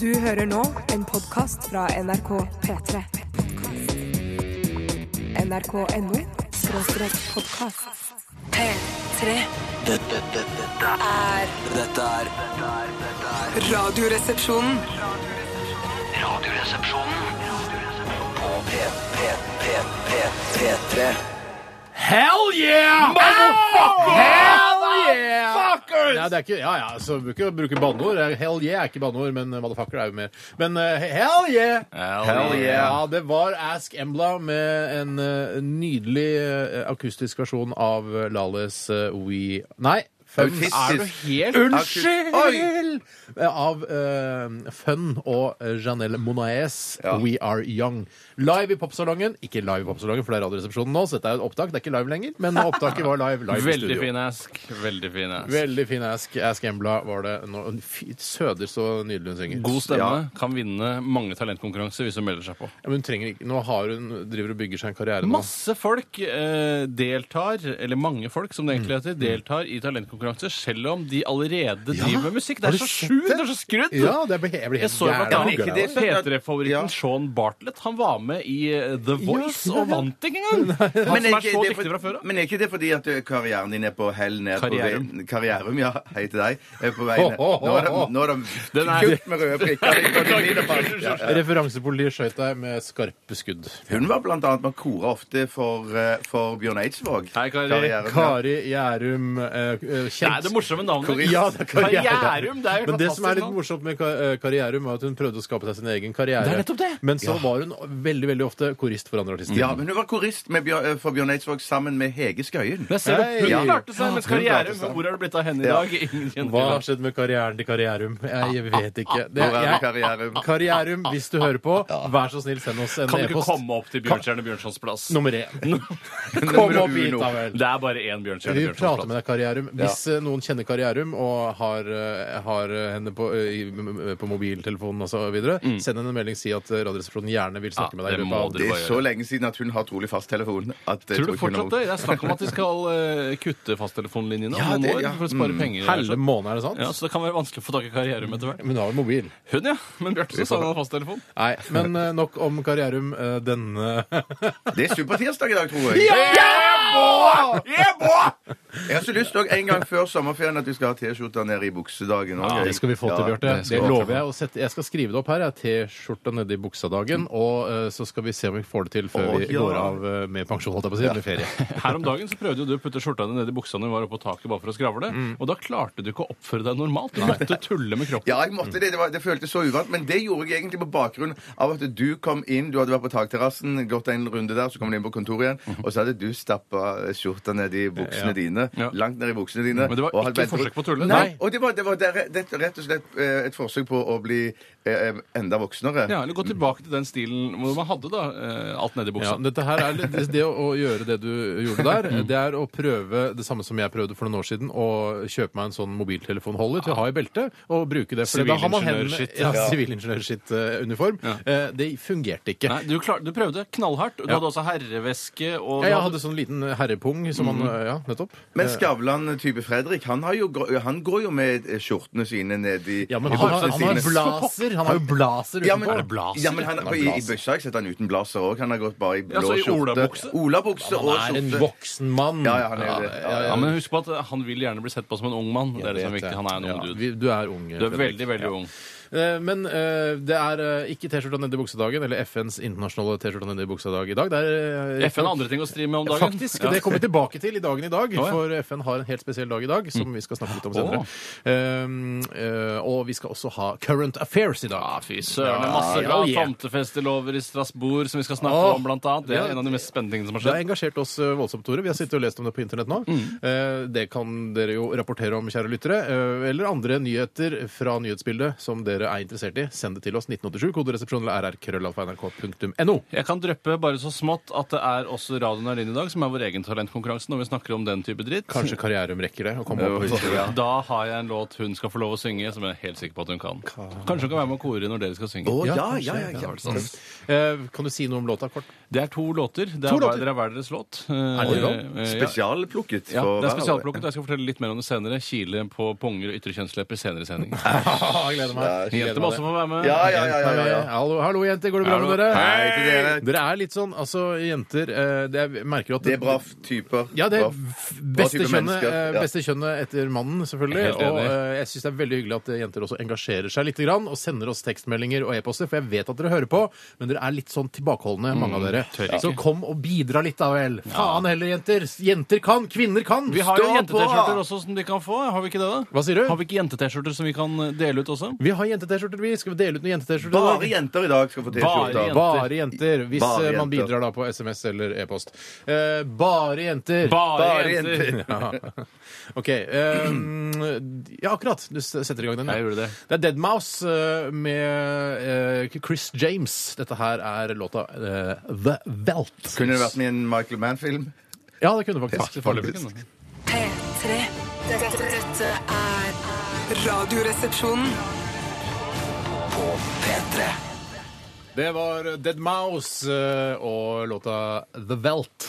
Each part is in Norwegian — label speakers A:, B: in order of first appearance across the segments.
A: Du hører nå en podkast fra NRK P3. NRK.no skråstrek podkast. P3.
B: Dette, dette, dette,
A: er
B: dette er dette er- dette er
A: Radioresepsjonen.
B: Radioresepsjonen Radioresepsjonen. på P, P, P, P, P3.
C: Hell yeah! Motherfucker! Hell yeah! Fuckers! Ja, det er ikke, ja, ja, så bruker ikke bruke banneord. Eh, Hell yeah er ikke banneord, men eh, motherfucker er jo mer. Men eh, hell yeah!
D: Hell
C: Ja, det var Ask Embla med en eh, nydelig eh, akustisk versjon av eh, Lales eh, We Nei. Fun er du
D: Autistisk.
C: helt
D: Unnskyld!
C: Unnskyld! Eh, Av eh, Fun og eh, Janelle Monaes,
D: Ja.
C: We Are Young. Live i popsalongen. Ikke live i popsalongen, for det er Radioresepsjonen nå, så dette er jo et opptak. Det er ikke live lenger, men opptaket var live. live i
D: Veldig
C: studio.
D: fin ask. Veldig fin ask.
C: Veldig fin Ask, Ask Embla var det. Nå, fy, søder så nydelig hun synger.
D: God stemme.
C: Ja.
D: Kan vinne mange talentkonkurranser hvis hun melder seg på.
C: Ja, men hun trenger ikke Nå har hun, driver og bygger seg en karriere nå.
D: Masse folk eh, deltar, eller mange folk som det egentlig
C: Mm.
D: heter, deltar i talentkonkurranser selv om de allerede driver med musikk. Det
C: Har
D: er
C: du
D: så
C: sett
D: sjukt!
C: det?
D: Det er så skrudd!
C: Ja, det ble, jeg ble
D: Jeg
C: helt
D: så jo blant
C: gæren.
D: annet
C: av det.
D: P3-favoritten
E: Ja.
D: Sean Bartlett. Han var med i eh, The Voice
C: ja, ja.
D: og vant ikke engang! Han
E: Men
D: som
E: er,
D: er
E: ikke
D: så
E: det for-
D: dyktig fra før av.
E: men er ikke det fordi at ø, karrieren din er på hell ned
D: Karrierum.
E: på Karrierum, ja. Hei til deg. Er på vei ned. Nå er det, nå er det
D: Den er-
E: gutt med røde prikker. på din middelfart. Ja, ja.
C: Referansepolitiet skjøt deg med skarpe skudd.
E: Hun var blant annet med å kore ofte for, ø, for Bjørn Eidsvåg.
D: Hei, Kari.
E: Karrierum, ja.
C: Kari Gjærum eh, eh, kjent
D: Det er det morsomme navnet.
C: Ja, det er Kari
D: Karrierum, det er jo
C: Men det som er
D: fantastisk
C: litt
D: navn.
C: morsomt med Ka- eh, Kari Gjærum, var at hun prøvde å skape seg sin egen karriere.
D: Det er nettopp det.
C: Men så var hun veldig veldig ofte korist for andre artister.
E: Ja, men hun var korist med Bjørn, ø, for Bjørn Eidsvåg sammen med Hege Skøyen.
D: Jeg ser det.
C: Hei.
D: Hun
C: Ja.
D: klarte seg, mens
E: Hun klarte
D: karrieren
E: seg.
D: Hvor er det blitt av henne i
E: Ja.
D: dag? Ingen kjenner
C: Hva
D: til
C: har skjedd med karrieren til Karrierum? Jeg, jeg vet ikke. Det,
E: Hvor er det
C: jeg,
E: Karrierum?
C: karrierum, hvis du hører på, vær så snill, send oss en
D: Kan du ikke
C: e-post.
D: komme opp til Bjørnstjerne Bjørnsons plass?
C: Nummer én. Kom opp hit, da vel.
D: Det er bare én Bjørnstjerne
C: Vi
D: Bjørnsons
C: prater
D: plass.
C: med deg, Karrierum. Hvis eh, noen kjenner Karrierum og har, eh, har eh, henne på, eh, i- m- m- på mobiltelefonen osv., videre send henne en melding si at eh, Radioresepsjonen gjerne vil snakke
D: Mm. Ja,
C: med deg. i
D: det
C: løpet av-
D: må
E: Det
D: dere
E: er så lenge siden at hun har trolig fasttelefon. at jeg
D: Tror du
E: ikke hun har-
D: fortsatt det? Det er snakk om at de skal eh, kutte fasttelefonlinjene
E: Ja,
D: om
E: det-
D: noen år
E: ja.
D: for å spare penger. altså.
C: Helle måned, er det sant?
D: Ja, Så det kan være vanskelig å få tak i karrieren etter hvert.
C: Men hun har jo mobil.
D: Hun, ja. Men Bjarte sa han hadde fasttelefon.
C: Nei, men eh, nok om Karrierum eh, denne
E: Det er supertirsdag i dag, tror jeg. Jeg har så lyst også en gang før sommerferien at vi skal ha T-skjorta nede i buksedagen. også.
C: Det skal vi få til,
E: Ja,
C: Bjarte.
E: skal
C: Det
E: vi få
C: lover
E: til.
C: jeg. Å sette, jeg skal skrive det opp her. jeg. T-skjorta nedi buksadagen. Og eh, så skal vi se om vi får det til før
E: Å,
C: vi
E: ja.
C: går av eh, med pensjon, holdt jeg på å si. Med ferie.
D: Her om dagen så prøvde jo du å putte skjorta di ned i buksa når du var oppe på taket bare for å skravle. Og da klarte du ikke å oppføre deg normalt. Du måtte tulle med kroppen.
E: Ja, jeg måtte det. Det, var, det føltes så uvant. Men det gjorde jeg egentlig på bakgrunn av at du kom inn. Du hadde vært på takterrassen, gått en runde der, så kom du inn på kontoret igjen. Og så hadde du stappa skjorta ned i buksene dine.
D: Ja.
E: Langt ned i buksene dine.
D: Men det var
E: og hadde
D: ikke
E: ventet-
D: forsøk på å tulle.
E: Nei.
D: Nei.
E: Og det var, det var det, det, rett og slett eh, et forsøk på å bli eh, enda voksnere.
D: Ja, eller gå tilbake til den stilen hvor man hadde da eh, alt nedi
C: Ja,
D: buksa.
C: dette her er litt, det, det å å gjøre det du gjorde der, det er å prøve det samme som jeg prøvde for noen år siden, å kjøpe meg en sånn mobiltelefonholder til å ha i beltet, og bruke det. For da har man hendene ja,
D: Sivilingeniørskitt.
C: Sivilingeniørskitt-uniform. Eh, Det fungerte ikke.
D: Nei, du, klar, du prøvde knallhardt. Du hadde også herreveske og
C: Ja, Jeg hadde sånn liten herrepung som man eh, Ja, nettopp.
E: Men Skavlan-type Fredrik, han, har jo, grå- han går jo med skjortene sine ned i
C: Ja, men
E: i
C: han, har-
E: buksene
C: han har
E: sine.
C: blazer. Han har jo blazer
E: Ja, men,
C: utenpå. Er det blazer?
E: ja, men han,
C: Han har
E: i, i
C: blazer.
E: bøssa har jeg sett han uten blazer òg. Han har gått bare i blå
D: Ja, så i
E: skjorte.
D: olabukse?
E: Olabukse og
C: Han er en
E: skjorte.
C: voksen mann.
E: Ja, ja, han er jo det. Ja,
D: Ja, men husk på at eh, han vil gjerne bli sett på som en ung mann. Det er det som er
C: vet
D: viktig.
C: jeg.
D: Han er en
C: Ja,
D: ung dude.
C: vi- Du er ung.
D: Du er
C: Fredrik.
D: veldig, veldig ung.
C: Eh, Men eh, det er eh, ikke T-skjorta nedi buksedagen, eller FNs internasjonale T-skjorta nedi buksedag i dag. Det er eh,
D: FN har andre ting å stri med om dagen.
C: Faktisk. Det kommer vi tilbake til i dagen i dag,
D: ja. Mm.
C: for FN har en helt spesiell dag i dag, som vi skal snakke litt om senere. Um, eh, og vi skal også ha Current Affairs i dag.
D: Ah, Fy søren, det er masse
C: Ja,
D: bra
C: yeah.
D: tomtefestelover i Strasbourg som vi skal snakke
C: Åh.
D: om, blant annet. Det
C: Ja.
D: er en av de mest spennende tingene som
C: Det har
D: har skjedd.
C: engasjert oss eh, voldsomt, Tore. Vi har sittet og lest om det på internett nå. Eh, Det kan dere jo rapportere om, kjære lyttere. eh, Eller andre nyheter fra nyhetsbildet som dere dere er interessert i, send det til oss. 1987, koderesepsjon eller rrkrøllalfa.nrk.no.
D: Jeg kan drøppe bare så smått at det er også Radio Nardin i dag, som er vår egen talentkonkurranse når vi snakker om den type dritt.
C: Kanskje Karrierum rekker det? å komme opp på historien.
D: Da har jeg en låt hun skal få lov å synge, som jeg er helt sikker på at hun kan. Kanskje hun kan være med og kore når dere skal synge.
E: Å, ja,
C: kanskje.
E: ja, ja, ja.
C: Eh, Kan du si noe om låta kort?
D: Det er to låter. Det er,
C: To
D: hver-
C: låter?
D: Dere er hver deres låt. Eh,
C: det lov?
E: Spesialplukket.
D: Ja,
E: for
D: det er
E: hver.
D: spesialplukket. og Jeg skal fortelle litt mer om det senere. Kile på punger og ytre kjønnslepper senere i sendingen.
E: Ah,
C: Jeg gleder meg. Jeg gleder
D: Jenter må
C: meg.
D: også få være med.
E: Ja, ja, ja, ja, ja, ja.
C: Hallo, hallo, jenter. Går det bra med
D: Hallo.
C: dere?
E: Hei til dere.
C: Dere er litt sånn, altså jenter eh, det, Jeg merker jo at
E: Det er bra typer.
C: Ja, det er
E: Bra-
C: f-
E: bra
C: beste
E: type
C: kjønnet,
E: mennesker.
C: eh,
E: Ja.
C: beste kjønnet etter mannen, selvfølgelig.
D: Helt enig.
C: Og eh, jeg syns det er veldig hyggelig at eh, jenter også engasjerer seg litt grann, og sender oss tekstmeldinger og e-poster, for jeg vet at dere hører på, men dere er litt sånn tilbakeholdne, mange av dere.
D: Mm, tør ikke.
C: Så kom og bidra litt, da vel. Faen heller, jenter. Jenter kan, kvinner kan.
D: Vi har jo
E: Stå på!
D: jente-T-skjorter også som de kan få. Har vi ikke det, da?
C: Hva sier du?
D: Har vi ikke jente-T-skjorter som vi kan dele ut også?
C: Vi har jente-T-skjorter, vi. Skal vi dele ut noen jente-T-skjorter? i dag?
E: Bare jenter i dag skal få
D: Bare
E: T-skjorter.
D: jenter.
C: Bare jenter. Hvis
E: Bare
C: eh, man
E: jenter.
C: bidrar da på SMS eller e-post. Eh, bare jenter.
E: Bare jenter.
C: Ja. OK. ehm, ja, akkurat. Du s- setter i gang den. ja.
D: Jeg gjorde det.
C: Det er Dead Mouse eh, med eh, Chris James. Dette her er låta eh, The Welt.
E: Kunne det vært med i en Michael Mann-film?
C: Ja, det kunne faktisk.
D: Farlig.
A: P3. Dette, dette er Radioresepsjonen.
C: Det var Dead Mouse eh, og låta The Welt.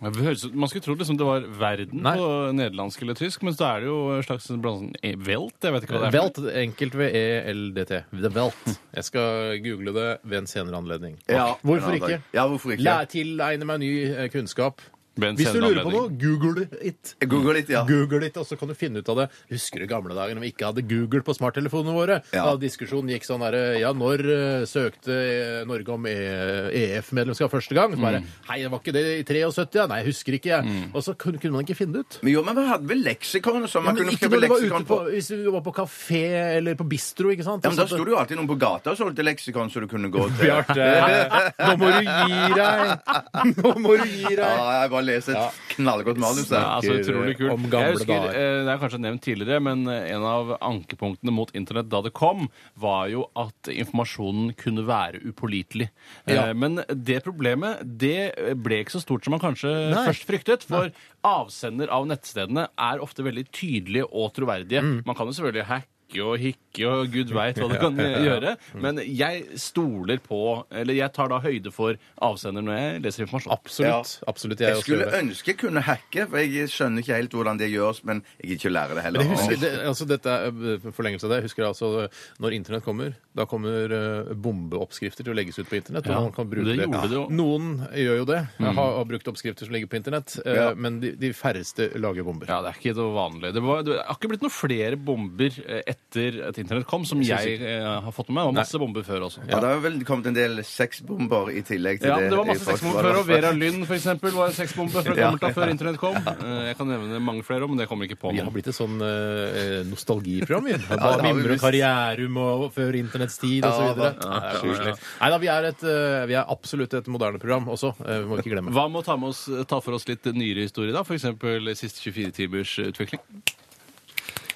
D: Ja, det høres ut- Man skulle tro liksom det var verden
C: Nei.
D: på nederlandsk eller tysk, men så er det jo en slags blanding eh, Velt? Jeg vet ikke hva det er. for.
C: Welt, enkelt E ved ELDT. The Welt. Jeg skal google det ved en senere anledning.
E: Ja.
C: Hvorfor
E: En annen
C: ikke?
E: dag. Ja, hvorfor ikke?
C: Lær tilegne meg ny eh, kunnskap.
D: Ved en
C: Hvis du
D: senere
C: lurer på noe, google it.
E: Google litt, ja.
C: Google it, og så kan du finne ut av det. Husker du gamle dager når vi ikke hadde Google på smarttelefonene våre?
E: Ja.
C: Da diskusjonen gikk sånn derre Ja, når eh, søkte eh, Norge om EF-medlemskap første gang? Så
E: Mm.
C: bare Hei, det var ikke det i 73? Ja. Nei, jeg husker ikke, jeg. Og så kunne, kunne man ikke finne det ut.
E: Men jo, men vi hadde vel leksikon og
C: Ja,
E: sånn. Mm. Man
C: men
E: kunne
C: ikke
E: skrive
C: når du var ute
E: leksikon
C: på,
E: på
C: hvis du var på kafé eller på bistro, ikke sant? Altså,
E: ja, men Da sto det jo alltid noen på gata og solgte leksikon, så du kunne gå til Ja,
C: Bjarte, nå må du gi deg! Nå må du gi deg!
E: jeg bare leser et knallgodt manus
D: Ja,
E: der.
D: altså, utrolig kult.
C: om gamle
D: jeg husker,
C: dager.
D: eh, Det er kanskje nevnt tidligere, men eh, en av ankepunktene mot internett da det kom, var jo at informasjonen kunne være upålitelig. Eh,
C: Ja.
D: Men det problemet det ble ikke så stort som man kanskje
C: Nei.
D: først fryktet. For avsender av nettstedene er ofte veldig tydelige og troverdige.
C: Mm.
D: Man kan jo selvfølgelig hacke. Og hikke og gud veit hva det kan eh, gjøre.
C: Mm.
D: Men jeg stoler på Eller jeg tar da høyde for avsender når jeg leser informasjon.
C: Absolutt. absolutt jeg
E: Jeg
C: også
E: skulle
C: gjør det.
E: ønske jeg kunne hacke, for jeg skjønner ikke helt hvordan det gjøres, men jeg gidder ikke å lære det heller.
C: Men jeg husker, det, altså dette er eh, forlengelse av det. Jeg husker altså eh, Når internett kommer, da kommer eh, bombeoppskrifter til å legges ut på internett. Og
D: Ja,
C: man kan bruke
D: det
C: det. Mm.
D: gjorde det jo.
C: Noen gjør jo det. Jeg har, har brukt oppskrifter som ligger på internett, eh, men de, de færreste lager bomber.
D: Ja, det er ikke noe vanlig. Det, var, det har ikke blitt noen flere bomber eh, etter at internett kom, som jeg eh, har fått med meg. Det var masse bomber før også.
E: Ja, det har vel kommet en del sexbomber i tillegg til
D: Ja, men Det var
E: i
D: masse sexbomber
E: Forsvaret.
D: før, og Vera Lynn for eksempel, var en sexbombe fra
E: Ja.
D: gammelt av før internett kom. Eh, Jeg kan nevne mange flere, men det kommer ikke på
C: Vi
D: nå.
C: har blitt et sånn eh, nostalgiprogram. Vi
E: har
C: Bare
E: vi
C: mimrer om
E: visst.
C: karrierum og før internetts tid
E: Ja,
C: osv.
E: da.
C: Nei da, vi er, et, eh, vi er absolutt et moderne program også. eh, Vi må ikke glemme.
D: Hva med å ta, med oss, ta for oss litt nyere historie, da? F.eks. siste 24 timers utvikling?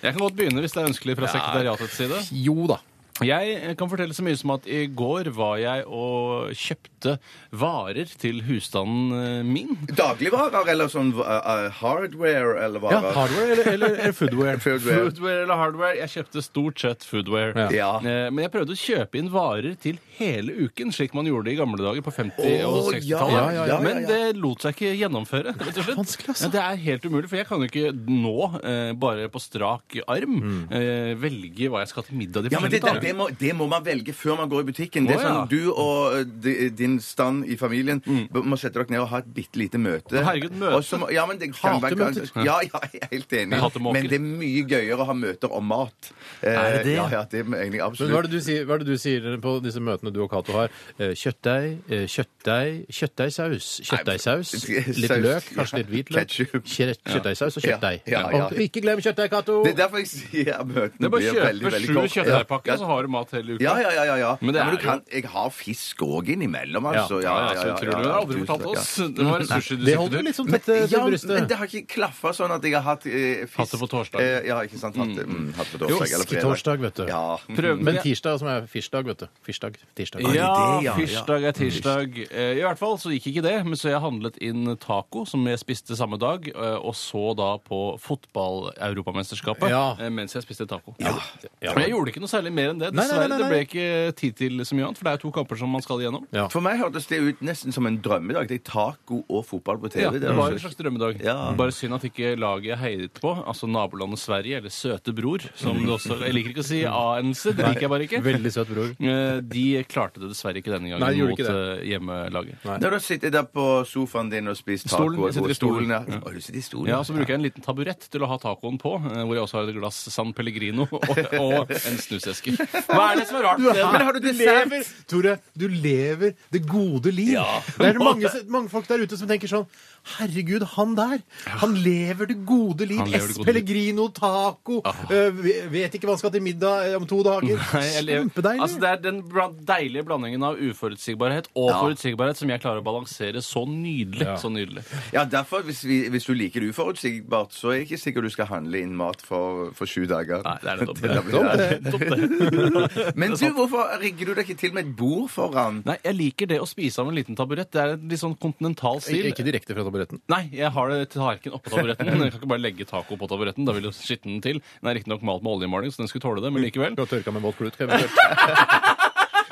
D: Jeg kan godt begynne, hvis det er ønskelig fra sekretariatets side.
C: Jo da.
D: Jeg eh, kan fortelle så mye som at i går var jeg og kjøpte varer til husstanden eh, min.
E: Dagligvarer eller sånn uh, uh, hardware eller
C: Ja,
E: varer?
C: hardware eller, eller, eller foodware?
E: Foodware.
D: Foodware eller hardware? Jeg kjøpte stort sett foodware.
C: Ja.
E: Ja.
D: Eh, Men jeg prøvde å kjøpe inn varer til hele uken, slik man gjorde i gamle dager på 50- og
E: Å, ja,
D: 60-tallet.
E: ja, ja, ja,
D: Men
E: ja.
D: det lot seg ikke gjennomføre, rett og slett.
C: vanskelig, altså.
D: Ja, Det er helt umulig, for jeg kan jo ikke nå, eh, bare på strak arm,
C: Mm.
D: eh, velge hva jeg skal til middag de
E: Ja, men det,
D: forskjellige
E: der,
D: dagene.
E: det, må, det må man velge før man går i butikken. Det er
D: Å, ja. Mm.
E: sånn Du og eh, di- din stand i familien b- må sette dere ned og ha et bitte lite møte.
D: herregud, møte.
E: Og så må- ja, men det kan være-
C: Hatemøter.
E: Ja, ja, jeg er helt enig.
D: Hatemåker.
E: Men det er mye gøyere å ha møter om mat. Eh,
D: Er det det?
E: Ja, ja, det er
C: Men
E: egentlig
C: hva
E: absolutt.
C: er, det du sier, hva er det du sier på disse møtene du og Cato har? Eh, Kjøttdeig, eh, kjøttdeig, kjøttdeigsaus, kjøttdeigsaus,
E: Nei, men-
C: litt
E: saus.
C: løk, kanskje litt hvitløk,
E: Ketchup.
C: kjø- kjøttdeigsaus og
E: Ja.
C: kjøttdeig.
E: Ja, ja, ja.
C: Og ikke glem kjøttdeig, Cato!
E: Det er derfor jeg sier at møtene
D: Det er bare
E: blir
D: å
E: veldig
D: kjøpe
E: veldig
D: sju
E: korte.
D: kjøttdeigpakker,
E: Ja.
D: så har du mat hele uka.
E: Ja, ja, ja. ja, ja.
D: Men det
E: ja, men
D: er
E: du
D: jo-
E: kan, jeg har fisk òg innimellom, altså.
D: Ja, ja, så utrolig. Det har aldri
E: tusen takk,
D: fortalt
E: ja.
D: oss. Det var en sushi du
C: Det
D: siktet
C: holder
D: ut.
C: litt sånn
E: Men,
C: tett eh,
E: ja,
C: til
E: men
C: brystet.
E: det har ikke klaffa sånn at jeg har hatt eh, fisk
D: Hatt det på torsdag.
E: Eh, ja, ikke sant. Hatt, mm. hatt på torsdag eller fredag.
C: Fisketorsdag, vet du.
E: Ja.
D: Prøv-
C: Men tirsdag, som er firsdag, vet du. Firsdag. Tirsdag.
E: det,
D: Ja,
E: ja,
D: tirsdag er tirsdag. Eh, I hvert fall så gikk ikke det, men så jeg handlet inn taco, som jeg spiste samme dag, eh, og så da på fotball-europamesterskapet
C: Ja.
D: eh, mens jeg spiste taco.
C: Ja.
D: Men jeg gjorde ikke noe særlig mer enn det.
C: Nei, nei, nei,
D: Dessverre,
C: nei,
D: det ble ikke tid til så mye annet, for det er jo to kamper som man skal igjennom.
C: Ja.
E: For meg hørtes det ut nesten som en drømmedag. Det er taco og fotball på TV.
D: Ja, mm. det
E: er
D: var en
E: også-
D: slags drømmedag.
E: Ja.
D: Bare synd at ikke laget jeg heiet på, altså nabolandet Sverige, eller søte bror, som det også Jeg liker ikke å si ANC, det liker jeg bare ikke.
C: Veldig søt bror.
D: Eh, De klarte det dessverre ikke denne gangen
C: Nei, de gjorde
D: mot
C: ikke
D: eh, hjemmelaget.
E: Når du sitter der på sofaen din og spiser taco
D: Stolen, jeg sitter i
E: og
D: stolen. Mm.
E: ja. Å, du sitter i stolen.
D: Ja, så bruker jeg en liten taburett til å ha tacoen på, eh, hvor jeg også har et glass San Pellegrino og, og en snuseske. Hva er det som er rart med det?
E: Men har du dessert?
C: lever, Tore, du lever det gode liv. Det er mange, mange folk der ute som tenker sånn Herregud, han der! Han lever det gode liv.
D: Han lever det
C: S.
D: gode liv.
C: Pellegrino, taco øh, ve- Vet ikke hva han skal til middag eh, om to dager.
D: Nei, jeg lever-
C: Kjempedeilig!
D: Altså, det er den bra- deilige blandingen av uforutsigbarhet og forutsigbarhet som jeg klarer å balansere så nydelig. Så nydelig.
E: Ja, derfor, hvis, vi, hvis du liker det uforutsigbart, så er jeg ikke sikker du skal handle inn mat for, for sju dager.
D: Nei, det er nettopp
E: Da blir
D: det. Det er nettopp det.
E: Men du, hvorfor rigger du deg ikke til med et bord foran?
D: Nei, jeg liker det å spise av en liten taburett. Det er en litt sånn kontinental stil.
C: Ikke direkte fra taburetten.
D: Nei, jeg har det til tallerken oppå taburetten. Jeg kan ikke bare legge taco på taburetten. Da vil jo skitne den til. Den er riktignok malt med oljemaling, så den skulle tåle det, men likevel.
C: Du har tørka med våt klut. kan jeg eventuelt.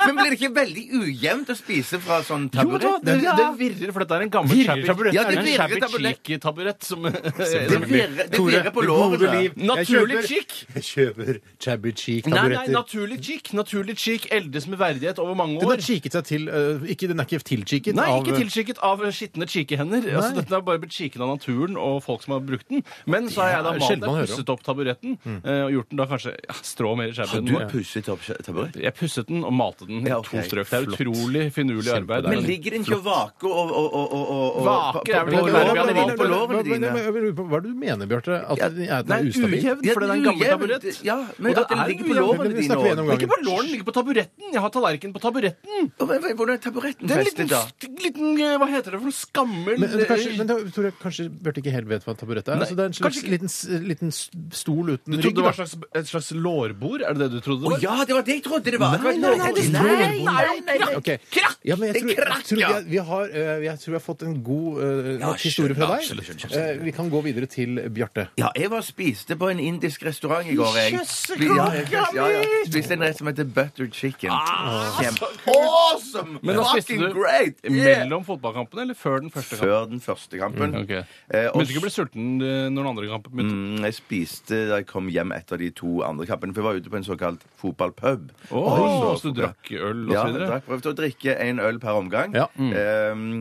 E: Men blir det ikke veldig ujevnt å spise fra sånn taburett?
D: Jo, men da, det, det virrer, for dette er en gammel
C: Virrer
D: shabby-
C: taburett,
D: Ja,
E: er
D: det
E: det?
D: er en shabby
E: Virrer taburett.
D: chic-taburett som
E: Det virrer, det virrer på lårene.
D: Naturlig
C: Jeg kjøper-
D: chic.
C: Jeg kjøper chabby
D: Nei, nei,
C: cheek-taburetter.
D: naturlig chic. Naturlig chic eldes med verdighet over mange
C: Den har
D: år.
C: kiket seg til øh, ikke, Den er ikke tilkiket
D: Nei,
C: av
D: ikke tilskikket av skitne cheekehender. Altså, dette er bare blitt kiken av naturen og folk som har brukt den. Men så har jeg da
C: er
D: malt
C: sjelden man
D: den,
C: hører om.
D: pusset opp taburetten eh, og gjort den da kanskje ja, strå mer i
E: Har du
D: skjebnen.
E: pusset opp taburett?
D: Jeg pusset den og malte den i
E: Ja, ok.
D: to strøk. Det er
C: Flott.
D: utrolig finurlig arbeid.
E: Men ligger den ikke og vaker og, og, og, og, og- og
D: Vaker er vel
E: på- på- på
D: ikke verre enn
E: lårene dine, På
C: Hva
E: lårene dine.
C: er det du mener, Bjarte? At den er- at den
D: Nei,
C: er ustabil?
D: ujevn,
E: Ja,
D: for den er en gammel
E: ujevnt,
D: taburett.
E: Ja, men
D: Og det
E: at den
D: er
E: ligger på
D: ujevnt.
E: lårene
C: Men vi
E: dine
C: snakker vi
E: også.
C: en
D: Det er ikke på låren, den ligger på taburetten. Jeg har tallerkenen på taburetten.
E: Og hva- hva- Hvordan er taburetten
D: Det er en
E: festet,
D: liten,
E: da?
D: st- liten eh, Hva heter det for noe skammel
C: Men, men, kanskje,
D: eh,
C: men da, tror jeg kanskje Bjarte ikke helt vet hva en taburett er.
D: Nei,
C: altså, det er en slags
D: kanskje ikke.
C: liten, s- liten s- stol uten
D: Du
C: rygg.
D: trodde det var
C: da.
D: et slags, et slags lårbord? Er det det du trodde? det
E: Å
D: var?
E: ja, det var det jeg trodde det var! Det var et
C: Nei, nei, nei, det
E: lårbord.
C: står
E: Nei,
C: lårbord.
E: nei, nei, nei.
C: Ok. Ja, men jeg
E: Det er
C: tror, jeg,
E: krakk,
C: tror
E: ja.
C: jeg, vi har, eh, jeg tror jeg har fått en god eh, nok historie fra
E: skjønner,
C: deg.
E: absolutt, skjønner, skjønner.
C: Eh, vi kan gå videre til Bjarte.
E: Ja, jeg var og spiste på en indisk restaurant i går. Jeg.
D: Jøssekake,
E: Ja, jeg- ja, ja. Spiste en rett som heter butter chicken. Kjempe- Awesome!
D: Ah, Men da spiste
E: Fucking
D: du
E: great! Yeah!
D: mellom fotballkampene eller før den første kampen?
E: Før den første kampen.
D: Ok.
E: Eh, og
D: Men du ikke ble sulten eh, når den andre kampen begynte?
E: Mm, jeg spiste da jeg kom hjem etter de to andre kampene, for jeg var ute på en såkalt fotballpub.
D: Åh,
E: Og
D: så du drakk øl og
E: ja,
D: så
E: jeg
D: videre?
E: drakk- prøvde å drikke en øl per omgang.
C: Ja.
D: Mm.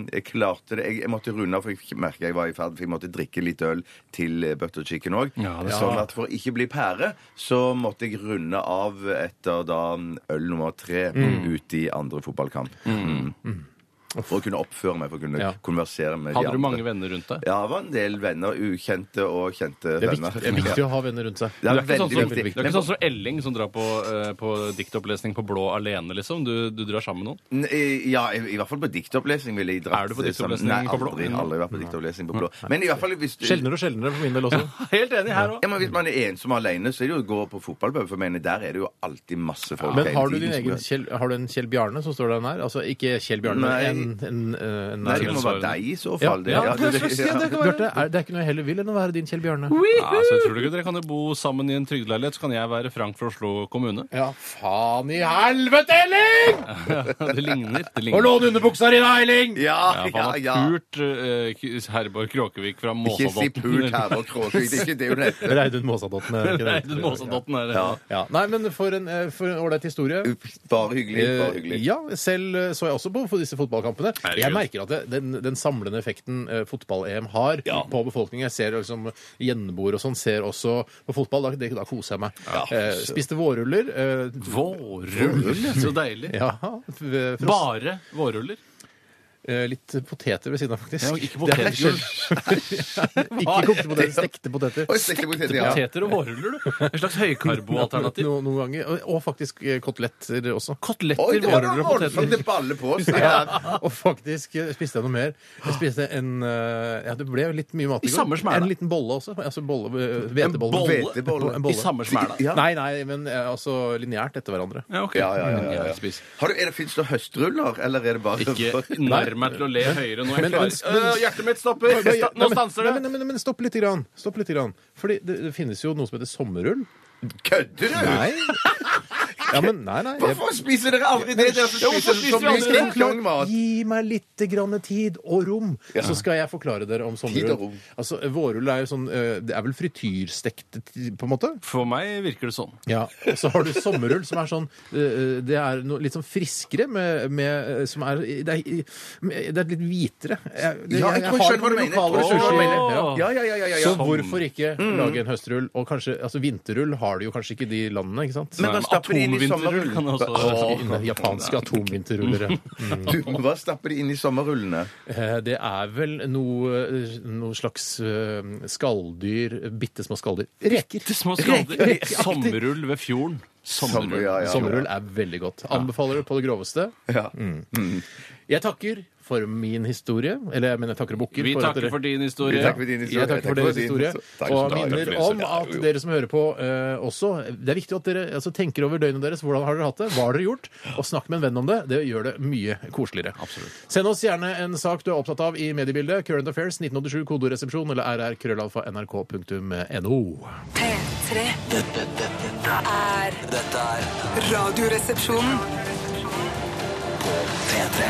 E: Eh, jeg klarte det. Jeg, jeg måtte runde av, for jeg merket jeg var i ferd for jeg måtte drikke litt øl til eh, butter chicken òg.
D: Ja, det er
E: sånn at for å ikke bli pære, så måtte jeg runde av etter da øl nummer tre
D: Mm.
E: ut i andre fotballkamp. Mm. For å kunne oppføre meg, for å kunne
C: Ja.
E: konversere med de
D: Hadde du
E: andre.
D: mange venner rundt deg?
E: Ja, det var en del venner. Ukjente og kjente
C: Det er,
E: venner.
C: viktig, det er viktig å ha venner rundt seg.
E: Ja.
D: Du er ikke sånn
E: Veldig,
D: som,
E: veldig viktig.
D: Du er ikke sånn som Elling som drar på, eh, på diktopplesning på blå alene, liksom. Du, du drar sammen med noen.
E: N- eh, Ja, i, i hvert fall på diktopplesning ville jeg dratt
D: Er du på diktopplesning
E: sammen-
D: på blå?
E: Nei, aldri, aldri vært på diktopplesning på blå. Men i hvert fall hvis du
C: Sjeldnere og sjeldnere for min del også.
D: Helt enig her òg.
E: ja, men Hvis man er ensom alene, så er det jo å gå på fotballpub. For jeg mener, der er det jo alltid masse folk.
C: Men
E: hele
C: har du
E: tiden
C: din
E: som
C: egen
E: er-
C: Kjell, har du en Kjell Bjarne som står der nær? Altså ikke Kjell Bjarne,
E: Nei.
C: men en, en, eh, en
E: Nei, det må
C: nær.
E: være
D: tilsvarende.
E: deg i så fall.
C: Ja,
E: det, det, det,
C: Bjarte, er- det er ikke noe jeg heller vil enn å være din Kjell Bjarne.
D: Ja, så jeg tror ikke dere kan jo bo sammen i en trygdeleilighet, så kan jeg være Frank fra Oslo kommune.
C: Ja, faen i helvete, Elling!
D: det ligner. Det
C: Å
D: ligner.
C: låne underbuksa di, da, Elling!
E: ja,
D: Ja, for
E: ja,
D: han
E: ja.
D: har pult eh, K- Herborg Kråkevik fra
E: Ikke si
D: Måsadotten.
E: pult her og kråke. Det er ikke det hun heter.
C: Reidun Måsadotten. er det ikke det?
D: Nei, den Måsadotten er eh,
E: Ja.
C: Ja. Nei, men for en eh, for en ålreit historie.
E: Bare hyggelig.
C: Eh,
E: Bare hyggelig.
C: Ja, selv eh, så jeg også på disse fotballkampene.
D: Herregud.
C: Jeg merker at det, den, den samlende effekten eh, fotball-EM har på befolkningen Jeg ser liksom gjenboere og sånn, ser også på fotball. Da, det, da koser jeg meg. Eh, spiste vårruller. Eh,
D: Vårrull! Så deilig.
C: ja, f- eh, frost,
D: Bare vårruller?
C: eh, litt poteter ved siden av, faktisk.
D: Ja, ikke potetgull.
C: ikke kokte poteter, stekte poteter.
E: Oi, stekte poteter, ja.
D: Poteter og vårruller, du. Et slags høykarboalternativ.
C: No, noen ganger. Og- Og faktisk eh, koteletter også.
E: Oi,
D: Koteletter,
E: det var
D: vårruller og
E: voldsomt!
D: poteter.
E: Det baller på seg.
D: Ah.
C: Ja, og faktisk eh, spiste jeg noe mer. Jeg spiste en eh, Ja, det ble litt mye mat
D: I samme smæla.
C: En liten bolle også. Altså bolle, eh, hvetebolle.
D: bolle?
E: Hvetebolle.
C: En
D: I samme smæla.
E: Ja.
C: Nei, nei, men eh, altså lineært etter hverandre.
D: Ja, ok.
E: Ja, ja, ja, ja, ja.
D: Jeg spiser.
E: Har du, er det, finnes det høstruller, eller er det bare
D: Ikke nær meg til å le høyere nå.
C: Men-
D: Jeg klarer.
C: men-
D: Øh, hjertet mitt stopper! Sta- Nå stanser
C: Nei,
D: det!
C: men, men, men stopp litt. Grann. Stopp litt grann. Fordi det, det finnes jo noe som heter sommerrull.
E: Kødder du?!
C: Nei. Ja, men nei, nei. Jeg,
E: Hvorfor spiser dere aldri det? Dere som
D: hvorfor
E: spiser så
D: spiser vi
E: mye
D: aldri det?
E: skinklongmat.
C: Gi meg litt grann tid og rom, så skal jeg forklare dere om
E: Tid og
C: sommerrull.
E: rom.
C: Altså, Vårrull er jo sånn eh, Det er vel frityrstekte, på en måte?
D: For meg virker det sånn.
C: Ja, og så har du sommerrull som er sånn eh, Det er noe litt sånn friskere med, med eh, som er, det, er, det er litt hvitere. Jeg, det,
E: Ja, jeg tror jeg skjønner hva du mener.
C: lokale
E: Jeg tror jeg
C: ressurser.
D: skjønner hva du mener.
C: Ja.
E: Ja, ja, ja, ja, ja, Mm.
C: Så
E: ja.
C: hvorfor ikke lage en høstrull? Og kanskje, altså Vinterrull har du jo kanskje ikke i de landene, ikke sant?
E: Men da stapper de inn i
D: Atomvinterrull kan
E: sommerrullen.
D: jeg også
C: Kanskje ikke i Japanske atomvinterrullere. Mm.
E: Du, hva stapper de inn i sommerrullene?
C: Eh, Det er vel noe, noe slags eh, skalldyr, bitte små skalldyr. Reker.
D: Bitte små skalldyr. Sommerrull ved fjorden.
E: Sommer, ja,
D: Sommerrull. Mm,
E: ja.
C: Sommerrull er veldig godt. Anbefaler det på det groveste.
E: Ja.
C: Jeg takker for min historie. Eller jeg mener, jeg takker og bukker.
D: Vi
C: for at
D: takker
C: dere-
D: for din historie.
E: Vi takker for din historie.
C: Jeg takker for
E: Jeg
C: deres historie.
E: Takk
C: Og
E: skal du ha.
C: minner
E: Takk for
C: om
E: det.
C: at dere som hører på eh, også Det er viktig at dere altså, tenker over døgnet deres. Hvordan har dere hatt det? Hva har dere gjort? Og snakk med en venn om det. Det gjør det mye koseligere. Send oss gjerne en sak du er opptatt av i mediebildet. Current Affairs 1987 kodoresepsjon eller rrkrøllalfa.nrk.no.
A: P3
B: Dette, dette, dette,
A: er
B: er- dette er
A: Radioresepsjonen.
B: P3.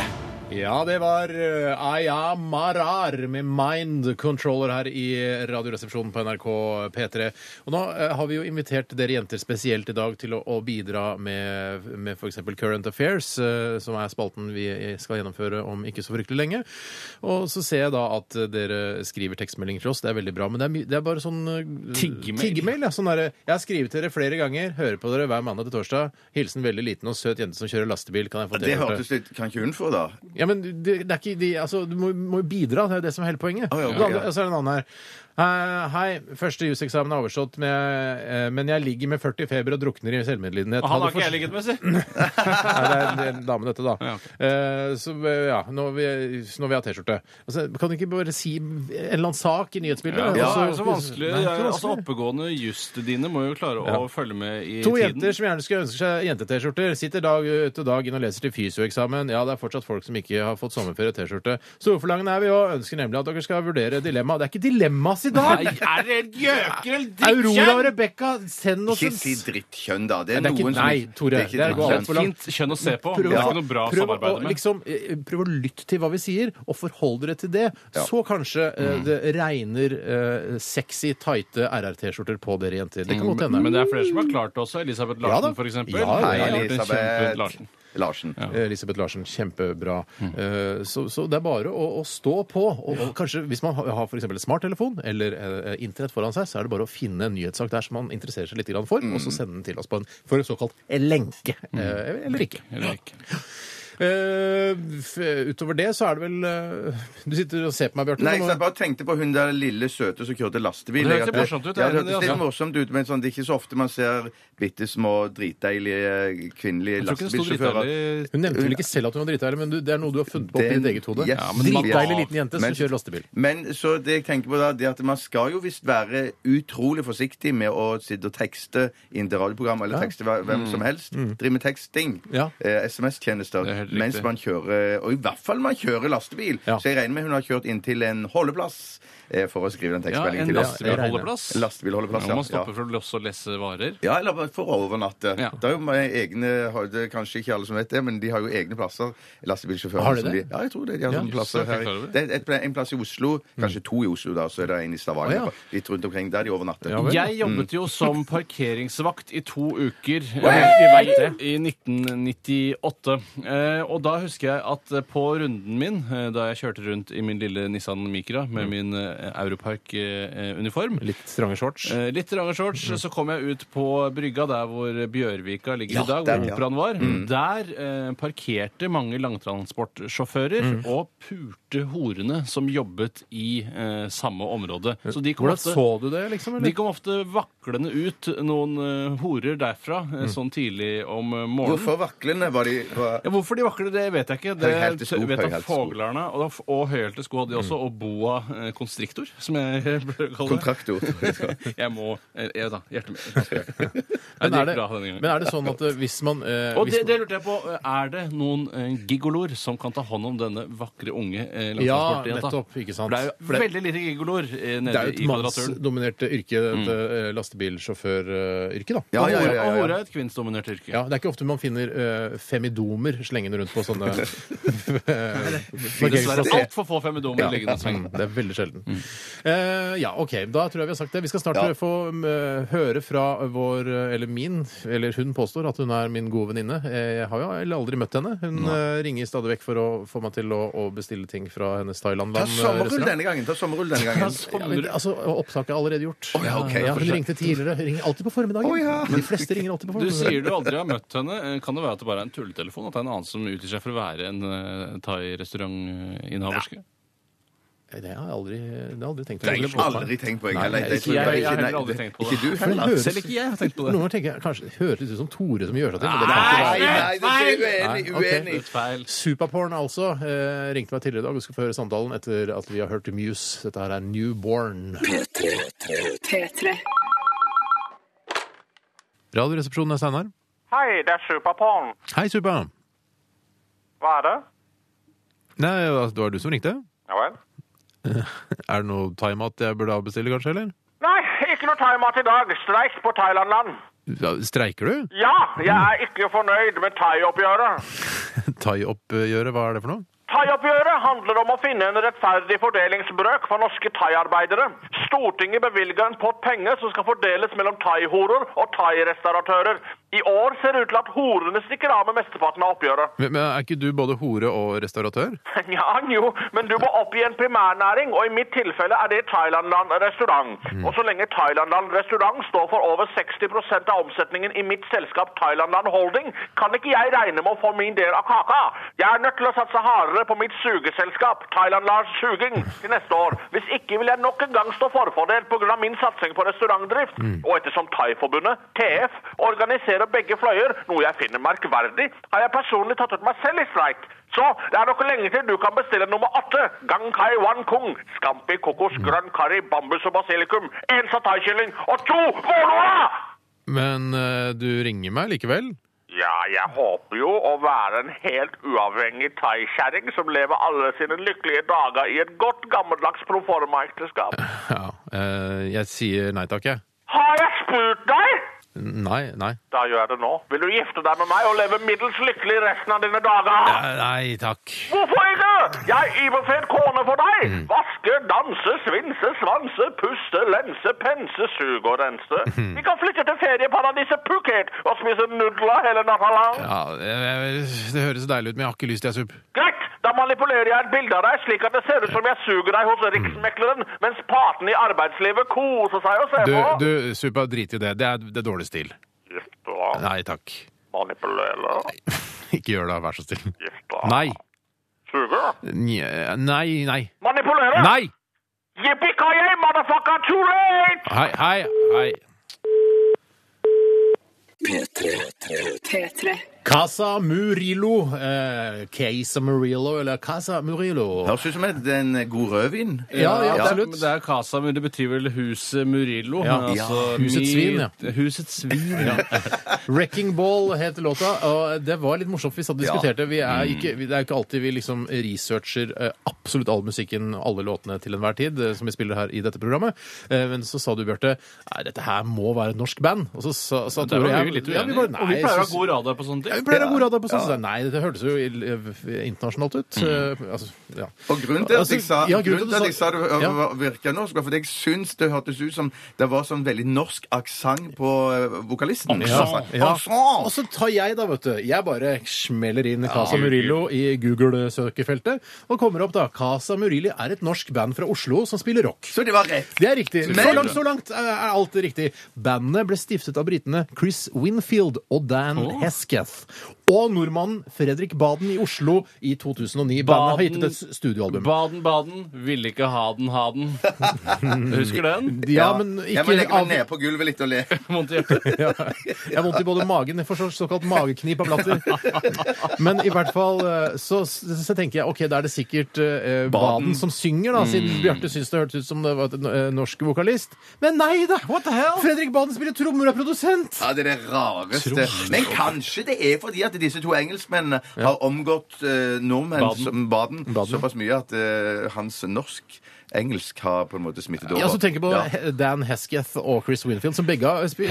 C: Ja, det var eh, Aya Marar med Mind Controller her i Radioresepsjonen på NRK P3. Og nå eh, har vi jo invitert dere jenter spesielt i dag til å, å bidra med, med f.eks. Current Affairs, eh, som er spalten vi eh, skal gjennomføre om ikke så fryktelig lenge. Og så ser jeg da at eh, dere skriver tekstmeldinger til oss. Det er veldig bra, men det er, my det er bare sånn eh,
D: Tiggemail.
C: tiggemail, ja. Sånn derre, jeg har skrevet til dere flere ganger, hører på dere hver mandag til torsdag. Hilsen veldig liten og søt jente som kjører lastebil. Kan jeg få
E: Det
C: T-skjorte?
E: hørtes litt Kan ikke hun få, da?
C: Ja, men det, det er ikke de, altså, Du må må jo bidra, det er jo det som er hele poenget.
E: Å, ja, ok,
C: Og andre-
E: ja.
C: Og så er det en annen her. Eh, hei, første juseksamen er overstått, men jeg, eh, men jeg ligger med 40 i feber og drukner i selvmedlidenhet.
D: Han har
C: Hadde
D: ikke
C: forst-
D: jeg ligget med, si.
C: Nei, det er en dame, dette, da.
D: Ja, ok.
C: Eh, så eh, ja, nå vil jeg- nå vil jeg ha T-skjorte. Altså, kan du ikke bare si en eller annen sak i nyhetsbildet?
D: Ja, det er
C: Altså,
D: så
C: Nei,
D: vanskelig.
C: det er ikke
D: Altså,
C: vanskelig.
D: oppegående justedine må jo klare å følge med i
C: To
D: tiden.
C: jenter som gjerne skulle ønske seg jente-T-skjorter, sitter dag ut og dag inn og leser til fysioeksamen. Ja, det er fortsatt folk som ikke har fått sommerferie-T-skjorte. Storforlangende er vi òg. Ønsker nemlig at dere skal vurdere dilemma. Det er ikke dilemmas i dag!
D: Nei, er dere helt gjøker eller
C: Aurora og
D: drittkjønn?
C: Rebekka, send oss
E: Ikke
C: en
E: si
C: s-
E: drittkjønn, da. Det er,
C: Nei, det er ikke-
E: noen som-
C: nei, Tore,
E: ikke
C: det er
E: drittkjønn.
C: galt.
D: Fint kjønn å se på.
C: Prøv
D: Det er
C: å-
D: ikke noe bra å
C: prøv å
D: samarbeide med.
C: Liksom, eh, prøv å lytte til hva vi sier, og forhold dere til det. Så kanskje eh,
D: Mm.
C: det regner eh, sexy, tighte RR-T-skjorter på dere jenter. Det kan godt hende.
D: Mm, Men det er flere som har klart det også. Elisabeth
C: Ja da.
D: Larsen, for eksempel.
C: Ja, ja,
E: Hei,
C: ja.
D: Hun har gjort en kjempe-
E: Elisabeth
D: Larsen.
E: Larsen.
C: Elisabeth Larsen, kjempebra.
D: Mm.
C: Eh, Så, så det er bare å, å stå på. Og, og kanskje hvis man har har for eksempel en smarttelefon eller eh, internett foran seg, så er det bare å finne en nyhetssak der som man interesserer seg litt grann for, og
D: Mm.
C: så sende den til oss på en, for en såkalt lenke. Eh, Eller ikke.
D: Eller ikke.
C: Eh, f- utover det så er det vel eh, Du sitter og ser på meg, Bjarte.
E: Nei,
C: nå
E: så
C: må-
E: jeg bare tenkte på hun der lille søte som kjørte lastebil.
D: Det
E: Jeg-
D: hørtes morsomt ut,
E: Ja, det
D: ja,
E: hørtes
D: men det,
E: litt
D: altså.
E: morsomt ut, men sånn, det er ikke så ofte man ser bitte små dritdeilige kvinnelige
D: Jeg tror ikke det sto
E: lastebilsjåfører.
D: dritdeilig
C: hun nevnte vel ikke selv at hun var dritdeilig, men du, det er noe du har funnet på opp i ditt eget hode.
E: Yes,
C: Ja,
E: det er-
C: Dritdeilig liten jente som
E: Men-
C: kjører lastebil.
E: Men så det jeg tenker på da, det er at man skal jo visst være utrolig forsiktig med å sitte og tekste i et radioprogram, eller tekste hva- hvem som helst. Drive med teksting.
C: Ja.
E: Eh,
D: Det er
E: SMS-tjenester.
D: helt riktig.
E: Mens man kjører, eh, og i hvert fall man kjører lastebil.
C: Ja.
E: Så jeg regner med hun har kjørt inn til en holdeplass eh, for å skrive den
D: Ja,
E: tekstmeldingen
D: en
E: til oss.
D: lastebilholdeplass.
E: En Lastebilholdeplass,
D: Ja,
E: ja.
D: man stopper
E: ja.
D: for å losse og lesse varer.
E: Ja, eller bare for å overnatte.
D: Ja.
E: Det er jo mange egne, har- det er Kanskje ikke alle som vet det, men de har jo egne plasser. Lastebilsjåfører.
C: Har de
E: som
C: det?
E: ja, jeg tror det. De har
C: Ja,
E: sånne
D: så
E: plasser
D: er jeg
E: her.
D: klar over det.
E: Det er et, en plass i Oslo, kanskje to i Oslo, da, så er det en i
C: Å,
E: Stavanger.
C: ja.
E: Litt rundt omkring der de overnatter.
C: Ja Mm. vel.
D: Jeg jobbet jo som parkeringsvakt i to uker eh, i 1998. Eh, Eh, og da husker jeg at eh, på runden min, eh, da jeg kjørte rundt i min lille Nissan Micra
C: Mm.
D: med min eh, Europark-uniform
C: Litt strange shorts.
D: Eh, Litt range shorts,
C: Mm.
D: så kom jeg ut på brygga der hvor Bjørvika ligger
E: Ja,
D: i dag,
E: der,
D: hvor
E: ja.
D: operaen var.
C: Mm.
D: Der eh, parkerte mange langtransportsjåfører
C: Mm.
D: og pulte horene som jobbet i eh, samme område. Så de kom
C: Eh, Hvordan
D: ofte,
C: så du det, liksom?
D: de
C: Eller?
D: kom ofte vaklende ut, noen eh, horer derfra, eh,
C: Mm.
D: sånn tidlig om eh, morgenen.
E: Hvorfor vaklende var de var...
D: Ja, hvorfor de vakler, det vet jeg ikke. Det
E: Høyhælte sko,
D: jeg vet at
E: høyhælte sko.
D: Foglerne og, da- og høyhælte sko hadde de
C: Mm.
D: også, og boa eh, constrictor, som jeg pleier å kalle det.
E: Kontraktor. tror jeg det skal.
D: Jeg må eh, jeg vet da, Hjertet mitt. Jeg
C: Men er,
D: gikk bra denne
C: det,
D: gangen.
C: men er det sånn at eh, hvis man eh,
D: og
C: hvis man-
D: det, det lurte jeg på. eh, Er det noen eh, gigoloer som kan ta hånd om denne vakre unge eh,
C: Ja,
D: langtransportjenta?
C: nettopp. Ikke sant.
D: For det er
C: For det-
D: jo veldig lite gigoloer eh,
C: Det er
D: nede
C: jo et
D: i Mm. kvadraturen.
C: mannsdominert yrke, dette eh, lastebilsjåføryrket, da.
E: Ja, ja, ja,
D: Og
E: ja, ja.
D: hore er et kvinnsdominert yrke.
C: Ja, Det er ikke ofte man finner eh, femidomer slengende rundt på sånne
D: Dessverre
C: parkeringsplasser.
D: altfor få femmedomer
C: Ja.
D: liggende i sving.
C: Mm, Det er veldig sjelden. Eh, ja, OK. Da tror jeg vi har sagt det. Vi skal snart
E: Ja.
C: få eh, høre fra vår eh, Eller min, eller hun påstår at hun er min gode venninne. Eh, Jeg har jo heller aldri møtt henne. Hun eh, ringer stadig vekk for å få meg til å, å bestille ting fra hennes
E: Ta
C: Thailand-land. eh,
E: sommerrull
C: restaurant.
E: denne gangen. Ta sommerrull denne gangen.
C: Ja, men, altså, Opptaket er allerede gjort.
E: ja, ok, for
C: hun
E: seg.
C: ringte tidligere. Hun ringer alltid på formiddagen.
E: Å, ja.
C: De fleste ringer alltid på
D: Du
C: formiddagen.
D: sier du aldri har møtt henne. Eh, Kan det være at det bare er en tulletelefon? At det er en annen som utgir seg for å være en uh, thai-restaurantinnehaverske?
C: Det har jeg aldri, det har jeg aldri tenkt
E: Det har
C: Aldri på
E: jeg
C: meg.
E: aldri tenkt på, jeg heller.
D: Nei,
E: Det tror
D: ikke jeg, jeg har
E: ikke-
D: heller aldri
E: nei,
D: tenkt på
E: Ikke
D: det.
E: du
C: Men
E: heller.
C: høres-
D: Selv ikke jeg har tenkt på
C: Noen
D: det.
C: ganger tenker jeg kanskje det høres ut som Tore som gjør seg til. men det kan ikke være.
E: Nei, nei, det er uenig.
C: Nei, ok.
E: Uenig.
D: Litt feil.
C: Supaporn altså eh, ringte meg tidligere i dag. Vi skal få høre samtalen etter at vi har hørt Muse. Dette her er Newborn.
A: P3.
C: Radioresepsjonen er Steinar.
F: Hei, det er Superporn.
C: Hei, Supa.
F: Hva er det?
C: Nei, altså, det var du som ringte.
F: Ja vel.
C: Er det noe time-at jeg burde avbestille, kanskje, eller?
F: Nei, ikke noe thaimat i dag. Streik på Thailandland.
C: Ja, Streiker du?
F: Ja, jeg er ikke fornøyd med thaioppgjøret.
C: Thai-oppgjøret, hva er det for noe?
F: Thaioppgjøret handler om å finne en rettferdig fordelingsbrøk for norske thaiarbeidere. Stortinget bevilger en pott penger som skal fordeles mellom thaihorer og thairestauratører. I år ser det ut til at horene stikker av med mesteparten av oppgjøret.
C: Men, men er ikke du både hore og restauratør?
F: Ja, jo, men du må opp i en primærnæring, og i mitt tilfelle er det Thailandland restaurant. Og så lenge Thailandland restaurant står for over 60 av omsetningen i mitt selskap Thailandland Holding, kan ikke jeg regne med å få min del av kaka. Jeg er nødt til å satse hardere på mitt sugeselskap, Thailandlands Suging, til neste år. Hvis ikke vil jeg nok en gang stå forfordelt pga. min satsing på restaurantdrift. Og ettersom Thaiforbundet, TF, organiserer begge fløyer, noe jeg finner merkverdig, har jeg personlig tatt ut meg selv i streik. Så det er nok lenge til du kan bestille nummer åtte. Gang Kai Wan Kung. Scampi kokos grønn curry, bambus og basilikum. En sataikylling og to vårlåra!
C: Men eh, du ringer meg likevel.
F: Ja, jeg håper jo å være en helt uavhengig thaikjerring som lever alle sine lykkelige dager i et godt gammeldags proforma-ekteskap.
C: Ja, eh, jeg sier nei takk, jeg.
F: Har jeg spurt deg?
C: Nei, nei.
F: Da gjør jeg det nå. Vil du gifte deg med meg og leve middels lykkelig resten av dine dager?
C: Eh, Nei takk.
F: Hvorfor ikke? Jeg iverfred kone for deg.
C: Mm.
F: Vaske, danse, svinse, svanse, puste, lense, pense, suge og rense.
C: Mm.
F: Vi kan flytte til ferieparadiset Phuket og spise nudler hele natta lang.
C: Ja, jeg- jeg- det høres deilig ut, men jeg har ikke lyst, jeg, Sup.
F: Greit, da manipulerer jeg et bilde av deg slik at det ser ut som jeg suger deg
C: Mm.
F: hos riksmekleren, mens partene i arbeidslivet koser seg og ser
C: Du,
F: på.
C: du Supa, drit i det. Det er, det er dårlig stil.
F: Gifte deg,
C: Nei takk.
F: manipulere,
C: Ikke gjør det, vær så snill.
F: gifte deg.
C: Nei.
F: Suge.
C: Nje- Nei, nei.
F: Manipulere.
C: Nei!
F: Yippee-ki-yay, motherfucker, too late!
C: Hei, hei, hei.
A: P3.
C: Casa Murillo. Eh, Casa Murillo, eller Casa Murillo.
E: Høres ut som et- en eh, god rødvin.
C: Ja, ja,
D: det er-
C: absolutt.
D: Det er Casa, men det betyr vel Huset Murillo.
C: Ja.
D: men altså,
C: Husets svin, ja.
D: mitt- Husets svin, ja.
C: Wrecking Ball heter låta, og det var litt morsomt. Vi satt og diskuterte. Vi er
D: Mm.
C: ikke, vi- det er ikke alltid vi liksom researcher eh, absolutt all musikken, alle låtene til enhver tid, eh, som vi spiller her i dette programmet. Eh, Men så sa du, Bjarte, nei, dette her må være et norsk band. Og så sa, sa
D: Der
C: Tore
D: var
C: og
D: vi
C: jeg-
D: litt
C: ja,
D: uenige.
C: bare,
D: og vi
C: nei,
D: pleier
C: jeg
D: å ha god radar på sånne ting.
C: Ja, vi pleier å ha god radar på sånt. Så sa jeg, Nei, dette hørtes jo ill- internasjonalt ut. Eh, Altså, ja.
E: Og grunnen til at
C: Altså,
E: jeg sa,
C: ja,
E: grunnen til at jeg sa det ø-
C: ja.
E: ø- virka norsk, var fordi jeg syns det hørtes ut som det var sånn veldig norsk aksent på ø, vokalisten.
C: Ja,
E: Altså,
C: ja.
E: aksent.
C: Og så tar jeg, da, vet du. Jeg bare smeller inn Casa Murillo i Google-søkefeltet. Og kommer opp, da. Casa Murillo er et norsk band fra Oslo som spiller rock.
E: Så det var rett.
C: Det er riktig.
E: Men-
C: Så langt, så langt er er alt riktig. Bandet ble stiftet av britene Chris Winfield og Dan Hesketh. Og nordmannen Fredrik Baden i Oslo i 2009. Bandet har gitt ut et studioalbum.
D: Baden, Baden, ville ikke ha den, ha den. Husker den?
C: Ja, men
E: jeg må
C: ikke
E: legge meg ned på gulvet litt og le.
D: Vondt i hjertet.
C: Ja. Jeg har vondt i både magen. Jeg får så- såkalt mageknip av latter. Men i hvert fall eh, så, så tenker jeg ok, da er det sikkert eh, Baden som synger, da, siden Bjarte syns det hørtes ut som det var en eh, norsk vokalist. Men nei da! What the hell? Fredrik Baden spiller trommer og er produsent!
E: Ja, Det er det rareste. Men kanskje det er fordi at disse to engelskmennene har omgått ø, nordmenn
D: Baden.
E: som Baden,
C: Baden.
E: såpass mye at ø, hans norsk-engelsk har på en måte smittet over.
C: Ja, så tenker jeg på
E: Ja.
C: He- Dan Hesketh og Chris Winfield, som begge har sp-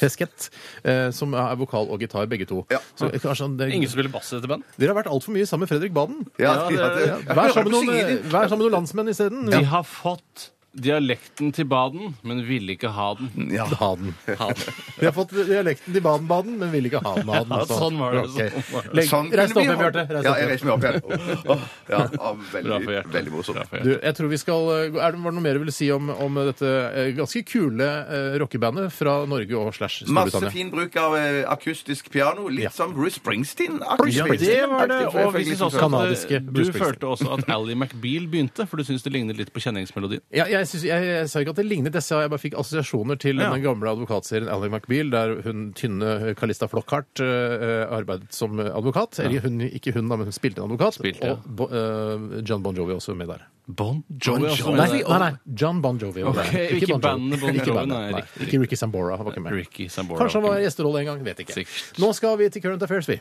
C: Hesketh, eh, som er vokal og gitar, begge to.
E: Ja.
C: Så eh, kanskje han- det,
D: Ingen som spiller bass i dette bandet?
C: Dere har vært altfor mye sammen med Fredrik Baden.
E: Ja, ja,
D: Ja, det-
E: det-
C: Vær sammen med
E: Jeg hører på
C: noen,
E: singelen.
C: vær sammen med noen landsmenn isteden.
D: De har fått dialekten til Baden, men ville ikke ha den.
E: Ja.
C: Ha den.
D: Ha den.
C: Vi har fått dialekten til Baden-Baden, men vil ikke ha den. Ha den altså.
D: Ja, sånn var det,
C: Ok.
D: sånn var det.
C: Legg,
E: Sånn
C: reis deg
E: kunne
C: opp
E: vi
C: igjen,
E: ha-
C: Bjarte. Reis deg
E: Ja,
C: opp
E: jeg
C: igjen.
E: reiser meg opp igjen. Åh, ja, ja,
D: Bra for
E: veldig,
D: hjertet.
E: veldig
D: Bra
E: morsomt.
D: for
C: Du,
D: hjertet.
C: jeg tror vi skal, er det, Var det noe mer du ville si om, om dette eh, ganske kule eh, rockebandet fra Norge og slash
E: Masse
C: Storbritannia?
E: fin bruk av eh, akustisk piano. Litt
C: Ja.
E: som Bruce Springsteen.
C: Ja,
E: Akkurat
D: Det var det. Og vi synes også at
C: Kanadiske
D: det, du
C: Bruce Springsteen.
D: følte også at Ally McBeal begynte, for du syns det lignet litt på kjenningsmelodien.
C: Ja, jeg, synes, jeg, jeg sa ikke at det lignet, jeg sa jeg bare fikk assosiasjoner til
D: Ja.
C: den gamle advokatserien Ally McBeal, der hun tynne Kalista Flockhart eh, arbeidet som advokat. Eller hun, ikke hun, da, men hun spilte en advokat.
D: Spilte, ja.
C: Og Bo, eh, John Bon Jovi også med der.
D: Bon Jovi. altså.
C: Nei, nei, nei, John Bon Jovi. var
D: Ok,
C: det. Bon
D: ikke
C: Jovi.
D: bandet Bon Jovi,
C: Ikke, bandet,
D: nei,
C: nei.
D: riktig,
C: ikke Ricky Sambora. Var ikke med.
D: Ricky Sambora.
C: Kanskje han var i gjesterolle en gang. Vet ikke.
D: Sikkert.
C: Nå skal vi til Current Affairs, vi.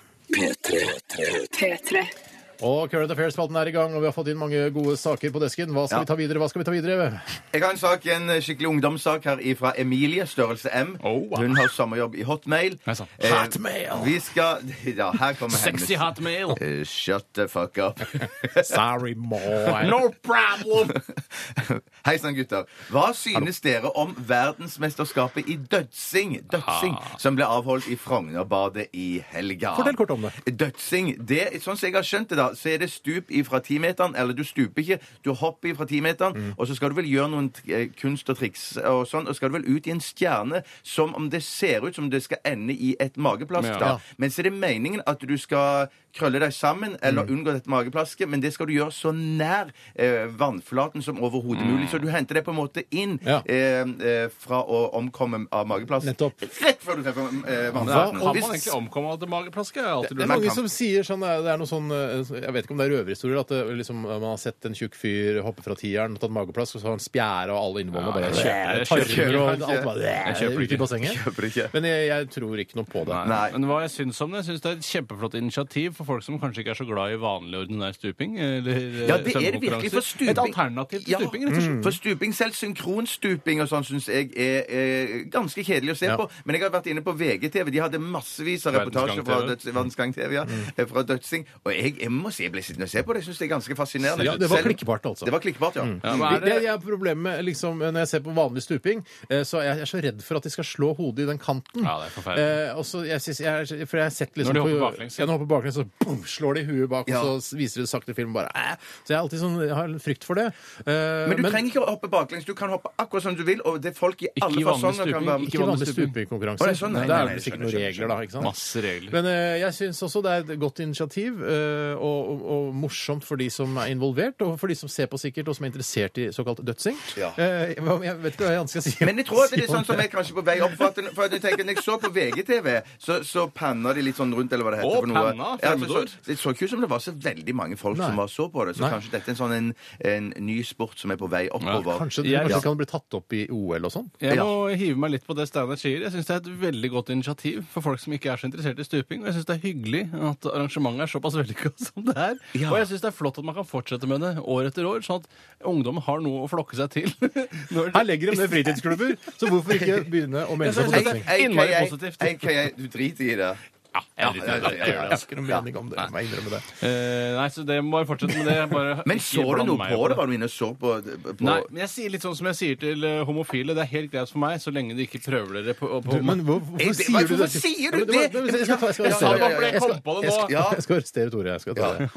A: P3.
C: Og Current Affairs-spalten er i gang, og vi har fått inn mange gode saker på desken. Hva skal vi
E: Ja.
C: ta videre? Hva skal vi ta videre?
E: Jeg har en sak, en skikkelig ungdomssak her fra Emilie, størrelse M.
D: Oh, wow.
E: Hun har sommerjobb i Hotmail.
D: Nei, sant.
E: Eh,
C: Hotmail!
E: Vi skal Ja, her kommer hennes
D: Sexy hot male.
E: Eh, Shut the fuck up.
C: Sorry, boy.
D: No problem!
E: Hei sann, gutter. Hva synes dere om verdensmesterskapet i dødsing, dødsing som ble avholdt i Frognerbadet i helga?
C: Fortell kort om det.
E: Dødsing. Det, sånn som jeg har skjønt det, da, så er det stup ifra timeteren. Eller du stuper ikke, du hopper ifra timeteren,
D: Mm.
E: og så skal du vel gjøre noen eh, kunst og triks og sånn, og skal du vel ut i en stjerne som om det ser ut som det skal ende i et mageplask,
D: Ja.
E: da.
C: Ja.
E: Men så er det meningen at du skal krølle deg sammen eller
D: Mm.
E: unngå dette mageplaske, men det skal du gjøre så nær eh, vannflaten som overhodet
D: Mm.
E: mulig. Så du henter deg på en måte inn
C: Ja.
E: eh, eh, fra å omkomme av mageplask.
C: Nettopp.
E: Rett før du treffer eh,
D: Ja,
E: vannflaten.
D: kan man
E: Hvis-
D: egentlig omkomme av det mageplaske? Jeg har alltid
C: Det er
D: lurt på.
E: Man
C: mange
E: kan-
C: som sier sånn eh, Det er noe sånn eh, Jeg vet ikke om det er røverhistorier. At det, liksom, eh, man har sett en tjukk fyr hoppe fra tieren og tatt mageplask, og så har han spjære og alle innvollene
D: Ja,
C: bare
D: jeg kjøper det, jeg
C: tarmer
D: kjøper det.
C: og alt bare
D: Jeg kjøper
C: ut
D: det
C: i
D: ikke.
C: bassenget.
E: Kjøper ikke.
C: Men jeg, jeg tror ikke noe på det.
E: Nei.
D: Men hva jeg syns om det, jeg syns det er et kjempeflott initiativ for folk som kanskje ikke er så glad i vanlig ordinær stuping. Eller, eh,
E: Ja, det er det
D: svømmekonkurranser.
E: virkelig for stuping.
D: Et alternativ til
E: Ja,
D: stuping, rett og slett.
E: For stuping, selv synkronstuping og sånn, syns jeg er, eh, ganske kjedelig å se
C: Ja.
E: på. Men jeg har vært inne på VGTV. De hadde massevis av
D: Verdensgang
E: reportasjer fra,
D: TV. Mm.
E: døds, Verdensgang TV, ja, eh, fra dødsing. Og jeg, jeg må si jeg ble sittende og se på det. Jeg syns det er ganske fascinerende.
C: Ja, det var
E: Selv-
C: klikkbart, altså.
E: Det var klikkbart, ja.
D: Ja, hva
C: Det,
D: er
C: det
D: det?
C: er problemet med, liksom, når jeg ser på vanlig stuping, eh, så er jeg, jeg er så redd for at de skal slå hodet i den kanten.
D: Ja, det er forferdelig.
C: Eh, og så jeg, synes, jeg, er- for jeg har sett liksom
D: Når de hopper
C: på-
D: baklengs.
C: Ja, når de hopper baklengs, så boom, slår de huet bak,
E: Ja.
C: og så viser det sakte film bare æ. Så jeg, er alltid sånn, jeg har en frykt for det. Eh,
E: Men du trenger ikke å hoppe baklengs. Du kan hoppe akkurat som du vil. Og det er folk i alle
D: i vanlig
E: fasonger kan
D: stuping,
E: være med.
C: ikke vanlig stupingkonkurranse.
E: Å, det er sånn, nei,
C: Da
E: nei,
C: er
E: nei,
C: det
E: jeg
C: sikkert noen
E: skjønner,
C: regler, da. ikke sant?
D: Masse regler.
C: Men eh, jeg syns også det er et godt initiativ, eh, og, og, og morsomt for de som er involvert, og for de som ser på sikkert, og som er interessert i såkalt dødsing.
E: Ja.
C: Eh, hva- jeg vet ikke hva jeg annet skal si.
E: Men jeg tror at det er sånn som jeg kanskje på vei opp for at, for at jeg tenker, Når jeg så på VGTV, så, så panna de litt sånn rundt, eller hva det heter.
D: Å,
E: for noe.
D: panna,
E: Ja, altså,
D: fremmedord.
E: så, det så ikke ut som det var så veldig mange folk
C: Nei.
E: som var så på det. Så
C: Nei.
E: kanskje dette er en sånn en, en ny sport som er på vei oppover.
C: Kanskje,
D: Jeg-
C: kanskje
D: Ja.
C: det kan bli tatt opp i OL og sånn?
D: Jeg må hive meg litt på det Steinar sier. Jeg syns det er et veldig godt initiativ for folk som ikke er så interessert i stuping. Og jeg syns det er hyggelig at arrangementet er såpass vellykka som det er. Og jeg syns det er flott at man kan fortsette med det år etter år, sånn at ungdom har noe å flokke seg til. Når
C: Her legger de ned fritidsklubber, så hvorfor ikke begynne å melde seg på
D: Jeg synes
C: dødsing?
D: Innmari
E: AKA,
D: positivt.
E: AKA, du driter i det.
D: jeg driter i det. Jeg gjør det,
C: har
D: altså.
C: ikke noe mening om det. Jeg må innrømme det.
D: Eh, Nei, så det må jeg fortsette med det. Jeg Bare,
E: Men
D: ikke
E: så du
D: blande
E: noe
D: meg
E: på
D: opp i
E: det? Var du inne og så på, på
D: Nei, men jeg sier litt sånn som jeg sier til eh, homofile. Det er helt greit for meg så lenge de ikke prøver dere på, på
C: Du, men hvor, hvorfor
E: Jeg-
C: sier du det?
E: Eh, hvorfor
C: Jeg
E: sier du det?
C: skal- jeg skal- jeg skal-
E: Ja, ja,
C: jeg
E: ja, ja.
C: skal-
D: Jeg kom på det nå.
C: jeg skal-
E: Ja.
C: Jeg skal arrestere Tore. Jeg skal ta det.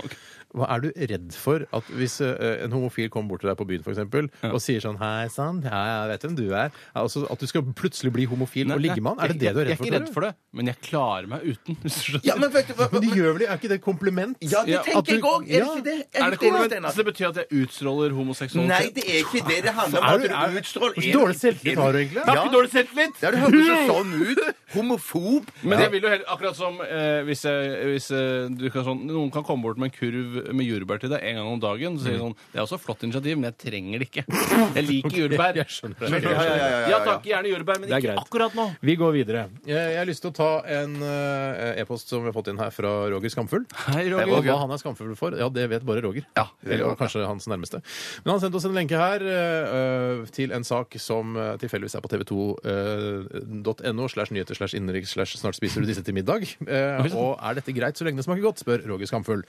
C: Hva er du redd for at hvis eh, en homofil kommer bort til deg på byen for eksempel, og sier sånn 'Hei sann, ja, jeg vet hvem du er', Ja, altså, at du skal plutselig bli homofil
D: Nei,
C: og ligge med han? Er det det du er redd for?
D: Jeg er ikke redd
C: Tore?
D: for det, men jeg klarer meg uten. Hvis du skjønner.
E: Ja, men vet du hva
C: Men
E: men-
C: de gjør vel det? Er ikke det et kompliment?
E: Ja, det
D: Ja,
C: at du-
E: tenker jeg òg. Er det
C: ja.
E: ikke det?
D: er det
E: ikke
D: kompliment?
E: Steinar?
D: Så det betyr at jeg utstråler homoseksualitet?
E: Nei, det er ikke det det handler om.
C: Er
E: at
C: du- er-
E: du utstråler
C: Hvor dårlig selvtillit har du egentlig?
D: Jeg har
E: Ja.
D: ikke dårlig selvtillit!
E: Ja, det høres jo sånn ut. Homofob.
D: Men jeg vil jo heller, akkurat som eh, hvis, jeg, hvis eh, du kan sånn, noen kan komme bort med en kurv med jordbær til deg en gang om dagen, så
C: Mm.
D: sier de sånn Det er også et flott initiativ, men jeg trenger det ikke. Jeg liker jordbær.
C: jeg skjønner det.
D: Men-
C: Jeg
E: skjønner det, ja, ja, ja, ja.
D: Ja takk, gjerne jordbær, men
C: Det er
D: ikke
C: greit.
D: akkurat nå.
C: Vi går videre. Jeg, jeg har lyst til å ta en eh, e-post som vi har fått inn her fra Roger Skamfull.
D: Hei,
E: Roger.
C: Og hva han er skamfull for, ja, det vet bare Roger.
E: Ja, det vet
C: Eller,
E: jeg.
C: og kanskje hans nærmeste. Men han sendte oss en lenke her eh, til en sak som eh, tilfeldigvis er på tv2.no slash nyheter slash innenriks slash snart spiser du disse til middag. Eh, og er dette greit så lenge det smaker godt, spør Roger Skamfull.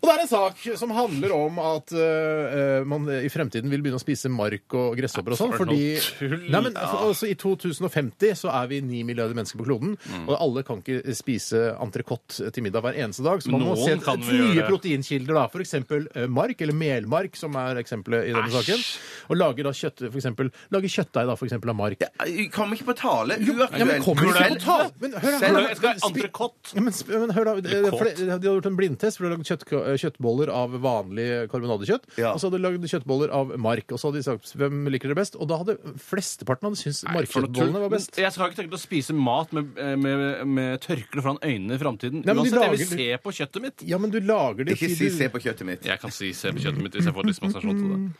C: Og det er en sak som handler om at eh, man i fremtiden vil begynne å spise mark og gresshopper og sånn,
D: For
C: fordi
D: noe tull.
C: Nei, men for, altså, I 2050 så er vi 9 milliarder mennesker på kloden,
D: Mm.
C: og alle kan ikke spise entrecôte til middag hver eneste dag. Så man må se
D: Noen kan
C: etter
D: vel gjøre
C: nye
D: det.
C: proteinkilder, da. F.eks. mark, eller melmark, som er eksempelet i denne saken. Og lage da kjøtt, for eksempel, lage kjøttdeig da, for eksempel, av mark.
E: Jeg Kommer ikke på tale. Uaktuelt.
C: Ja, men kommer ikke på tale! Men hør, da,
E: Selv-
C: hør, da.
D: Jeg skal ha entrecôte.
C: Ja, men, sp- men hør da, eh,
D: Kåt.
C: for det- De hadde gjort en blindtest for de hadde lagd kjøtt, kjøttboller av vanlig karbonadekjøtt.
E: Ja.
C: Og så hadde de lagd kjøttboller av mark. Og så hadde de sagt hvem liker dere best. Og da hadde flesteparten hadde syntes
D: For noe tull.
C: markkjøttbollene var best.
D: Men Jeg skal ikke tenke til å spise mat med, eh, med, med tørkle foran øynene i framtiden.
C: Nei, men de
D: Uansett, jeg vil
C: lager-
D: se på kjøttet mitt.
C: Ja, men du lager det
E: Ikke
C: til
E: si
C: du-
E: 'se på kjøttet mitt'.
D: Jeg kan si se på kjøttet mitt hvis jeg får dispensasjon til det.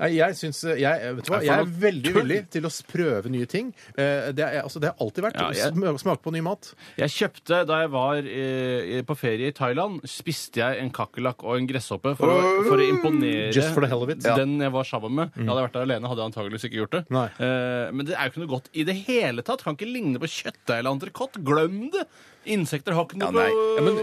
C: Nei, jeg syns eh, jeg, Vet du hva,
D: Nei, for
C: jeg er
D: noe
C: veldig
D: tull.
C: villig til å s- prøve nye ting. Eh, Det har altså, det har alltid vært.
D: Ja, jeg-
C: Sm- Smake på ny mat.
D: Jeg kjøpte, da jeg var eh, på ferie i Thailand, spiste jeg en kakerlakk og en gresshoppe for, å, for å imponere
C: Just for the hell of it. Mm.
D: den jeg var sammen med. Hadde jeg vært der alene, hadde jeg antageligvis ikke gjort det.
C: Nei.
D: Eh, men det er jo ikke noe godt i det hele tatt. Kan ikke ligne på kjøttdeig eller entrecôte. Glem det! Insekter har ikke
E: Ja,
D: noe
E: nei.
D: med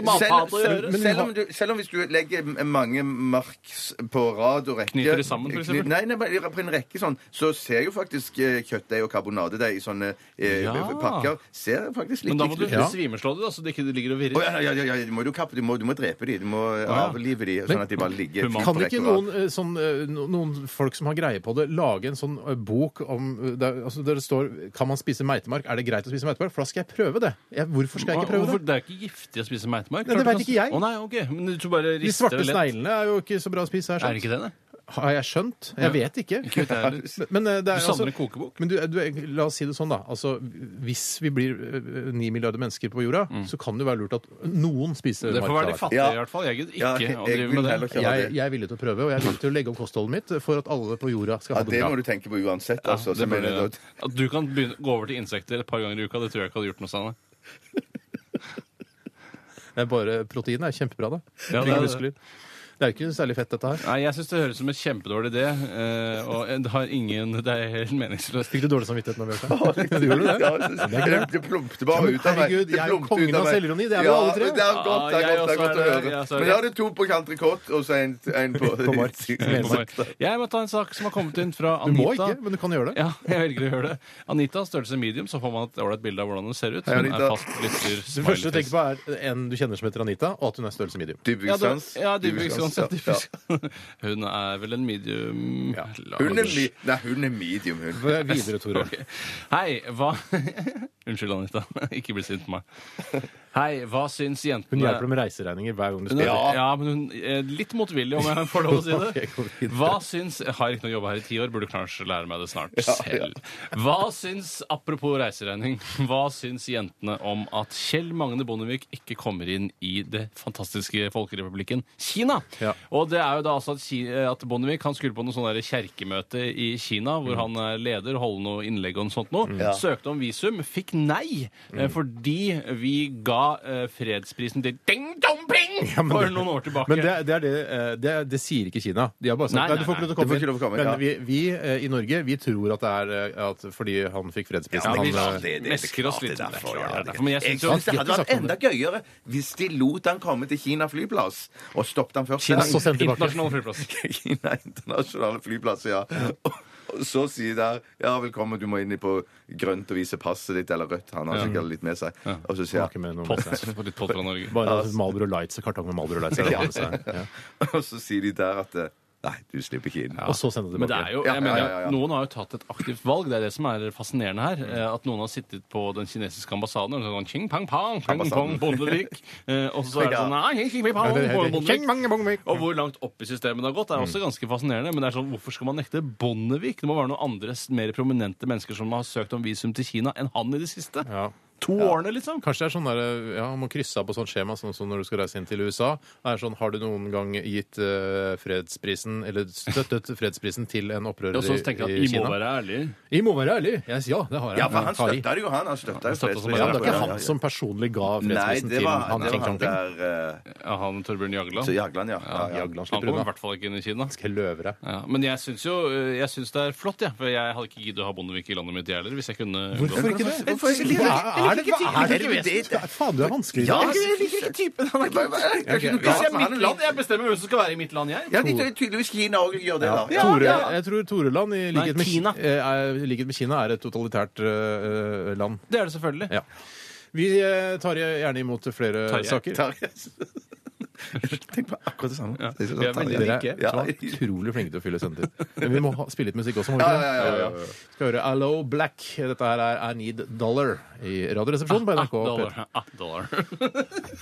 C: Ja, men
D: matfat
E: Selv,
D: å gjøre.
E: selv, selv, om du, selv om hvis du legger mange marks på rad og rekke
D: Knyter de sammen, for eksempel?
E: Kny- Nei, nei, bare på en rekke sånn, så ser jo faktisk eh, kjøttdeig og karbonadedeig i sånne eh,
D: Ja.
E: pakker Ser faktisk litt
D: Men da må du
E: likt ut.
C: Ja.
D: svimeslå det, da, så det ikke ligger
E: Å,
D: og virrer.
E: ja, ja, ja, ja, du må jo kappe, du må, du må drepe de, du må avlive de, sånn at de bare ligger på
D: Humant.
C: Kan
E: rekke
C: ikke
E: og
C: noen,
E: rad.
C: eh, sånn, eh, no- noen folk som har greie på det, lage en sånn eh, bok om eh, der, altså der det står 'Kan man spise meitemark? Er det greit å spise meitemark?' For da skal jeg prøve det. Jeg, hvorfor skal jeg ikke prøve det?
D: Hvorfor? Det er jo ikke giftig å spise meitemark.
C: Nei, det
D: Klart
C: vet
D: du
C: ikke jeg.
D: kan- Å nei, ok. Men du
C: De
D: bare rister
C: svarte
D: det lett.
C: sneglene er jo ikke så bra å spise. Her, sånn.
D: Er det ikke det, det?
C: Har jeg skjønt? Jeg vet ikke.
D: Ikke vet jeg heller.
C: Men, eh, det er,
D: Du
C: altså-
D: savner en kokebok?
C: Men du, du, la oss si det sånn, da. Altså, hvis vi blir eh, ni milliarder mennesker på jorda, så kan det jo være lurt at noen spiser
D: Mm. Det får være de
C: mark.
D: fattige,
E: Ja.
D: i hvert fall. Jeg gidder
E: Ja,
D: ikke
E: jeg
D: å drive
E: vil
D: med
E: heller
D: det.
E: ikke ha
C: Jeg,
E: det.
C: jeg er villig til å prøve, og jeg er villig til å legge om kostholdet mitt for at alle på jorda skal
E: Ja,
C: ha det
E: det må
C: bra.
E: du tenke på uansett, altså.
D: Det
E: så mener
D: burde,
E: jeg da-
D: at du kan begynne, gå over til insekter et par ganger i uka, det tror jeg ikke hadde gjort noe særlig.
C: Det er Bare protein er kjempebra, da.
D: Ja,
C: Bygger
D: det er det.
C: muskler. Det er jo ikke særlig fett, dette her.
D: Nei, jeg syns det høres ut som en kjempedårlig idé, eh, og det har ingen Det er helt meningsløst.
C: Fikk du dårlig samvittighet nå, Bjarte? Du gjorde
E: Ja,
C: det?
E: det,
C: er greit.
E: det plumpte
C: Ja,
E: bare
C: men
E: ut av meg.
C: herregud,
E: Det
C: jeg er
E: plumpte
C: kongen
E: ut av
C: av
E: meg.
C: selvironi, det er vi
E: ja,
C: alle tre.
E: Det er godt, det er godt, det
D: Ja, jeg
E: er godt
D: også
E: å
D: er det.
E: høre.
D: Ja, så er
E: Men
D: det.
E: jeg hadde to på Cantricot og så en, en på,
C: På mark.
D: Jeg må ta en sak som har kommet inn fra
C: Du
D: Anita.
C: må ikke, men du kan gjøre det.
D: Ja, jeg velger å gjøre det. Anita, størrelse medium, så får man et ålreit bilde av hvordan hun ser ut.
E: Hei,
D: Hun er
E: Anita.
D: fast lytter.
C: Det første du tenker på, er en du kjenner som heter Anita, og at hun er størrelse medium.
D: Ja, det,
E: Dybvikssans.
D: ja, dybvikssans, ja,
E: Dybvikssans,
D: dybvikssans. Hun er vel en medium
C: Ja.
E: ja. Hun er, mi nei, hun er medium, hun.
C: Videre, Tore.
D: Ok. Hei, hva Unnskyld, Anita. Ikke bli sint på meg. Hei, hva syns jentene
C: Hun hjelper deg med reiseregninger hver gang du
D: Hun er-
C: spør.
D: ja. men hun er litt motvillig, om jeg får lov å si
C: Ok,
D: det.
C: gå videre.
D: Hva syns Jeg har ikke noe jobb her i ti år, burde kanskje lære meg det snart selv. Hva syns, apropos reiseregning, hva syns jentene om at Kjell Magne Bondevik ikke kommer inn i det fantastiske folkerepublikken Kina?
C: Ja.
D: Og det er jo da altså at, Ki- at Bondevik han skulle på noe sånn der kjerkemøte i Kina, hvor
C: Mm.
D: han er leder, holder noe innlegg og noe sånt noe. Søkte om visum,
C: Mm.
D: fikk nei, eh, fordi vi ga eh, fredsprisen til Ding Dong Ping
C: Ja, men-
D: for noen år tilbake.
C: Men det, det, er det, eh, det, det sier ikke Kina. De har bare sagt nei, du
D: Nei, nei,
C: får ikke lov til å
E: nei.
C: komme
E: Du får ikke lov til å komme,
C: Men
E: ja.
C: vi, vi eh, i Norge vi tror at det er eh, at fordi han fikk fredsprisen
E: men
D: vi-
C: han,
E: klart
C: eh,
E: det- det-
D: mesker oss
E: klart det
D: litt med det,
E: derfor, ja,
D: klart det er
E: det-
D: derfor, men jeg synes jo-
E: synes det hadde
C: Jeg
E: vært
C: snakker om
E: enda gøyere hvis de lot han komme til Kina flyplass og stoppet han først.
C: Kina, så
E: der.
C: sendte tilbake.
D: Internasjonal flyplass.
E: Kina internasjonale flyplass, ja. Og og så sier der ja, velkommen, du må inn på grønt og vise passet ditt, eller rødt. Han har sikkert litt med seg. Og så sier
C: Har ikke
E: han
C: med noe med seg.
D: Pott, litt pott fra Norge.
C: Bare altså, Marlboro Lights og kartong med Marlboro Lights. er det han har med seg. Ja.
E: Og så sier de der at eh, Nei, du slipper ikke inn.
C: Og så sende
D: Men det
C: tilbake.
D: er jo,
E: Ja,
D: jeg mener,
E: ja, ja, ja.
D: Noen har jo tatt et aktivt valg. Det er det som er fascinerende her. eh, At noen har sittet på den kinesiske ambassaden og sånn Ching, pang, pang, pang, pang,
E: Ambassaden.
D: Bondevik. Eh, Og så er det
E: Ja.
D: sånn nei, ching, pang, pang,
C: Ja, det heter
D: Bondevik.
C: Ching, pang, Bondevik.
D: Og hvor langt opp i systemet det har gått, er også ganske fascinerende. Men det er sånn, hvorfor skal man nekte Bondevik? Det må være noen andre mer prominente mennesker som har søkt om visum til Kina enn han i det siste.
C: Ja.
D: To årene, liksom.
C: Kanskje det er sånn der, ja, man må krysse av på sånt skjema sånn som når du skal reise inn til USA. Det er sånn, Har du noen gang gitt eh, fredsprisen, eller støttet fredsprisen til en opprører
D: Og så tenker jeg
C: i, i
D: at vi må
C: Kina?
D: være ærlige.
C: Jeg må være ærlig! Jeg sier ja, det har jeg.
E: Ja, for han
C: Kari.
E: støtta det jo, han. Han støtta jo
D: støtta som
E: fredsprisen.
C: Ja, men det er
E: Ja,
C: ikke
E: ja, ja.
C: han som personlig ga
E: Nei,
C: fredsprisen
E: det
C: til han
E: var det var
C: Ching Chang Ching.
E: han der eh,
D: Ja, han Torbjørn Jagland.
E: Så Jagland, ja. ja, ja.
C: Jagland
D: Han
C: slipper
D: kommer i
C: unna.
D: hvert fall ikke inn i Kina.
C: Skal jeg løve deg.
D: Ja, men jeg syns jo eh, jeg synes det er flott, jeg. For jeg hadde ikke giddet å ha Bondevik i landet mitt, jeg heller. Hvis jeg kunne unngå det.
C: ikke det?
E: Hvorfor ikke det?
C: Er det, hva er det,
E: Jeg liker ikke
C: vesen? Faen, du er vanskelig.
E: Ja,
C: i dag.
E: jeg liker ikke typen. Han er ikke Jeg er ikke noe
D: Hvis
E: galt
D: jeg er
E: med han, han
D: mitt land,
E: er
D: jeg bestemmer hvem som skal være i mitt land, jeg.
E: Ja, de tydeligvis Kina òg gjør det, da. Ja.
C: Tore, jeg tror Toreland, i likhet med,
D: Kina.
C: eh, er, i likhet med Kina, er et totalitært eh, eh, land.
D: Det er det selvfølgelig.
C: Ja. Vi eh, tar gjerne imot flere
D: Tarjei.
C: saker.
E: Tarjei. Tenk på akkurat det samme.
D: Ja.
E: Det er sånn
D: Vi er veldig
E: Tarjei.
C: Dere
D: Ikke?
C: er så utrolig flinke til å fylle sendetid. Men vi må ha, spille litt musikk også, må vi
E: Ja,
C: ikke
E: ja, ja, ja,
C: det? Skal høre Allo Black. Dette her er I Need Dollar i Radioresepsjonen på NRK. P3.
D: Dollar. Ah, dollar.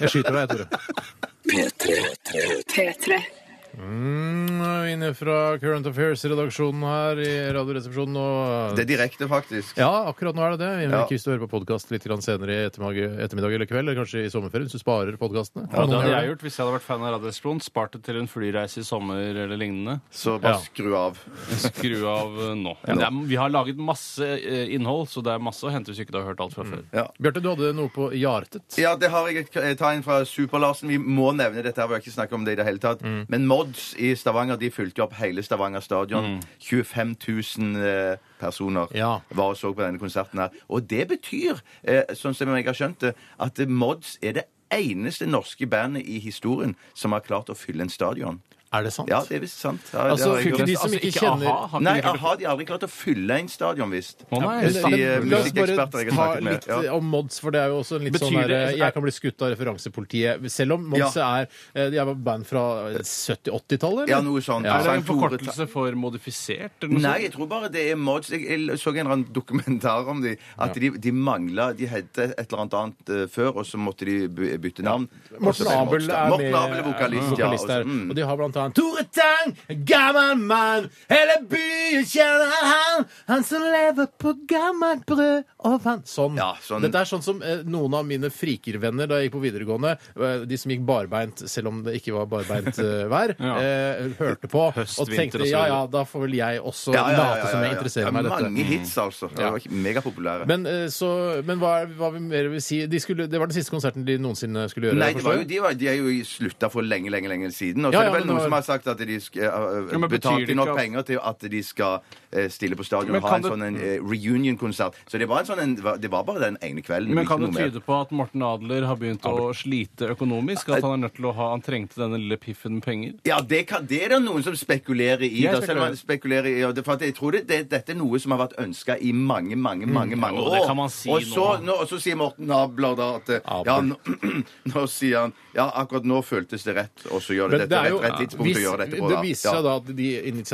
C: Jeg skyter deg, Tore.
A: P3.
C: Mm, Inne fra Current Affairs-redaksjonen her i Radioresepsjonen og
E: Det er direkte, faktisk.
C: Ja, akkurat nå er det det. Vi
E: Ja.
C: har ikke lyst til å høre på podkast litt grann senere i ettermiddag, ettermiddag eller kveld, eller kanskje i sommerferien, hvis du sparer podkastene.
D: Ja, det hadde jeg gjort hvis jeg hadde vært fan av Radioresepsjonen. Spart det til en flyreise i sommer eller lignende.
E: Så bare
C: Ja.
E: skru av.
D: Skru av eh, nå. Men det er, vi har laget masse eh, innhold, så det er masse å hente hvis ikke du har hørt alt fra før.
E: Ja.
C: Bjarte, du hadde noe på hjartet.
E: Ja, det har jeg et eh, tegn fra Super-Larsen. Vi må nevne dette. her, vi har ikke snakket om det i det hele tatt.
C: Mm.
E: Men Mods i Stavanger de fylte jo opp hele Stavanger stadion. 25 000 eh, personer
C: Mm. Ja.
E: var og så på denne konserten her. Og det betyr, eh, sånn som jeg har skjønt det, at eh, Mods er det eneste norske bandet i historien som har klart å fylle en stadion.
C: Er det sant?
E: Ja, det er visst sant. Ja, det
C: Altså,
E: har jeg
C: fylte
E: hørt.
C: de som
D: Altså,
C: ikke
D: ikke
C: kjenner
D: a-ha, har ikke
E: Nei,
D: de klart-
E: aha, de har aldri klart å fylle en stadion, visst.
D: Å, nei.
E: Hvis de, eh,
C: La oss bare
E: musikkeksperter jeg
C: ta
E: har snakket med,
C: litt eh,
E: ja.
C: om Mods, for det er jo også en litt
D: Betyr
C: sånn der,
D: det-
C: Jeg kan bli skutt av referansepolitiet. Selv om Mods er eh, De er et band fra 70-80-tallet, eller?
E: Ja, noe sånt.
D: Er det en
E: Sankt Tore-
D: forkortelse for modifisert? Eller noe
E: Nei,
D: sånt?
E: jeg tror bare det er mods. Jeg, jeg så en eller annen dokumentar om de, at de, de mangla De het et eller annet annet eh, før, og så måtte de by- bytte navn. Og så
C: Morten
E: ble
C: Abel
E: det Mods, da.
C: er
E: Morten Abel er vokalist, ja. og så-
C: her.
E: mm.
C: Og de har blant annet Tore Tang, gammel mann, hele byen kjenner han, han som lever på gammelt brød og vann. Sånn.
E: Ja, sånn.
C: Dette er sånn som eh, noen av mine frikervenner da jeg gikk på videregående, eh, de som gikk barbeint selv om det ikke var barbeint eh, vær,
D: Ja.
C: eh, hørte på
D: Høst,
C: og
D: vinter og
C: tenkte
D: så
C: ja
D: videre.
C: ja, da får vel jeg også
E: Ja, ja, ja, ja,
C: late som
E: ja, ja.
C: jeg interesserer
E: Ja,
C: meg i dette.
E: Mange hits, altså. De var megapopulære.
C: Men, eh, så, men hva, er- hva vi mer vil si? De skulle, det var den siste konserten de noensinne skulle gjøre?
E: Nei,
C: jeg
E: det var jo,
C: forstår.
E: de, var, de er jo slutta for lenge, lenge lenge siden. Og så
C: Ja,
E: er
C: ja,
E: det vel
C: men
E: noen
C: nå-
E: som har sagt at de skal, eh,
D: Ja, men betyr
E: betalte
D: det
E: nok
D: ikke at-
E: penger til at de skal eh, stille på stadion
D: Men
E: og ha
D: kan
E: en
D: det-
E: sånn en, eh, reunion-konsert. Så det var, en sånn en, det var bare den ene kvelden.
D: Men
E: ikke
D: kan det
E: noe mer.
D: tyde på at Morten Adler har begynt å slite økonomisk? At han er nødt til å ha Han trengte denne lille piffen med penger?
E: Ja, det, kan, det er det noen som spekulerer i.
D: Jeg
E: Da, selv om man spekulerer i ja, det, for at jeg tror det, det, dette er noe som har vært ønska i mange, mange mange, mange
D: Mm. og
E: år.
D: det kan man si
E: og, så,
D: nå.
E: nå, og så sier Morten Abler da at eh,
C: Abel.
E: ja, nå, nå sier han Ja, akkurat nå føltes det rett, og så gjør det
C: Men
E: dette rett, rett tidspunkt å
C: hvis-
E: gjøre dette på.
C: Det viser seg
E: ja.
C: da at de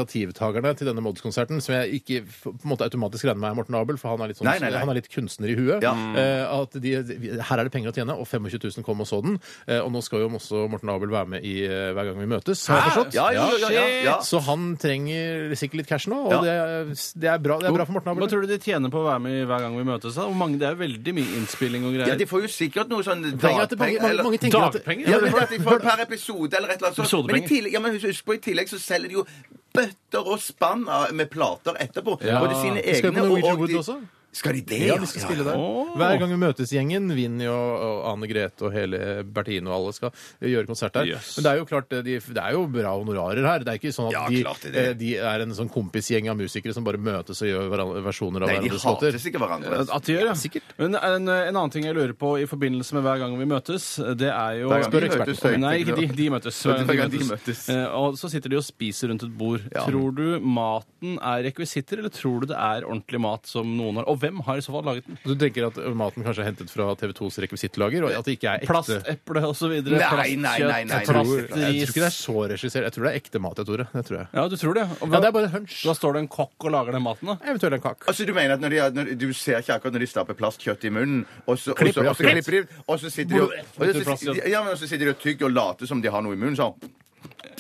C: initiativtakerne til denne Mods-konserten, som jeg ikke f- på en måte automatisk regner med er Morten Abel, for han er litt, sånn,
E: Nei, nei, nei.
C: Han er litt kunstner i huet,
E: Ja.
C: eh, at de, her er det penger å tjene, og 25 000 kom og så den, eh, og nå skal jo også Morten Abel være med i eh, Hver gang vi møtes, har jeg forstått.
E: Ja, ja, ja, ja, ja.
C: Så han trenger sikkert litt cash nå, og
E: Ja.
C: det, er- det, er bra, det er bra for Morten
D: Hva
C: Abel.
D: tror du de tjener på å være med i hver gang vi møtes? da? Hvor mange, det er jo veldig mye innspilling og
E: Ja,
D: greier.
E: de får jo sikkert noe sånn
C: Penger at det- mange, mange, mange tenker at-
D: Dagpenger?
E: Ja, men at de får per episode eller et eller annet sånt. Men, i
D: Episodepenger.
E: tillegg, ja, men husk på, i tillegg så selger de jo bøtter og spann av- med plater etterpå.
C: Ja.
E: Både sine
C: Skal vi på
E: egne
C: Norwegian
E: og, og
C: Wood
E: de,
C: også?
E: Skal de det?
C: Ja, de skal spille der. Hver gang vi møtes gjengen, Vinni og, og Anne Grete og hele Bertine og alle skal eh, gjøre konsert der.
D: Yes.
C: Men det er jo klart, eh, de, det er jo bra honorarer her. Det er ikke sånn at
E: Ja,
C: de,
E: klart det er det.
C: eh, de er en sånn kompisgjeng av musikere som bare møtes og gjør hverandre- versjoner av
E: Nei, de
C: hverandres
E: hater
C: låter.
E: sikkert hverandre.
D: At de gjør, ja. Sikkert. Men en, en annen ting jeg lurer på i forbindelse med hver gang vi møtes, det er jo
E: Hver gang vi
D: Spør eksperten.
E: møtes, tenker jeg.
D: Nei, ikke de. De møtes.
E: Hver gang de møtes.
D: Eh, Og så sitter de og spiser rundt et bord. Tror du maten er rekvisitter, eller tror du det er ordentlig mat som noen har Og hvem har i så fall laget den?
C: Du tenker at maten kanskje er hentet fra TV2s rekvisittlager, og at det ikke er ekte?
D: Plasteple og så videre.
E: Nei, nei, nei, nei,
C: Jeg tror, jeg
D: plastkjøtt,
C: tror ikke det er
D: plastis.
C: så regissert. Jeg tror det er ekte mat, jeg, Tore. Det tror jeg.
D: Ja, du tror det? Og
C: Ja, det
D: hva-
C: er bare en hunch.
D: Da står det en kokk og lager den maten, da?
C: Eventuelt en kake.
E: Altså, du mener at når de, har- når, du ser ikke akkurat når de stapper plastkjøtt i munnen, og så og
C: Klipper
E: så-
C: de
E: og så
C: opp.
E: klipper de, og så sitter de og, og
D: Putter
E: så,
D: plastkjøtt.
E: ja, men og så sitter de og tygger og later som de har noe i munnen. sånn.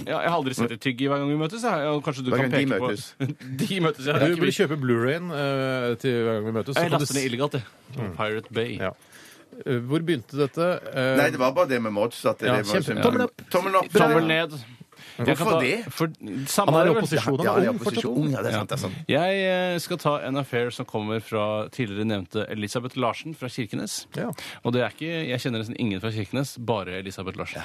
D: Ja, jeg har aldri sett et tygg i hver gang vi møtes. Jeg. Ja, Kanskje du
E: Hver
D: kan
E: gang de
D: peke på
E: møtes.
D: De møtes, ja.
C: Du bør kjøpe Blu-rayen eh, til hver gang vi møtes. så
D: Jeg
C: kan du
D: laster ned
C: s-
D: illegalt, jeg. Pirate Bay.
C: Mm. Ja. Eh, Hvor begynte dette? Eh,
E: Nei, det var bare det med Mods. At det,
C: Ja,
E: det var,
C: kjempe- Tommel opp.
E: Tommel opp.
D: Tommel ned. Jeg kan
E: Hvorfor
D: ta-
E: det?
D: For,
C: Han
D: samme
C: er i
D: det, vel?
C: opposisjon.
E: Ja,
C: Han er
E: de er
C: ung, fortsatt
E: opposisjon.
C: ung.
E: Ja, det er sant. det er sant.
D: Jeg eh, skal ta en affair som kommer fra tidligere nevnte Elisabeth Larsen fra Kirkenes.
C: Ja.
D: Og det er ikke, jeg kjenner nesten ingen fra Kirkenes, bare Elisabeth Larsen.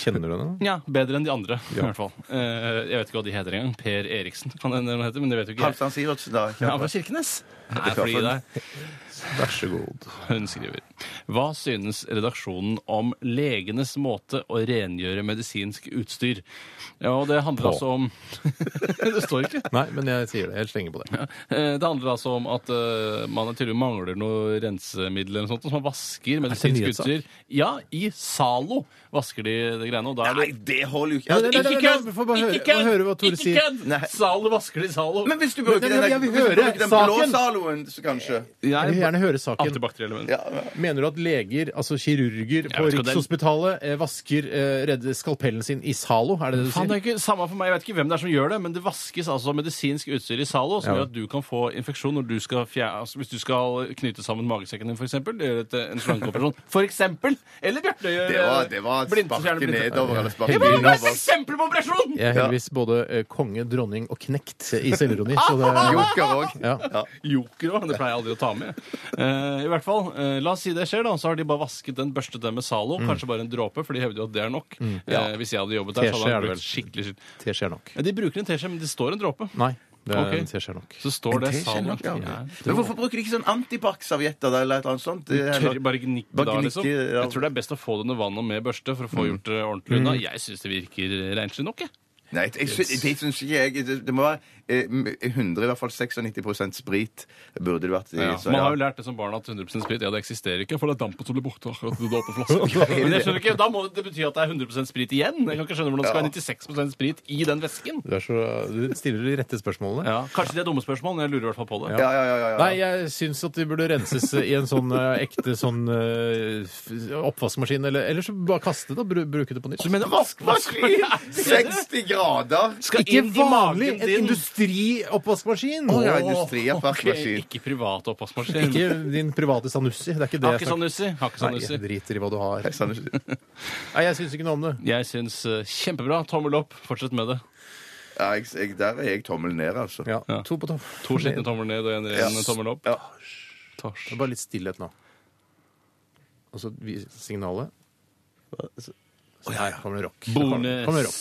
C: Kjenner du henne?
D: Ja, bedre enn de andre, i hvert fall. Eh, jeg vet ikke hva de heter engang. Per Eriksen kan det hende hun heter, men det vet jo ikke jeg.
E: Halvdan Sivertsen, da.
D: Ja, fra Kirkenes? Nei,
E: klart
D: fordi
E: for
D: det
E: den.
D: er
C: Vær så god.
D: Hun skriver Hva synes redaksjonen om legenes måte å rengjøre medisinsk utstyr? Ja, og det
C: På.
D: handler altså om Det står ikke.
C: Nei, men jeg sier det. Jeg slenger på det.
D: Eh, Det handler altså om at eh, man tydeligvis mangler noe rensemiddel eller noe sånt, så man vasker medisinsk
C: nyhetssak?
D: utstyr. Ja, i Zalo vasker de de greiene, og da er det
E: Nei, det holder jo ikke.
C: Nei, nei, nei,
E: Altså,
D: Ikke
E: ikke-
D: kødd!
C: vi får bare høre-
D: Ikke kødd!
C: og høre hva Tore
D: Ikke
C: sier.
D: kødd!
E: Nei.
D: Zalo vasker de Zalo.
E: Men hvis du
C: Men-
E: bruker
C: men
E: den,
C: jeg
E: der-
C: vil
E: hvis du
C: høre
E: bruker den blå
C: saken.
E: saloen, så kanskje
C: Jeg vil gjerne høre saken.
D: Antibakteriell.
E: ja.
C: Mener du at leger, altså kirurger på
D: vet ikke hva det er.
C: Rikshospitalet, eh, vasker eh, redde skalpellen sin i Zalo? Er det det du
D: Faen,
C: sier?
D: det er ikke samme for meg. Jeg vet ikke hvem det er som gjør det, men det vaskes altså medisinsk utstyr i Zalo, som
C: Ja.
D: gjør at du kan få infeksjon når du skal fjer- altså, hvis du skal knyte sammen magesekken din, for eksempel. Gjøre et, eh, en slangeoperasjon. For eksempel! Eller Bjarte gjør
E: Det var, det var
D: blinde som fjerner
E: sparket
D: blinde.
E: nedover eller
D: Det
E: sparket
D: var bare et
E: innover.
D: eksempel på operasjon!
C: Jeg er heldigvis både eh, konge, dronning og knekt i selvironi, så det
E: Joker òg.
C: ja.
D: Joker òg. Det pleier jeg aldri å ta med. Eh, I hvert fall, eh, La oss si det skjer, da. Så har de bare vasket den, børstet den med Zalo.
C: Mm.
D: Kanskje bare en dråpe, for de hevder jo at det er nok. Eh, hvis jeg hadde jobbet der,
C: Teskje
D: så hadde
C: er
D: jeg
C: det
D: brukt skikkelig skitt.
C: Det skjer nok.
D: Ja, de bruker en teskje, men det står en dråpe.
C: Nei, det
D: Ok.
C: det skjer nok.
D: Så står det
E: Det skjønner jeg
D: Zalo.
E: ikke, ja.
D: Ja.
E: Men hvorfor bruker de ikke sånn antibac-servietter da, eller et eller annet sånt? Det er-
D: Tørre, bare gnikke
E: Bare
D: da,
E: gnikke,
D: liksom.
E: ja. Mm.
D: Jeg tror det er best å få det under vann og med børste for å få gjort det ordentlig unna. Jeg syns det virker renslig nok, jeg.
E: Nei, jeg sy- det syns ikke jeg. Det, det må være eh, 100, i hvert fall 96 sprit burde det vært. i- så,
D: Man
E: ja.
D: har jo lært det som barn at 100 sprit ja, det eksisterer ikke, for det er dampen som blir borte. akkurat når du åpner flasken. Men jeg skjønner ikke, Da må det bety at det er 100 sprit igjen. Jeg kan ikke skjønne hvordan det skal være 96 sprit i den vesken.
C: Du, er så, du stiller de rette spørsmålene.
D: Ja, Kanskje det er dumme spørsmål, men jeg lurer i hvert fall på det.
E: Ja, ja, ja, ja, ja.
C: Nei, jeg syns at de burde renses i en sånn eh, ekte sånn eh, f- oppvaskmaskin, eller, eller så bare kaste det og bru- bruke det på nytt.
D: Så du mener vask, vask,
E: Vaskmaskin! 60 grader!
D: skal
C: ikke
D: inn i
C: vanlig!
D: magen
C: En
D: din.
C: industrioppvaskmaskin!
E: Å, ja,
C: Åh.
E: industriappvaskmaskin.
D: Ok, Ikke privat oppvaskmaskin.
C: Ikke din private Sanussi. Det er ikke det
D: Har ikke sånn nussi. Har ikke sånn
C: Nei, jeg
D: nussi.
C: driter i hva du har.
E: Sånn,
C: Nei, jeg syns ikke noe om det.
D: Jeg syns eh, kjempebra. Tommel opp. Fortsett med det.
E: Ja, jeg, jeg, der er jeg tommel ned, altså.
C: Ja,
D: Ja.
C: To på topp.
D: To skitne tommel ned og en ren
E: Ja.
D: tommel opp.
E: Ja.
D: Tors.
C: Det er Bare litt stillhet nå. Og så vi- signalet. Så her kommer det rock.
D: Bones.
C: Kommer det rock.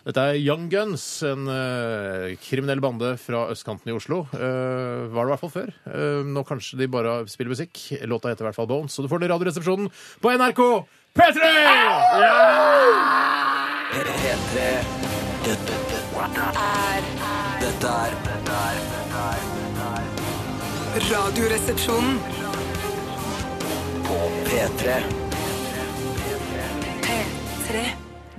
C: Dette er Young Guns, en eh, kriminell bande fra østkanten i Oslo. Eh, var det i hvert fall før. Eh, nå kanskje de bare spiller musikk. Låta heter i hvert fall Bones, så du får den i Radioresepsjonen på NRK P3!
B: P3 Dette, dette, dette er Dette er
A: Radioresepsjonen.
B: På P3
A: P3.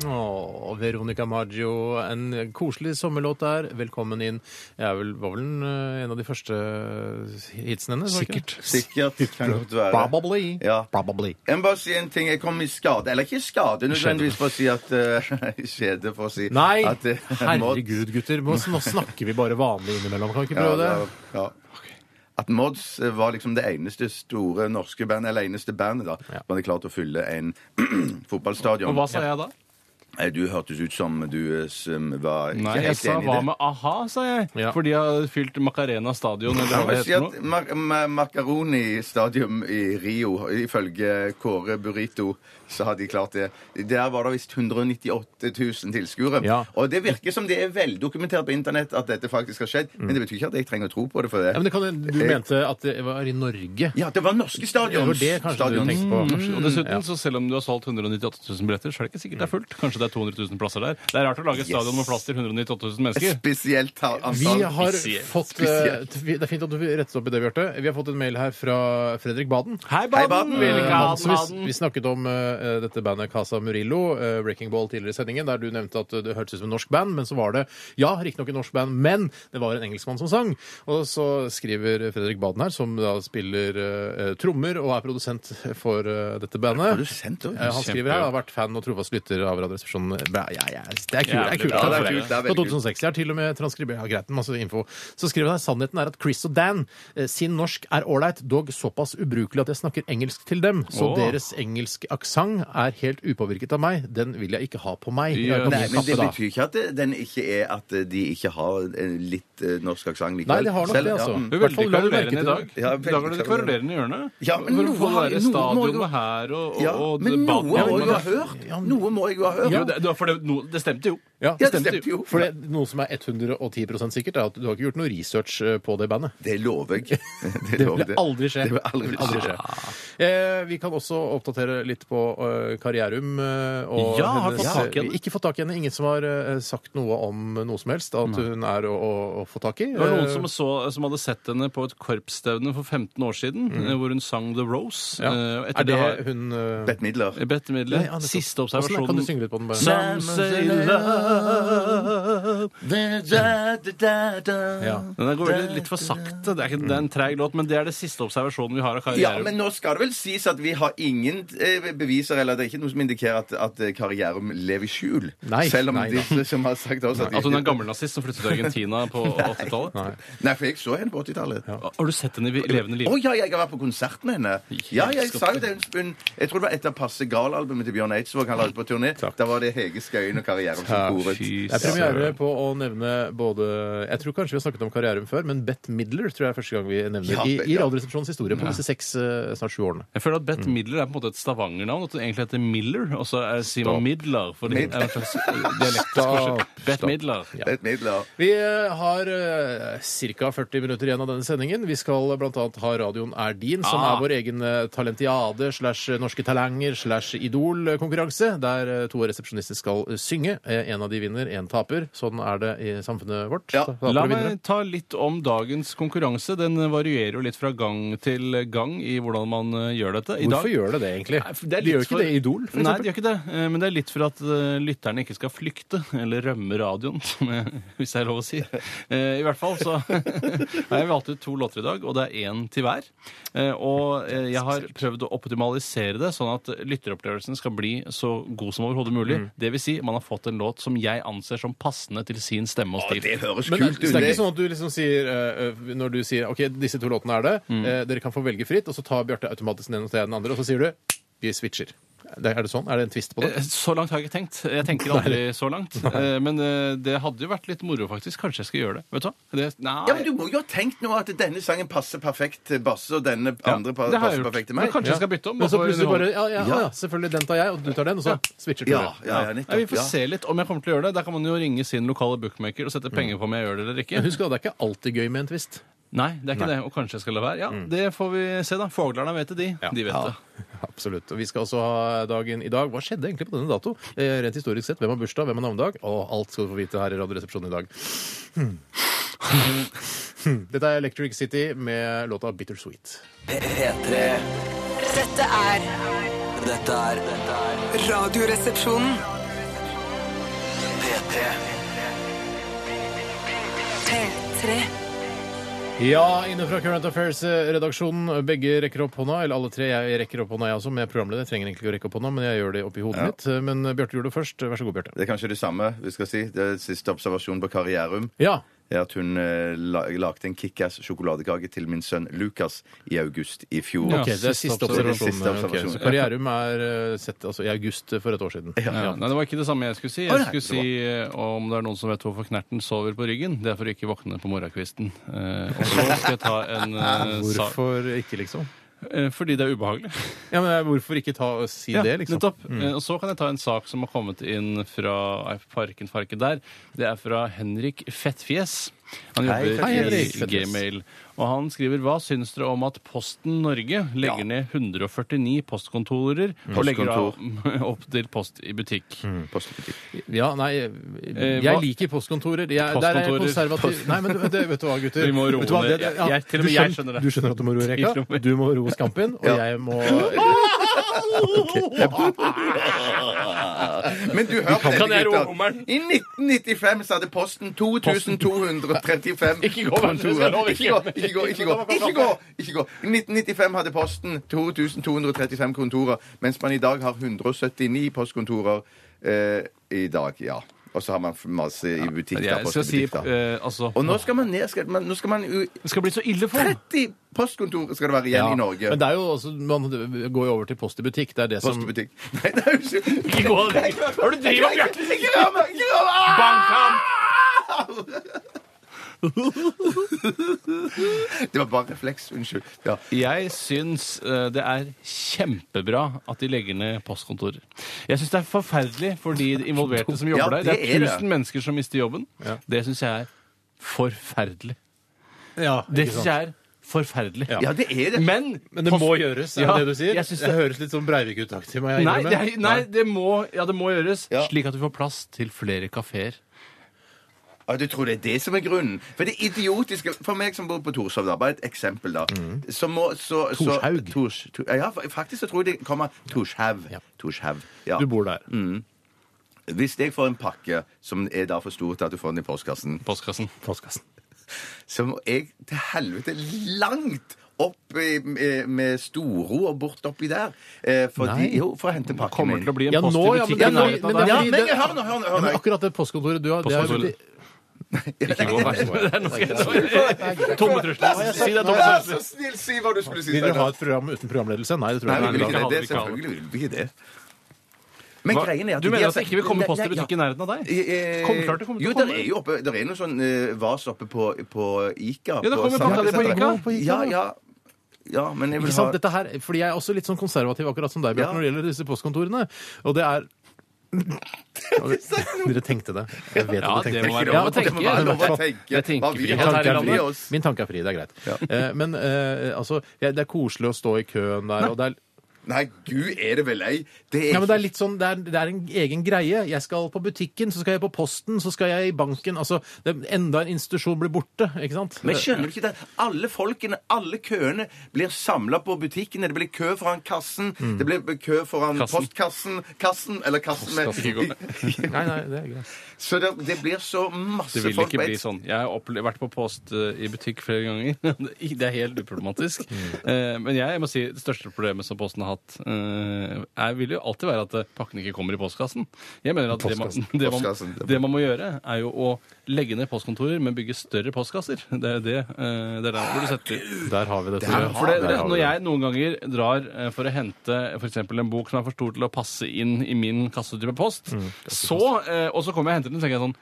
C: Åh, Veronica Maggio, en koselig sommerlåt der. Velkommen inn. Jeg er vel, var vel en, eh, en av de første hitsene hennes? var det ikke?
E: Sikkert. Kan godt være.
C: Probably.
E: Ja.
C: Probably.
E: Jeg må bare si en ting. Jeg kom i skade. Eller ikke i skade, nødvendigvis, for å si at eh, I skjede, for å si
C: Nei!
E: at eh,
C: Herregud, gutter. Nå nå snakker vi bare vanlig innimellom. Kan vi ikke
E: Mods-
C: prøve
E: ja,
C: det?
E: ja, ja. At Mods eh, var liksom det eneste store norske bandet, eller eneste bandet, da, som hadde klart å fylle en
D: Og
E: fotballstadion.
D: hva sa jeg da?
E: Nei, Du hørtes ut som du eh, som var ikke
D: Nei, jeg
E: helt
D: sa
E: enig i
D: hva
E: det.
D: med a-ha, sa jeg.
C: Ja.
D: For de har fylt Macarena stadion, eller
E: Jeg
D: hva
E: må
D: det
E: si
D: heter
E: at
D: nå.
E: ma- ma- Macaroni Stadium i Rio, ifølge Kåre Burrito, så har de klart det. Der var det visst 198 000 tilskuere.
C: Ja.
E: Og det virker som det er veldokumentert på internett at dette faktisk har skjedd, men det betyr ikke at jeg trenger å tro på det for det.
C: Mm. Ja, men det kan, du mente at det var i Norge.
E: Ja, det var norske
C: Det
E: stadions.
C: var det kanskje du
E: stadions. Mm.
C: tenkte på. Kanskje.
D: Og dessuten, så selv om du har solgt 198 000 billetter, så er det ikke sikkert det er fullt. Kanskje det er 200 000 plasser der. Det er rart å lage et stadion med plass til 198 000 mennesker.
E: Spesielt ta-
C: Vi
E: antall.
C: har
D: Spesielt.
C: fått eh,
E: Spesielt.
C: Det er fint at du rettet opp i det, Bjarte. Vi har fått en mail her fra Fredrik Baden.
D: Hei,
E: Hei,
D: Baden!
E: Baden.
D: Veldig
C: Eh,
D: glad,
C: så vi,
D: Baden.
C: vi snakket om eh, dette bandet Casa Murillo, eh, Wrecking Ball, tidligere i sendingen, der du nevnte at eh, det hørtes ut som et norsk band, men så var det ja, riktignok et norsk band, men det var en engelskmann som sang. Og så skriver Fredrik Baden her, som da spiller eh, trommer og er produsent for eh, dette bandet.
E: Produsent også?
C: Eh, Han skriver her, har vært fan og trofast lytter av Radioresepsjonen. Bra, Ja, ja, det er kult. Det er kult.
D: Ja, det er
E: kult, det er
C: Fra
E: veldig
C: 2006. Jeg har til og med transkribert ja, greit, men masse info. Så skriver han her sannheten er at Chris og Dan eh, sin norsk er ålreit, dog såpass ubrukelig at jeg snakker engelsk til dem. Så
D: Åh.
C: deres engelske aksent er helt upåvirket av meg. Den vil jeg ikke ha på meg. Jeg har på
D: Jøss.
E: Nei,
C: min
E: men det
C: kappe, da.
E: betyr ikke at det- den ikke er at eh, de ikke har en litt eh, norsk aksent likevel.
C: Nei, de har nok
E: Selv-
C: det, altså.
E: Ja, mm.
D: Du er
C: Hvert fall
D: veldig
C: la du merke
D: kverulerende i
C: til
D: dag.
C: det.
E: Ja,
D: I dag er det
E: veldig
D: kverulerende hjørnet.
E: Ja, men noe
D: Hvorfor
E: har-
D: være
E: noe må jo-
D: stadionet her og, og,
E: Ja,
D: og
E: men noe må
D: Baden?
E: jeg jo ha hørt! Noe må jeg jo ha hørt!
D: Jo, det, det var for det, no, det stemte jo.
C: Ja,
E: Ja,
C: det
E: det
C: stemte
E: stemte
C: jo.
E: jo.
C: For det, noe som er 110 sikkert, er at du har ikke gjort noe research eh, på det bandet.
E: Det lover jeg. Det,
C: Det
E: lover
C: vil aldri skje.
E: Det vil aldri,
C: Aldri skje. Eh, vi kan også oppdatere litt på eh, Karrierum. eh, og
D: Ja, har fått tak i
C: eh,
D: henne.
C: Ikke fått tak i henne. Ingen som har eh, sagt noe om noe som helst at hun er å, å, å få tak i.
D: Det var noen
C: Eh,
D: som, så, som hadde sett henne på et korpsstevne for 15 år siden, eh, hvor hun sang The Rose.
C: Mm. ja.
D: Eh, og etter
C: Er det
D: har-
C: hun eh,
E: Bett Midler.
D: Bette Midler.
C: Nei, ja, nettopp.
D: Siste
C: Hvordan er- Kan du synge
D: observasjonen.
C: litt på den? bare?
D: Some say love
C: Ja.
D: Den der går veldig litt for sakte. Det er, ikke, det er en treig låt, men det er det siste observasjonen vi har av
E: Ja,
D: karrieren.
E: men nå skal det vel sies at vi har ingen eh, beviser, eller det er ikke noe som indikerer at, at Karrierum lever i skjul.
C: Nei,
E: Selv om
C: nei, Altså,
E: disse som har sagt oss at,
D: At hun er en gammel nazist som flyttet til Argentina på 80-tallet.
C: Nei.
E: Nei, for jeg så henne på 80-tallet. Å
D: Har du sett henne i vi- levende liv?
E: ja, jeg har vært på konsert med henne. Ja, jeg
D: Skal-
E: sa jo det. Hun, hun- jeg tror det var etter Passe Gal-albumet til Bjørn Eidsvåg han la ut på turné. Da var det Hege Skøyen og Karrierum som koret.
D: Fy
C: Det er premiere
D: søren.
C: på å nevne både Jeg tror kanskje vi har snakket om Karrierum før, men Bett Midler tror jeg er første gang vi nevner
E: Ja,
C: i, i
E: ja.
C: Radioresepsjonens historie på disse seks, eh, snart sju årene.
D: Jeg føler at
C: Mm.
D: Bette Midler er på en måte et Stavanger-navn. At hun egentlig heter Miller, og så er Simon Midler. For det er en slags eh, dialektisk forskjell. Bette Midler.
E: Bette Midler.
C: Vi eh, har ca. 40 minutter igjen av denne sendingen. Vi skal bl.a. ha Radioen er din, som
D: Ah.
C: er vår egen eh, talentiade slash eh, norske talanger slash idol-konkurranse, der eh, to av resepsjonistene skal eh, synge. Eh, En av de vinner, en taper. Sånn er det i samfunnet vårt.
E: Ja.
C: Tapere
D: La
C: og vinnere.
D: meg ta litt om dagens konkurranse. Den varierer jo litt fra gang til gang i hvordan man eh, gjør dette. I
C: Hvorfor gjør det det, egentlig?
D: Nei, for er
C: de
D: litt
C: gjør ikke
D: for-
C: det i Idol, for
D: Nei,
C: eksempel.
D: de gjør ikke det. Eh, Men det er litt for at eh, lytterne ikke skal flykte, eller rømme radioen, som jeg, hvis det er lov å si. Eh, I hvert fall så har jeg valgt ut to låter i dag, og det er én til hver. Eh, Og eh, jeg har prøvd å optimalisere det, sånn at lytteropplevelsen skal bli så god som overhodet mulig.
C: Mm.
D: Det vil si, man har fått en låt som jeg anser som passende til sin stemme og
E: Å,
D: stil.
E: det høres
C: Men
E: kult
C: så
E: ut.
C: det er
E: det.
C: ikke sånn at du liksom sier eh, Når du sier OK, disse to låtene er det,
E: Mm.
C: eh, dere kan få velge fritt, og så tar Bjarte automatisk den og den andre, og så sier du vi switcher. Det- Er det sånn? Er det en twist på det?
D: Eh, Så langt har jeg ikke tenkt. Jeg tenker aldri så langt. Eh, Men eh, det hadde jo vært litt moro, faktisk. Kanskje jeg skal gjøre det. Vet du hva? Det, nei.
E: Ja, men Du må jo ha tenkt nå at denne sangen passer perfekt til Basse, og denne
D: Ja,
E: andre pa-
D: det har jeg
E: passer
D: gjort.
E: perfekt til
D: Men
E: meg.
D: kanskje jeg skal bytte om.
C: Men så
D: og få
C: plutselig bare
D: underhold.
C: ja, ja, ja, selvfølgelig. Den tar jeg, og du tar den, og så switcher du.
E: Ja, ja, ja,
D: Nei, vi
E: nettopp.
D: får
E: Ja.
D: se litt om jeg kommer til å gjøre det. Der kan man jo ringe sin lokale bookmaker og sette
E: Mm.
D: penger på om jeg gjør det eller ikke.
C: Men Husk at det er ikke alltid gøy med en twist.
D: Nei, det er ikke det. Og kanskje jeg skal la være. Ja,
E: Mm.
D: Det får vi se, da. Foglerne vet det, de. De vet det.
C: Absolutt. Og vi skal også ha dagen i dag. Hva skjedde egentlig på denne dato? Eh, rent historisk sett. Hvem har bursdag, hvem har navnedag? Og alt skal du få vite her i Radioresepsjonen i dag. Hmm. Hmm. Dette er Electric City med låta Bittersweet.
B: P3
G: Dette er
B: Dette er dette er
A: Radioresepsjonen.
B: P3
G: P3
C: Ja, inne fra Current Affairs-redaksjonen. Begge rekker opp hånda. Eller alle tre. Jeg rekker opp hånda, jeg også, men jeg er programleder. Jeg trenger egentlig ikke å rekke opp hånda, men jeg gjør det oppi hodet mitt. Men Bjarte gjorde det først. Vær så god, Bjarte.
E: Det er kanskje det samme vi skal si. Det er siste observasjon på Karrierum.
C: Ja.
E: er at hun eh, la, lagde en Kickass sjokoladekake til min sønn Lukas i august i fjor.
C: Ok, det er siste observasjon.
E: Siste observasjon.
C: Ok, så Karrierum er eh, sett altså, i august for et år siden.
D: Ja, nei, det var ikke det samme jeg skulle si.
E: Å,
D: Jeg
E: nei,
D: skulle si eh, om det er noen som vet hvorfor Knerten sover på ryggen. Det er for å ikke våkne på morgenkvisten. Eh, og så skal jeg ta en eh, sak
C: Hvorfor ikke, liksom?
D: eh, Fordi det er ubehagelig.
C: Ja, men eh, Hvorfor ikke ta, si
D: Ja,
C: det, liksom?
D: nettopp. Eh, Og så kan jeg ta en sak som har kommet inn fra nei, Parken Farke der. Det er fra Henrik Fettfjes. Han
E: Hei,
D: jobber
C: Hei, Henrik
D: i
C: Fettfjes.
D: Gmail. Og han skriver hva syns dere om at Posten Norge legger ned 149 postkontorer og legger av, opp til post i butikk?
E: Mm. Postbutikk.
C: Ja, nei, eh,
D: Eh, hva-
C: jeg liker postkontorer. Jeg, der er jeg
D: Postkontorer.
C: konservativ. Nei, men du- det, vet du hva, gutter?
D: Vi må roe
C: Vet du hva,
D: ned.
C: det- det- ja,
D: Jeg- til og
C: du
D: med jeg skjønner det.
C: Du skjønner at du må roe
D: Til og
C: reka?
D: med.
C: Du må roe skampen, og jeg må
E: Men du hørte
D: Kan jeg roe
E: gutter.
D: hummeren?
E: I 1995 så hadde Posten 2235
D: Ikke gå, men jeg skal love ikke.
E: Ikke gå, ikke gå, ikke gå, ikke gå, ikke gå. I 1995 hadde Posten 2235 kontorer, mens man i dag har 179 postkontorer eh, i dag, ja. Og så har man masse i butikk, da,
D: Jeg skal si
E: postbutikk, da.
D: eh, altså
E: Og nå skal man ned, skal man, nå skal man u...
D: Det skal bli så ille for ham!
E: 30 postkontor skal det være igjen i Norge.
C: Men det er jo også, man går jo over til post i butikk. Det er det som
E: Postbutikk. Nei, det er jo ikke
D: Ikke gå av deg! Hva er det du driver med, Bjarte?
E: Ikke rør meg! Ikke rør meg!
D: Bank ham!
E: Det var bare refleks. Unnskyld. Ja.
D: Jeg syns eh, det er kjempebra at de legger ned postkontorer. Jeg syns det er forferdelig for de involverte som jobber
E: Ja,
D: der. Det
E: det
D: er
E: er det.
D: tusen mennesker som mister jobben. Det syns jeg er forferdelig.
C: Ja, ikke
D: Det
C: sant?
D: syns jeg er forferdelig.
E: ja, det er det.
D: Men
C: Men det må gjøres, er
D: Ja,
C: det det du sier?
D: jeg
C: Jeg
D: synes
C: det...
D: det-
C: høres litt sånn Breivik-utaktig. må jeg
D: Nei,
C: innrømme.
D: det, er, nei det, må, ja, det må gjøres,
E: Ja.
D: slik at du får plass til flere kafeer.
E: Ja, du tror det er det som er grunnen? For det idiotiske For meg som bor på Torshov, da, bare et eksempel, da.
D: Mm.
E: Så må, så, så,
C: Torshaug.
E: Tors, to, ja, faktisk så tror jeg det kommer Torshaug.
C: Ja.
E: Torshaug. Ja.
C: Du bor der.
E: Hvis jeg får en pakke som er da for stor til at du får den i postkassen,
D: Postkassen.
C: Postkassen.
E: så må jeg til helvete langt opp i, med- med Storo og bort oppi der. Eh, fordi,
C: Nei.
E: jo, for å hente pakken
D: Kommer
E: min.
D: til å bli en
C: Ja,
D: post i
C: nå, ja, men-
D: butikk
C: ja,
D: i
C: nå-
D: nærheten
C: men det er
D: av
E: Ja,
D: deg.
C: fordi
E: men
C: det-
E: hør nå, hør nå!
C: Ja,
E: Hør
C: men
E: nå.
C: akkurat det postkontoret du har det er jo
D: Postkontoret.
C: veldig-
D: Ikke gå vær så god. Det er noe jeg tror. Tomme trusler. Si det er tomme
E: Vær
D: trusler.
E: så snill, si hva du skulle si.
C: Vil dere
E: Steinar.
C: ha et program uten programledelse? Nei, det tror
E: Nei,
C: jeg
E: vi vil
C: ikke.
E: ikke det.
D: hadde
E: det
D: vi ikke
E: selvfølgelig vil vi ikke det. Men
D: Hva?
E: greien er altså- at
D: Du
E: de
D: mener
E: har
D: at det
E: sagt-
D: ikke vil komme
E: Nei,
D: post i
E: nei,
D: butikk i
E: ja.
D: nærheten av deg?
E: Eh,
D: Kom, klart det kommer til
E: jo,
D: å
E: der
D: komme.
E: er jo oppe, der er noe sånn eh, vas oppe på, på Ica.
D: Ja, det kommer
E: Sandra
D: pakka di på
E: senteret.
D: Ica.
C: På Ica, ja.
E: Ja, ja. Ja, men jeg
C: Ikke
E: vil
C: sant?
E: ha
C: Dette her, fordi jeg er også litt sånn konservativ akkurat som deg, Bjarte,
E: Ja.
C: når det gjelder disse postkontorene. Og det er Dere tenkte det. Jeg vet
D: Ja,
C: at dere
D: det
C: tenkte
D: må være
C: Ja,
D: lov å
C: tenke.
D: tenke.
C: Ja, det må
E: Lov å
C: være-
D: Jeg
E: tenke
D: tenker
E: hva vi
D: frihet
E: har
D: her i
E: tatt
D: landet.
E: med oss.
C: Min tanke er fri, det er greit. Eh, Men eh, altså, jeg- det er koselig å stå i køen der, og det er
E: Nei, gud, er det vel ei? Det
C: Ja,
E: er
C: men det er litt sånn, det er, det er en egen greie. Jeg skal på butikken, så skal jeg på posten, så skal jeg i banken. Altså, det, enda en institusjon blir borte, ikke sant?
E: Men skjønner du ikke det? Alle folkene, alle køene blir samla på butikkene. Det blir kø foran kassen,
D: Mm.
E: det blir kø foran
D: Kassen.
E: postkassen Kassen, eller kassen med
C: Nei, nei, det er greit.
E: Så det, det blir så masse
D: Det vil
E: folk
D: ikke
E: på
D: bli
E: ett-
D: sånn. Jeg har opple- vært på post eh, i butikk flere ganger. Det er helt uproblematisk. Eh, Men jeg må si det største problemet som Posten har hatt, eh, er, vil jo alltid være at eh, pakken ikke kommer i postkassen. Jeg mener at det man,
C: Postkassen.
D: det, man,
E: Postkassen.
D: det man må gjøre, er jo å legge ned postkontorer, men bygge større postkasser. Det er jo det. eh, Det er der hvor du setter
C: Der har vi det.
D: Ja,
C: Tore.
D: for det,
C: Der har vi
D: når jeg noen ganger drar eh, for å hente f.eks. en bok som er for stor til å passe inn i min kassetype post, så, eh, og så kommer jeg og henter den, så tenker jeg sånn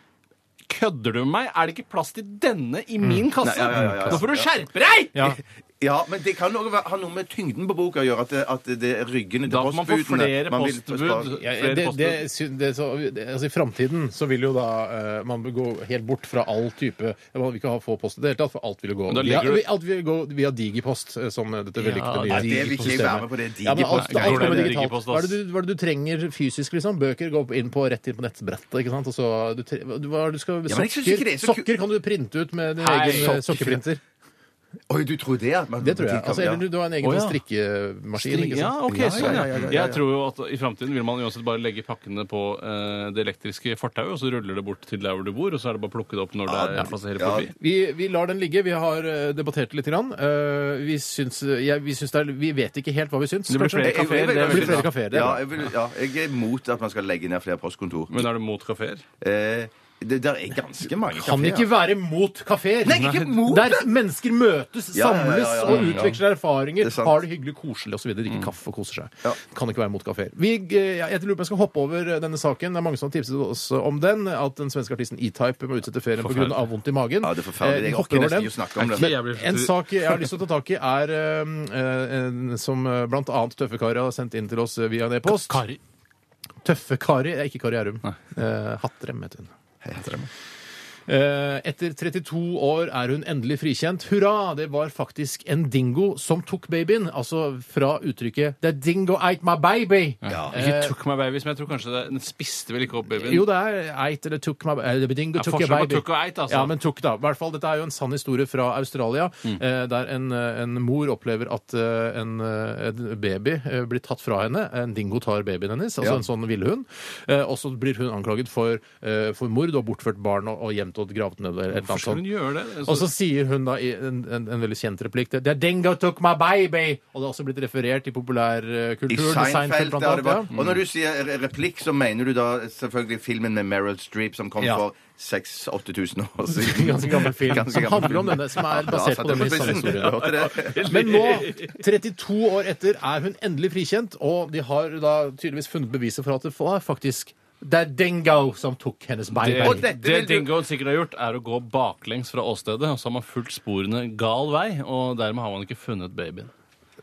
D: Kødder du med meg? Er det ikke plass til denne i min
E: Mm.
D: kasse?
E: Nei, ja, ja, ja, ja.
D: Nå får du skjerpe deg!
C: Ja.
E: Ja, men det kan også være- ha noe med tyngden på boka å gjøre, at det, at det er ryggene til
D: Da får man få
E: postbudene.
D: flere
E: Man vil-
D: postbud.
C: Ja,
D: Flere
C: det, det,
D: postbud.
C: sy- det, så, det, altså I framtiden så vil jo da eh, man gå helt bort fra all type Man vil ikke ha få post i det hele tatt, for alt vil jo gå,
D: Men da
C: via,
D: legger du-
C: alt vil gå via Digipost, eh, som dette vellykkede
D: Ja,
C: nye
E: det vil ikke jeg være med på, det er
C: Ja, men alt,
E: Digipost.
C: alt
D: Nei,
C: kommer
D: det er
C: digitalt.
D: Digipost,
C: Hva
D: ass.
C: er, det du, hva er det du trenger fysisk, liksom? Bøker går inn på rett inn på nettbrettet, ikke sant? Og så du, tre- hva er det du skal,
E: Ja, men jeg synes ikke
C: sokker,
E: det er så ku-
C: sokker kan du printe ut med din
D: Hei,
C: egen
D: sokker.
C: sokkeprinter.
E: Oi, du tror det? At man
C: Det tror jeg. Altså,
E: ja.
C: eller du, du har en egen
D: Å, ja.
C: strikkemaskin, ikke sant?
D: Ja, ok, sånn,
E: ja, ja, ja,
D: ja.
E: ja.
D: Jeg tror jo at i framtiden vil man uansett bare legge pakkene på eh, det elektriske fortauet, og så ruller det bort til der hvor du bor, og så er det bare å plukke det opp når det er- passerer
E: Ja.
D: forbi.
C: Vi, vi lar den ligge. Vi har eh, debattert litt. Grann. Eh, vi, syns, jeg, vi, syns det er, vi vet ikke helt hva vi syns.
D: Det blir
C: kanskje.
E: Jeg- jeg-
D: flere kafeer. Det
E: jeg-
D: er
C: blir
D: veldig
C: flere
D: bra.
C: kaféer, det er
E: Ja,
C: bra.
E: jeg, vil, ja, jeg er imot at man skal legge ned flere postkontor.
D: Men er du mot kafeer?
E: Eh, Det der er ganske mange
C: Kan
E: kaféer.
C: ikke være mot kafeer!
E: Nei, ikke mot
C: Der mennesker møtes,
E: Ja, ja, ja, ja,
C: samles
E: ja,
C: og
E: ja.
C: utveksler erfaringer.
E: Det er sant. Mm.
C: har det hyggelig, koselig osv. Drikker kaffe og koser seg.
E: Ja.
C: Kan ikke være mot kafeer. Vi, eh, Jeg lurer på om jeg skal hoppe over eh, denne saken. Det er mange som har tipset oss om den. At den svenske artisten E-Type må utsette ferien pga. vondt i magen.
E: Ja, det er forferdelig.
C: Eh, vi
E: Jeg
C: hopper
E: orker
C: over den.
E: nesten ikke å snakke om det.
D: Jeg blir-
C: En sak jeg har lyst til å ta tak i, er eh, en som eh, blant annet Tøffe Kari har sendt inn til oss via en e-post.
D: Kari.
C: Tøffe Kari, det er ikke Kari Gjærum. Eh, Hattrem heter hun. Eh, Etter 32 år er hun endelig frikjent. Hurra! Det var faktisk en dingo som tok babyen. Altså fra uttrykket 'The dingo ate my baby'.
D: Ikke took my babies, men jeg tror kanskje det, den spiste vel ikke opp babyen?
C: Jo, det er eit eller took my eh, the dingo
D: Ja,
C: took your
D: forskjell på
C: baby.
D: took og ate, altså. Mm.
C: Ja, men took, da. I hvert fall, Dette er jo en sann historie fra Australia, eh, der en, eh, en mor opplever at eh, en, eh, en baby eh, blir tatt fra henne. En dingo tar babyen hennes, altså
E: Ja.
C: en sånn villhund. Eh, og så blir hun anklaget for, eh, for mord og bortført barn og, og gjemt og gravd ned. Eller et eller
D: Hvorfor
C: annet sånt.
D: skal hun gjøre det? Altså,
C: Og så sier hun da i en, en, en veldig kjent replikk det, 'The dingo took my baby'! Og det har også blitt referert i populærkulturen.
E: I Seinfeld,
C: blant
E: ja,
C: annet,
E: det var.
C: ja.
E: Og når du sier re- replikk, så mener du da selvfølgelig filmen med Meryl Streep som kom
C: Ja.
E: for 6000-8000 år siden.
C: Ganske gammel film.
E: Ganske
C: Som
E: gammel
C: handler om
E: film.
C: denne, som er
E: Ja,
C: basert
E: satt
C: på denne
E: jeg spissen.
C: historien.
E: Du sånn. hørte det?
C: Men nå, 32 år etter, er hun endelig frikjent, og de har da tydeligvis funnet beviset for at det var faktisk det er Dengo som tok hennes
E: Og
C: baby.
E: dette
D: Det, det
E: vil du-
D: dingoen sikkert har gjort, er å gå baklengs fra åstedet, og så har man fulgt sporene gal vei, og dermed har man ikke funnet babyen.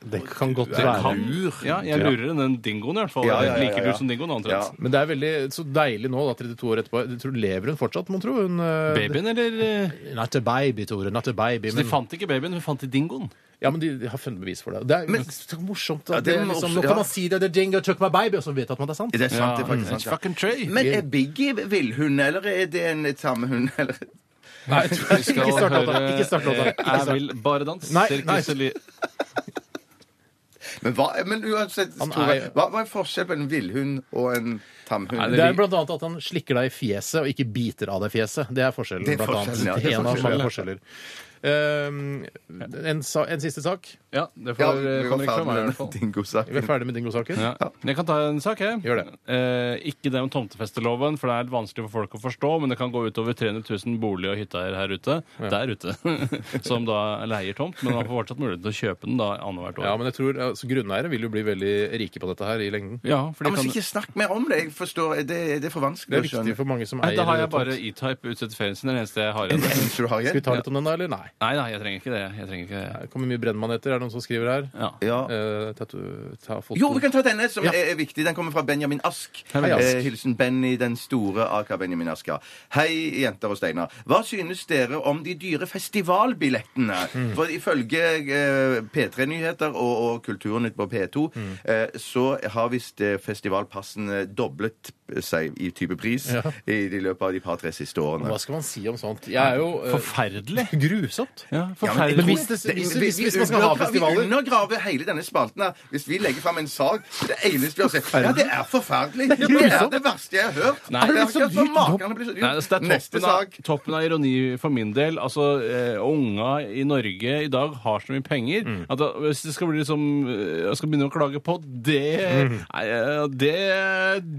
C: Det kan godt
D: Det
C: være.
D: kan- Ja, jeg lurer enn den dingoen, i hvert fall.
E: Ja, ja, ja,
D: Like
E: ja.
D: lur som dingoen,
E: Ja.
D: omtrent.
C: Men det er veldig så deilig nå, da, 32 år etterpå. Jeg tror, lever hun fortsatt, mon tro? Hun, eh,
D: Babyen, eller eh,
C: Not a baby, Tore. Not a baby.
D: Så de
C: Men,
D: fant ikke babyen, hun fant de dingoen.
C: ja, men de har funnet bevis for det. Det er jo så morsomt. Da.
E: Ja, det
C: det er
E: må
C: liksom,
E: også-
C: nå
E: ja.
C: kan man si det, the dingo took my baby, og så vet at man det er sant.
E: Det er sant, det er
D: It's
E: faktisk sant.
D: fucking Trey.
E: ja. Men er Biggie villhund, eller er det en samehund? eller?
C: Nei, ikke start låta. Ikke start låta. Ikke
D: Jeg
C: start.
D: vil eh, bare danse.
C: Nei, nei.
D: Sirkus eller
E: Men, hva, men uansett,
C: Han
E: Tore,
C: er-
E: hva, hva er forskjellen på en villhund og en tamhund?
D: Nei,
C: Det er blant annet at han slikker deg i fjeset og ikke biter av deg fjeset. Det er forskjellen.
E: Det er
C: blant annet.
E: forskjellen, ja, det er
C: en av
E: forskjellen,
C: mange forskjeller. Ehm, en, sa, en siste sak.
D: Ja, det får,
E: Ja,
D: kommer
E: vi var
D: ikke fra
E: ferdig
D: meg, i
E: med
D: hvert fall.
E: den dingosaken.
C: Vi er ferdig med dingosaken.
D: Ja. Men Jeg kan ta en sak, jeg.
C: Gjør det.
D: Eh, ikke det om tomtefesteloven, for det er litt vanskelig for folk å forstå, men det kan gå ut over 300 000 bolig- og hytteeiere her ute, der ute, som da leier tomt, men man får fortsatt mulighet til å kjøpe den da annethvert år.
C: Ja, men jeg tror altså, Grunneiere vil jo bli veldig rike på dette her i lengden.
D: Ja, for
E: Ja,
D: de
E: men så
D: kan...
E: ikke snakk mer om det. Jeg forstår, Det, det er for
C: Det
E: vanskelig
C: er
E: å
C: viktig
E: skjønne.
C: for mange som
D: Nei,
C: eier
D: da har jeg bare
C: tomt.
D: E-Type utsatt ferien sin, det er den eneste jeg har igjen.
E: Eneste du har
C: Skal vi
E: igjen?
C: ta litt om den, da, eller? Nei.
D: Nei, nei, jeg trenger ikke det. Jeg trenger ikke det.
C: Det kommer mye brennmaneter, er det noen som skriver her.
D: Ja.
E: Ja.
C: Eh, tatu- ta foten.
E: Jo, vi kan ta denne som
C: Ja.
E: er, er viktig. Den kommer fra Benjamin Ask.
C: Hei, Ask.
E: Eh, hilsen Benny den store, aka Benjamin Ask. ja. Hei, jenter og Steinar. Hva synes dere om de dyre festivalbillettene?
C: Hmm.
E: For ifølge eh, P3 Nyheter og, og Kulturnytt på P2,
C: Hmm.
E: eh, så har visst eh, festivalpassene doblet seg i type pris i, i løpet av de par-tre siste årene.
C: Hva skal man si om sånt? Jeg er jo eh,
D: Forferdelig.
C: Grusomt.
D: Ja,
E: Ja, men jeg
D: forferdelig.
C: Men
E: tror-
C: hvis det-
E: det-
C: hvis-
E: vi-
C: hvis-
E: vi
C: hvis man skal ha
E: undergraver-
C: festivaler-
E: Vi undergraver hele denne spalten her. Hvis vi legger fram en sak så Det eneste vi har sett Ja, det er forferdelig! Det er
C: grusomt.
E: det verste jeg har hørt!
D: Nei.
E: det
D: Er det
E: er
D: så
E: akkurat som
D: dyrt?
E: maken blir så dyrt.
D: Nei, altså det er
E: Neste
D: toppen av,
E: sak.
D: toppen av ironi for min del. Altså, eh, Unga i Norge i dag har så mye penger at da, hvis det skal bli liksom eh, Jeg skal begynne å klage på det nei, eh, det,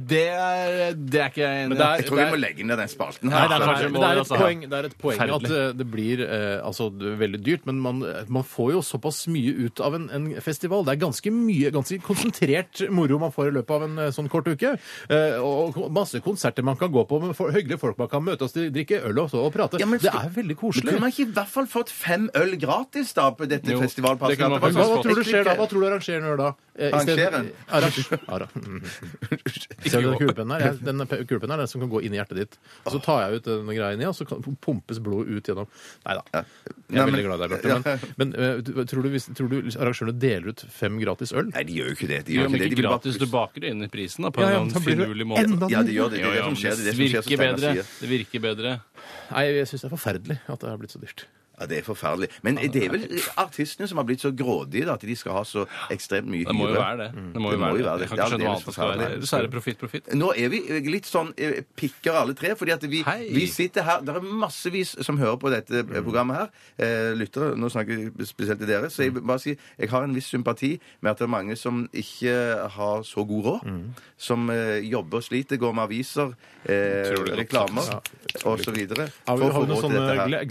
D: det, er, det er ikke jeg enig i.
C: det er-
E: Jeg tror vi må legge ned den spalten her.
C: Nei, det er,
D: Nei,
C: kanskje,
D: det
C: men det er
D: må- altså-
C: et poeng, det er et poeng at
D: Forferdelig.
C: eh, det blir eh, altså, det er veldig dyrt, men man, eh, man får jo såpass mye ut av en, en festival. Det er ganske mye, ganske konsentrert moro man får i løpet av en eh, sånn kort uke. Eh, og og masse konserter man kan gå på med for, hyggelige folk man kan møtes til, drikke øl og så og prate.
E: Ja, men
C: det
E: skal-
C: er veldig
E: Men
C: koselig.
E: kunne man ikke i hvert fall fått fem øl gratis da på dette
D: Jo, det
E: festivalpasset?
D: kunne man
C: Men Hva, hva
D: faktisk
C: tror du skjer da? Hva tror du arrangeren gjør da? Eh, i stedet-
E: Arrangeren?
C: Arrang- Ara- Mm. Ser du den kulepennen her? Jeg- Den pe- kulepennen er den som kan gå inn i hjertet ditt. Og så tar jeg ut den greia inni, og så kan, pumpes blodet ut gjennom Nei da. Jeg
E: Nei,
C: er
E: men-
C: veldig glad i deg, Bjarte. Men, men eh, du- tror, du, hvis- tror du arrangørene deler ut fem gratis øl?
E: Nei, de gjør jo ikke det. De
D: Jo,
E: gjør
D: men
E: ikke det.
D: ikke
E: De vil bare
D: gratis. Du
E: pusse.
D: baker det inn i prisen da, på
C: Ja, ja,
D: en
C: da
D: eller
C: blir det
D: annen finurlig måte.
C: enda-
E: Ja, de gjør det. Det er det som skjer. Det er det som skjer, som
D: virker
E: Steinar
D: bedre.
E: sier.
D: Det virker bedre.
C: Nei, jeg syns det er forferdelig at det har blitt så dyrt.
E: Ja, det er forferdelig. Men det er vel artistene som har blitt så grådige da, at de skal ha så ekstremt mye
D: Det må jo
E: hyre.
D: være
E: Det
D: det. Det må jo
E: må jo
D: være
E: være
D: det. Jeg
E: det. Ja,
D: kan ikke
E: det
D: skjønne
E: er
D: hva
E: litt
D: annet det skal være.
E: forferdelig.
D: Dessverre profitt, profitt.
E: Nå er vi eh, litt sånn eh, pikker alle tre, fordi at vi,
D: Hei. Mm.
E: vi sitter her Det er massevis som hører på dette eh, programmet her. Eh, lyttere, nå snakker jeg spesielt til dere. Så
D: Mm.
E: jeg vil bare si, jeg har en viss sympati med at det er mange som ikke har så god råd.
D: Mm.
E: Som eh, jobber og sliter, går med aviser, eh,
D: Utrolig godt
E: reklamer
C: sagt.
E: og så videre.
C: Har vi
E: for å
C: har vi noe
E: få råd til dette her.
C: sånn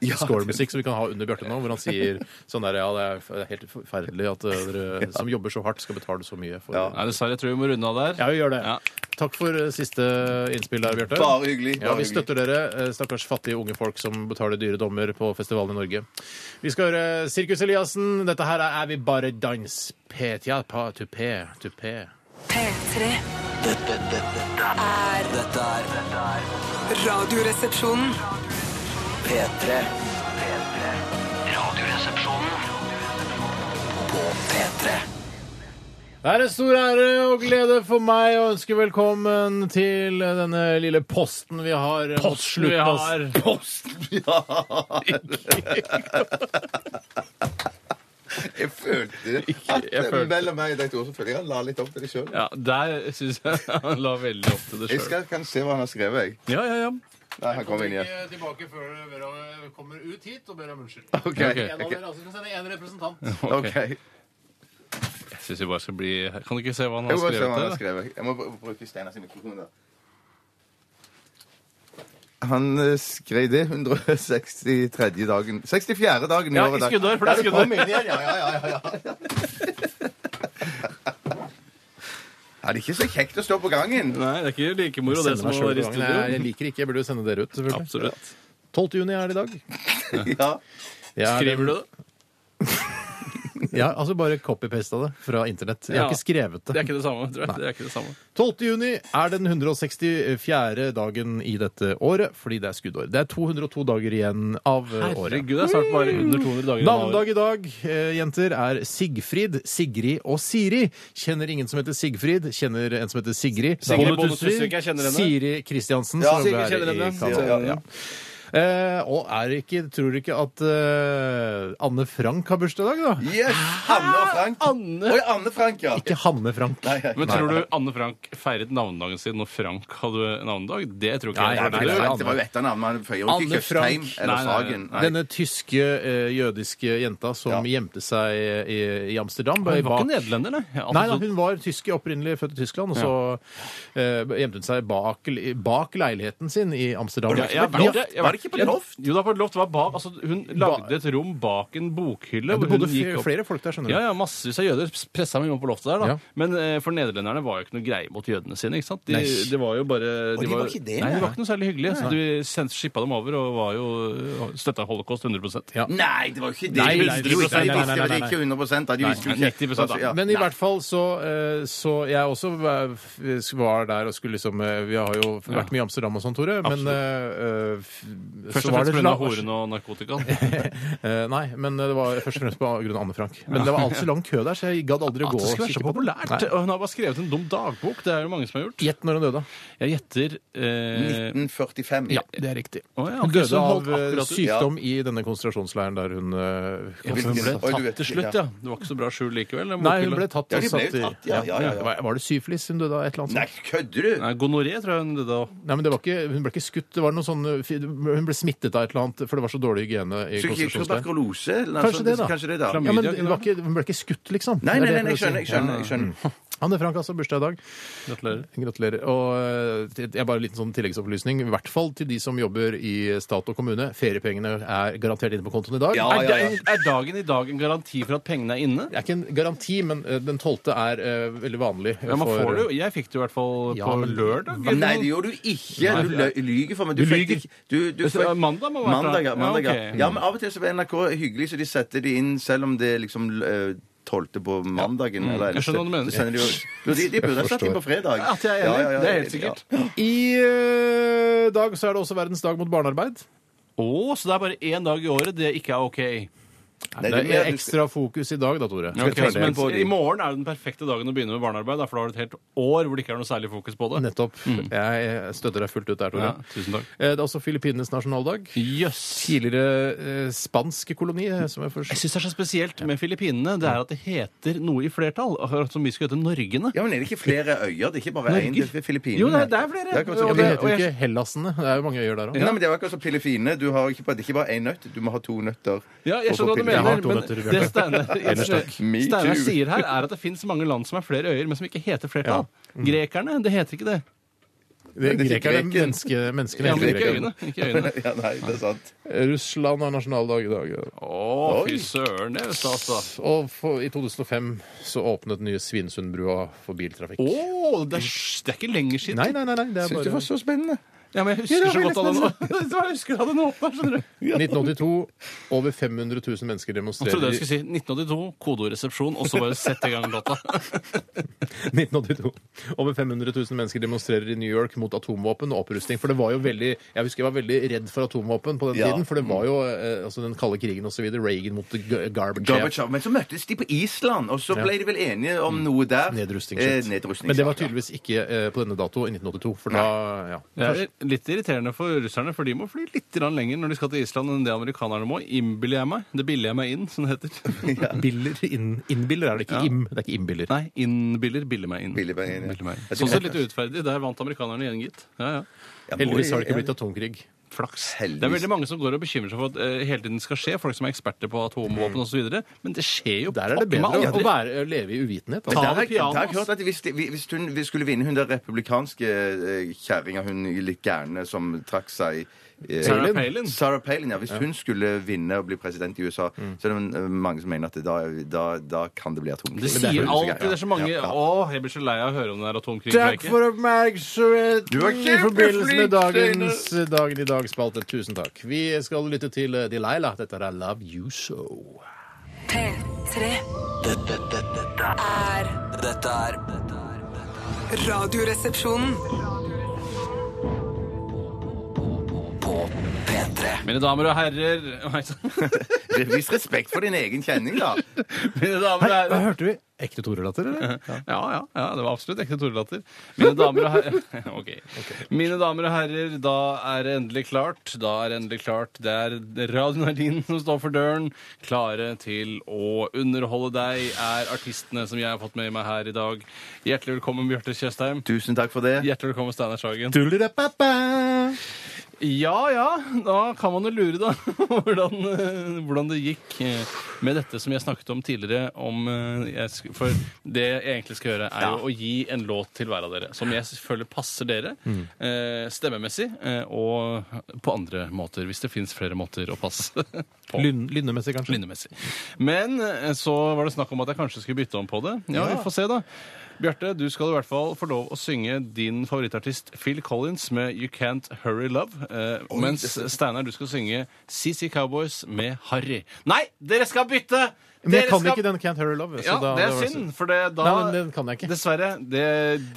C: gladiator-slutt-score-musikk som vi kan ha under Bjarte nå, hvor han sier sånn der Ja, det er f- det er helt forferdelig at eh, dere som jobber så hardt, skal betale så mye for
E: Ja.
D: Nei, dessverre. Jeg tror vi må runde av der.
C: Ja, vi gjør det.
D: Ja.
C: Takk for eh, siste innspill der, Bjarte.
E: Bare hyggelig,
C: Ja,
E: bare
C: vi
E: hyggelig.
C: støtter dere, eh, stakkars fattige unge folk som betaler dyre dommer på festivalen i Norge. Vi skal høre Sirkus Eliassen. Dette her er Er vi bare dans? Petja pa tupé, tupé.
G: P3
B: Dette, dette, dette er-
G: er
B: dette er dette er
G: Radioresepsjonen.
B: P3. P3. Radioresepsjonen på P3.
C: Det er en stor ære og glede for meg å ønske velkommen til denne lille posten vi har. mot slutten av-
E: Jeg følte det.
D: jeg følte-
E: Mellom meg og dette ordet, så føler jeg han la litt opp til det sjøl.
D: Ja, der syns jeg han la veldig opp til det
E: Jeg
D: sjøl.
E: skal, kan se hva han har skrevet, jeg.
D: Ja, ja, ja.
E: Nei, han kommer inn igjen.
C: Ikke tilbake før dere kommer ut hit og ber om unnskyld.
E: OK.
C: En av
E: ok,
C: dere altså, skal sende en representant.
E: ok.
D: Jeg syns vi bare skal bli Kan du ikke se hva han
E: Jeg
D: har
E: må bare se hva han har
D: skrevet?
E: skrevet. Jeg må br- bruke Steinar sin mikrofon, da. Han eh, skrev det 163. dagen 64. dagen i
D: Ja,
E: året.
D: i skuddår, for det
E: Ja,
D: er skuddår.
E: kom inn igjen, Ja, ja, ja, ja, ja. Ja, det er ikke så kjekt å stå på gangen.
D: Nei, det er ikke like moro det som å være i
C: Jeg
D: studio.
C: liker ikke. Jeg burde jo sende dere ut, selvfølgelig.
D: Absolutt.
C: 12. juni er det i dag.
E: Ja.
C: Jeg er-
D: Skriver du det?
C: Ja, altså bare copypasta det fra internett. Jeg har
D: Ja.
C: ikke skrevet
D: Det er
C: det.
D: ikke det samme, tror jeg. Det er ikke det samme.
C: 12. juni er den 164. dagen i dette året, fordi det er skuddår. Det er 202 dager igjen av eh, året.
D: Herregud, det er snart bare under 200 dager igjen av året.
C: Navnedag i dag, eh, jenter, er Sigfrid, Sigrid og Siri. Kjenner ingen som heter Sigfrid, kjenner en som heter Sigrid.
D: Sigrid
C: Bonde
D: Bonde
C: Tusvik,
D: Tusvik, jeg kjenner henne.
C: Siri Kristiansen.
E: Ja,
C: som
D: Sigrid
C: er
D: kjenner
C: i
D: henne.
C: Canada.
D: Kjenner henne.
C: Eh, og er ikke, tror ikke at eh, Anne Frank har bursdag i dag, da?
E: Yes! Hanne og Frank.
D: Anne.
E: Oi, Anne Frank, ja.
C: Ikke Hanne Frank.
E: Nei, nei.
D: Men tror du Anne Frank feiret navnedagen sin når Frank hadde navnedag? Det tror ikke
C: Nei,
D: jeg.
C: nei,
E: Nei,
D: det var
C: nei.
D: det.
E: det var jo etternavn. Man føyer jo
C: Anne
E: ikke Tjøstheim
C: Frank.
E: eller
D: Nei, nei,
E: Sagen. Nei.
C: Denne tyske, eh, jødiske jenta som
E: Ja.
C: gjemte seg i, i Amsterdam.
D: Hun var
C: bak-
D: ikke nederlender, nei. Jeg
C: Nei, da,
D: antok-
C: hun var tysk, opprinnelig født i Tyskland, og så eh, gjemte hun seg bak, bak leiligheten sin i Amsterdam.
D: Ja, jeg
C: Vi-
D: vet det. Jeg
E: Var
D: vet-
E: det ikke på et loft?
D: Jo, det var på et loft. Det Var bak, altså, hun lagde et rom bak en bokhylle.
C: det
D: hvor
C: bodde
D: hun gikk
C: fl-
D: opp-
C: flere folk der, skjønner du.
D: Ja, ja, massevis av jøder pressa meg på loftet der, da.
C: Ja.
D: Men eh, for nederlenderne var jo ikke noe greie mot jødene sine, ikke sant? De,
C: Nei.
D: det var jo bare
E: de var ikke det,
D: Nei, de
E: nei.
D: var ikke noe særlig hyggelige. Så du sendte- skippa dem over og var jo støtta holocaust 100
C: Ja.
E: Nei, det var jo ikke det.
C: Nei,
E: de
C: nei,
E: visste jo ikke,
C: nei,
E: de
C: nei, nei,
E: visste
C: nei,
E: jo
C: nei.
E: ikke 100 da. De visste jo
D: Nei,
E: ikke. Altså,
D: 90% da.
E: Ja.
C: Men i hvert fall så, eh, så Jeg også eh, var der og skulle liksom eh, Vi har jo vært mye i Amsterdam og sånn, Tore, men eh, eh, f-
D: Først
C: så
D: og
C: var
D: fremst
C: det
D: pga.
C: sla-
D: horen og narkotikaen.
C: Eh, Nei, men det var først og fremst på grunn av Anne Frank. Men det var altfor lang kø der, så jeg gadd aldri å
D: At
C: gå
D: det
C: og
D: skulle være så
C: kikke på det.
D: populært! Og hun har bare skrevet en dum dagbok. Det er jo mange som har gjort.
C: Nei. Gjett når hun døde.
D: Jeg gjetter eh,
E: 1945.
C: det er riktig.
D: Å, ja,
C: Hun
D: ok,
C: døde
D: så hun
C: av
D: holdt
C: eh,
D: akkurat ut.
C: sykdom i denne konsentrasjonsleiren der hun eh,
D: Ja, for hun ble
E: Oi, du vet
D: tatt ah, til
E: ikke, ja.
D: slutt, ja. Det var ikke så bra skjul likevel.
C: Nei, hun ble tatt
E: Ja,
C: og
E: de ble
C: satt i
E: jo tatt, ja, ja, ja, ja.
C: Var- Var det syfilis hun døde av? Et eller annet
E: Nei,
C: sånt?
E: kødder du?
D: Nei, gonoré tror jeg hun døde av.
C: Nei, men det var ikke, Hun ble ikke skutt. det var noe sånn, eh, fi- Hun ble smittet av et eller annet, for det var så dårlig hygiene i
E: Så ikke
C: konsentrasjonsleiren.
E: tuberkulose? eller noe
C: Kanskje
E: sånt?
C: det, da.
E: altså, Kanskje det, da.
C: Ja, men det var ikke, hun ble ikke skutt, liksom.
E: Nei,
C: Det
E: nei,
C: er
E: nei,
C: det
E: jeg
C: prøver å
E: skjønner. jeg
C: si.
E: skjønner, jeg skjønner.
C: Anne Frank altså bursdag i dag.
D: Gratulerer.
C: Gratulerer. Og eh, jeg bare en liten sånn tilleggsopplysning, i hvert fall til de som jobber i stat og kommune. Feriepengene er garantert inne på kontoen i dag.
E: Ja,
D: Er,
E: ja, ja.
D: da- er dagen i dag en garanti for at pengene er inne?
C: Det er ikke en garanti, men eh, den tolvte er eh, veldig vanlig.
D: Ja, man
C: for-
D: får det jo. Jeg fikk det jo i hvert fall
C: Ja,
D: på
C: men-
D: lørdag.
E: Nei, det gjorde du ikke. Du lø- lyger for meg. Du,
D: Du
E: fikk
D: lyger.
E: ikke- Du, du
D: Så
E: fikk-
D: mandag må være fra-
E: mandag, ja,
D: Ja,
E: mandag, ja.
D: ok.
E: ja, men av og til så er NRK hyggelig, så de setter det inn selv om det liksom eh, tolvte på mandagen. Eller,
D: Mm. Jeg skjønner hva du mener.
E: Så sender de, jo- de, de burde ha satt det på fredag.
D: At jeg er
E: Ja,
D: enig.
E: ja, ja,
D: det er helt
E: ja.
D: sikkert.
C: I eh, dag så er det også verdens dag mot barnearbeid.
D: Å, så det er bare én dag i året det ikke er OK.
C: Det
E: Nei, det
C: er
E: mer-
C: ekstra fokus i dag, da, Tore.
D: Ok,
E: tenke
D: så mens,
E: på de.
D: I morgen er jo den perfekte dagen å begynne med barnearbeid, da, for da har du et helt år hvor det ikke er noe særlig fokus på det.
C: Nettopp. Jeg støtter deg fullt ut der, Tore.
D: Ja, tusen takk.
C: Eh, Det er også Filippinenes nasjonaldag.
D: Jøss!
C: Tidligere eh, spansk koloni, eh, som jeg
D: Jeg
C: først
D: syns det er så spesielt med Filippinene, det er at det heter noe i flertall. Akkurat som vi skulle hete Norgene.
E: Ja, men er det ikke flere øyer? Det er ikke bare
D: Norge?
E: én til Filippinene?
D: Jo, det er- det er flere.
E: Det akkurat som-
C: ja,
D: Og det-
C: De heter jo
D: og jeg-
C: ikke Hellasene. Det er jo mange øyer der òg.
E: Nei, men det er jo akkurat som Filippinene. Du har ikke bare, det er ikke bare én nøtt, du må ha to nøtter.
D: Ja, jeg
E: for å få
D: skjønner hva du
E: pille.
C: Jeg har
D: mener,
C: to
D: men
C: nøtter, Bjørn.
D: det Steinar
C: Ellers takk.
E: Me
D: Steinar
E: too.
D: sier her, er at det fins mange land som er flere øyer, men som ikke heter flertall.
C: Mm.
D: Grekerne, det heter ikke det.
E: det er ikke
C: Grekerne,
E: greken.
C: menneske, menneskene
D: Ja, men
C: heter
D: ikke
C: grekerne.
D: øyene. Ikke øyene.
E: Ja, nei, det er sant.
C: Russland har nasjonaldag i dag. ja.
D: Å, fy søren, det er altså. jo stas, da.
C: Og for, i 2005 så åpnet den nye Svinesundbrua for biltrafikk.
D: Å, det, er s- det er ikke lenger siden.
C: Nei, nei, nei, nei, det er
E: Syns du det var
C: bare
E: så spennende?
D: Ja, men jeg
C: Ja,
D: husker
C: det
D: så
C: var
D: godt av den nå. Jeg husker av den nå, skjønner du.
C: 1982. Over 500 000 mennesker
D: Jeg trodde
C: demonstrerer.
D: jeg skulle si 1982, kodoresepsjon, og så bare sette i gang låta.
C: 1982. Over 500 000 mennesker demonstrerer i New York mot atomvåpen og opprustning. For det var jo veldig, Jeg husker jeg var veldig redd for atomvåpen på den
E: Ja.
C: tiden. For det var jo eh, altså den kalde krigen osv. Reagan mot G- Gorbachev.
E: Gorbatsjov. Men så møttes de på Island, og så
C: Ja.
E: ble de vel enige om noe der.
C: Nedrusting.
E: Eh,
C: shit.
E: nedrustning
C: Men det var tydeligvis ikke eh, på denne dato i 1982. For da ja.
D: Det er litt irriterende for russerne, for de må fly litt grann lenger når de skal til Island enn det amerikanerne må. Innbiller jeg meg. Det biller jeg meg inn, som det heter.
C: Biller, inn, innbiller er det ikke
D: Ja.
C: im. Det er ikke innbiller.
D: Nei, innbiller biller meg inn.
E: Biller meg inn, ja.
D: Biller meg inn. Sånn sett litt urettferdig. Der vant amerikanerne igjen, gitt. Ja, ja.
E: Ja, må
C: Heldigvis har det
E: de-
C: ikke blitt atomkrig.
D: Flaks.
E: Heldigvis.
D: Det er veldig mange som går og bekymrer seg for at eh, hele tiden skal skje, folk som er eksperter på atomvåpen osv., men det skjer jo
C: Der er det
D: pokker meg
C: bedre å,
D: aldri.
C: å, være, å leve i uvitenhet.
E: Der
C: Altså.
D: Ta
E: har
D: med
E: jeg der har jeg
D: pianoet,
E: hørt at hvis, de, hvis hun hvis skulle vinne hun der republikanske eh, kjerringa, hun litt gærne som trakk seg eh,
D: Sarah Palin.
E: Sarah Palin, ja. Hvis hun skulle vinne og bli president i USA, så er det eh, mange som mener at det da, da, da kan det bli atomkrig.
D: Mm. Det
E: Men er
D: sier
E: jo
D: alltid det er så mange
E: Ja, ja.
D: Å, jeg blir så lei av å høre om den der atomkrigen.
C: oppmerksomheten
E: Du var
C: i
E: kjempeflink,
C: forbindelse med dagens eh,
E: Steinar.
C: Dagen i dag-spalte. Tusen takk. Vi skal lytte til eh, Delilah. Dette er Love You So.
G: P3
B: Dette, dette, dette,
G: er
B: dette er dette er-
G: radioresepsjonen.
B: På P3
D: Mine damer og herrer Nei, så-
E: Vis respekt for din egen kjenning, da.
D: Mine damer og herrer
C: hørte vi? Ekte Tore-latter, eller?
D: Ja, ja, ja, det var absolutt ekte torelatter. Mine damer og herrer Ok. Mine damer og herrer, da er det endelig klart. Da er det endelig klart. Det er Radio Nardin som står for døren. Klare til å underholde deg er artistene som jeg har fått med meg her i dag. Hjertelig velkommen, Bjarte Tjøstheim.
E: Tusen takk for det.
D: Hjertelig velkommen, Steinar Sagen.
C: Tullerapappa.
D: Ja ja, da kan man jo lure, da. Hvordan, eh, hvordan det gikk eh, med dette som jeg snakket om tidligere. Om, eh, jeg sk for det jeg egentlig skal gjøre, er jo å gi en låt til hver av dere. Som jeg føler passer dere eh, stemmemessig eh, og på andre måter. Hvis det fins flere måter å passe på.
C: Lyn, lynnemessig, kanskje?
D: Lynnemessig. Men eh, så var det snakk om at jeg kanskje skulle bytte om på det. Ja, vi får se, da. Bjarte, du skal i hvert fall få lov å synge din favorittartist Phil Collins med You Can't Hurry Love. Eh, mens Steinar, du skal synge CC Cowboys med Harry. Nei, dere skal bytte!
C: Men jeg
D: Dere
C: kan
D: skal-
C: ikke den Can't Hurry Love. så
D: Ja,
C: da-
D: det er
C: var
D: synd, for det, da
C: Nei, men den kan jeg ikke.
D: Dessverre. Det,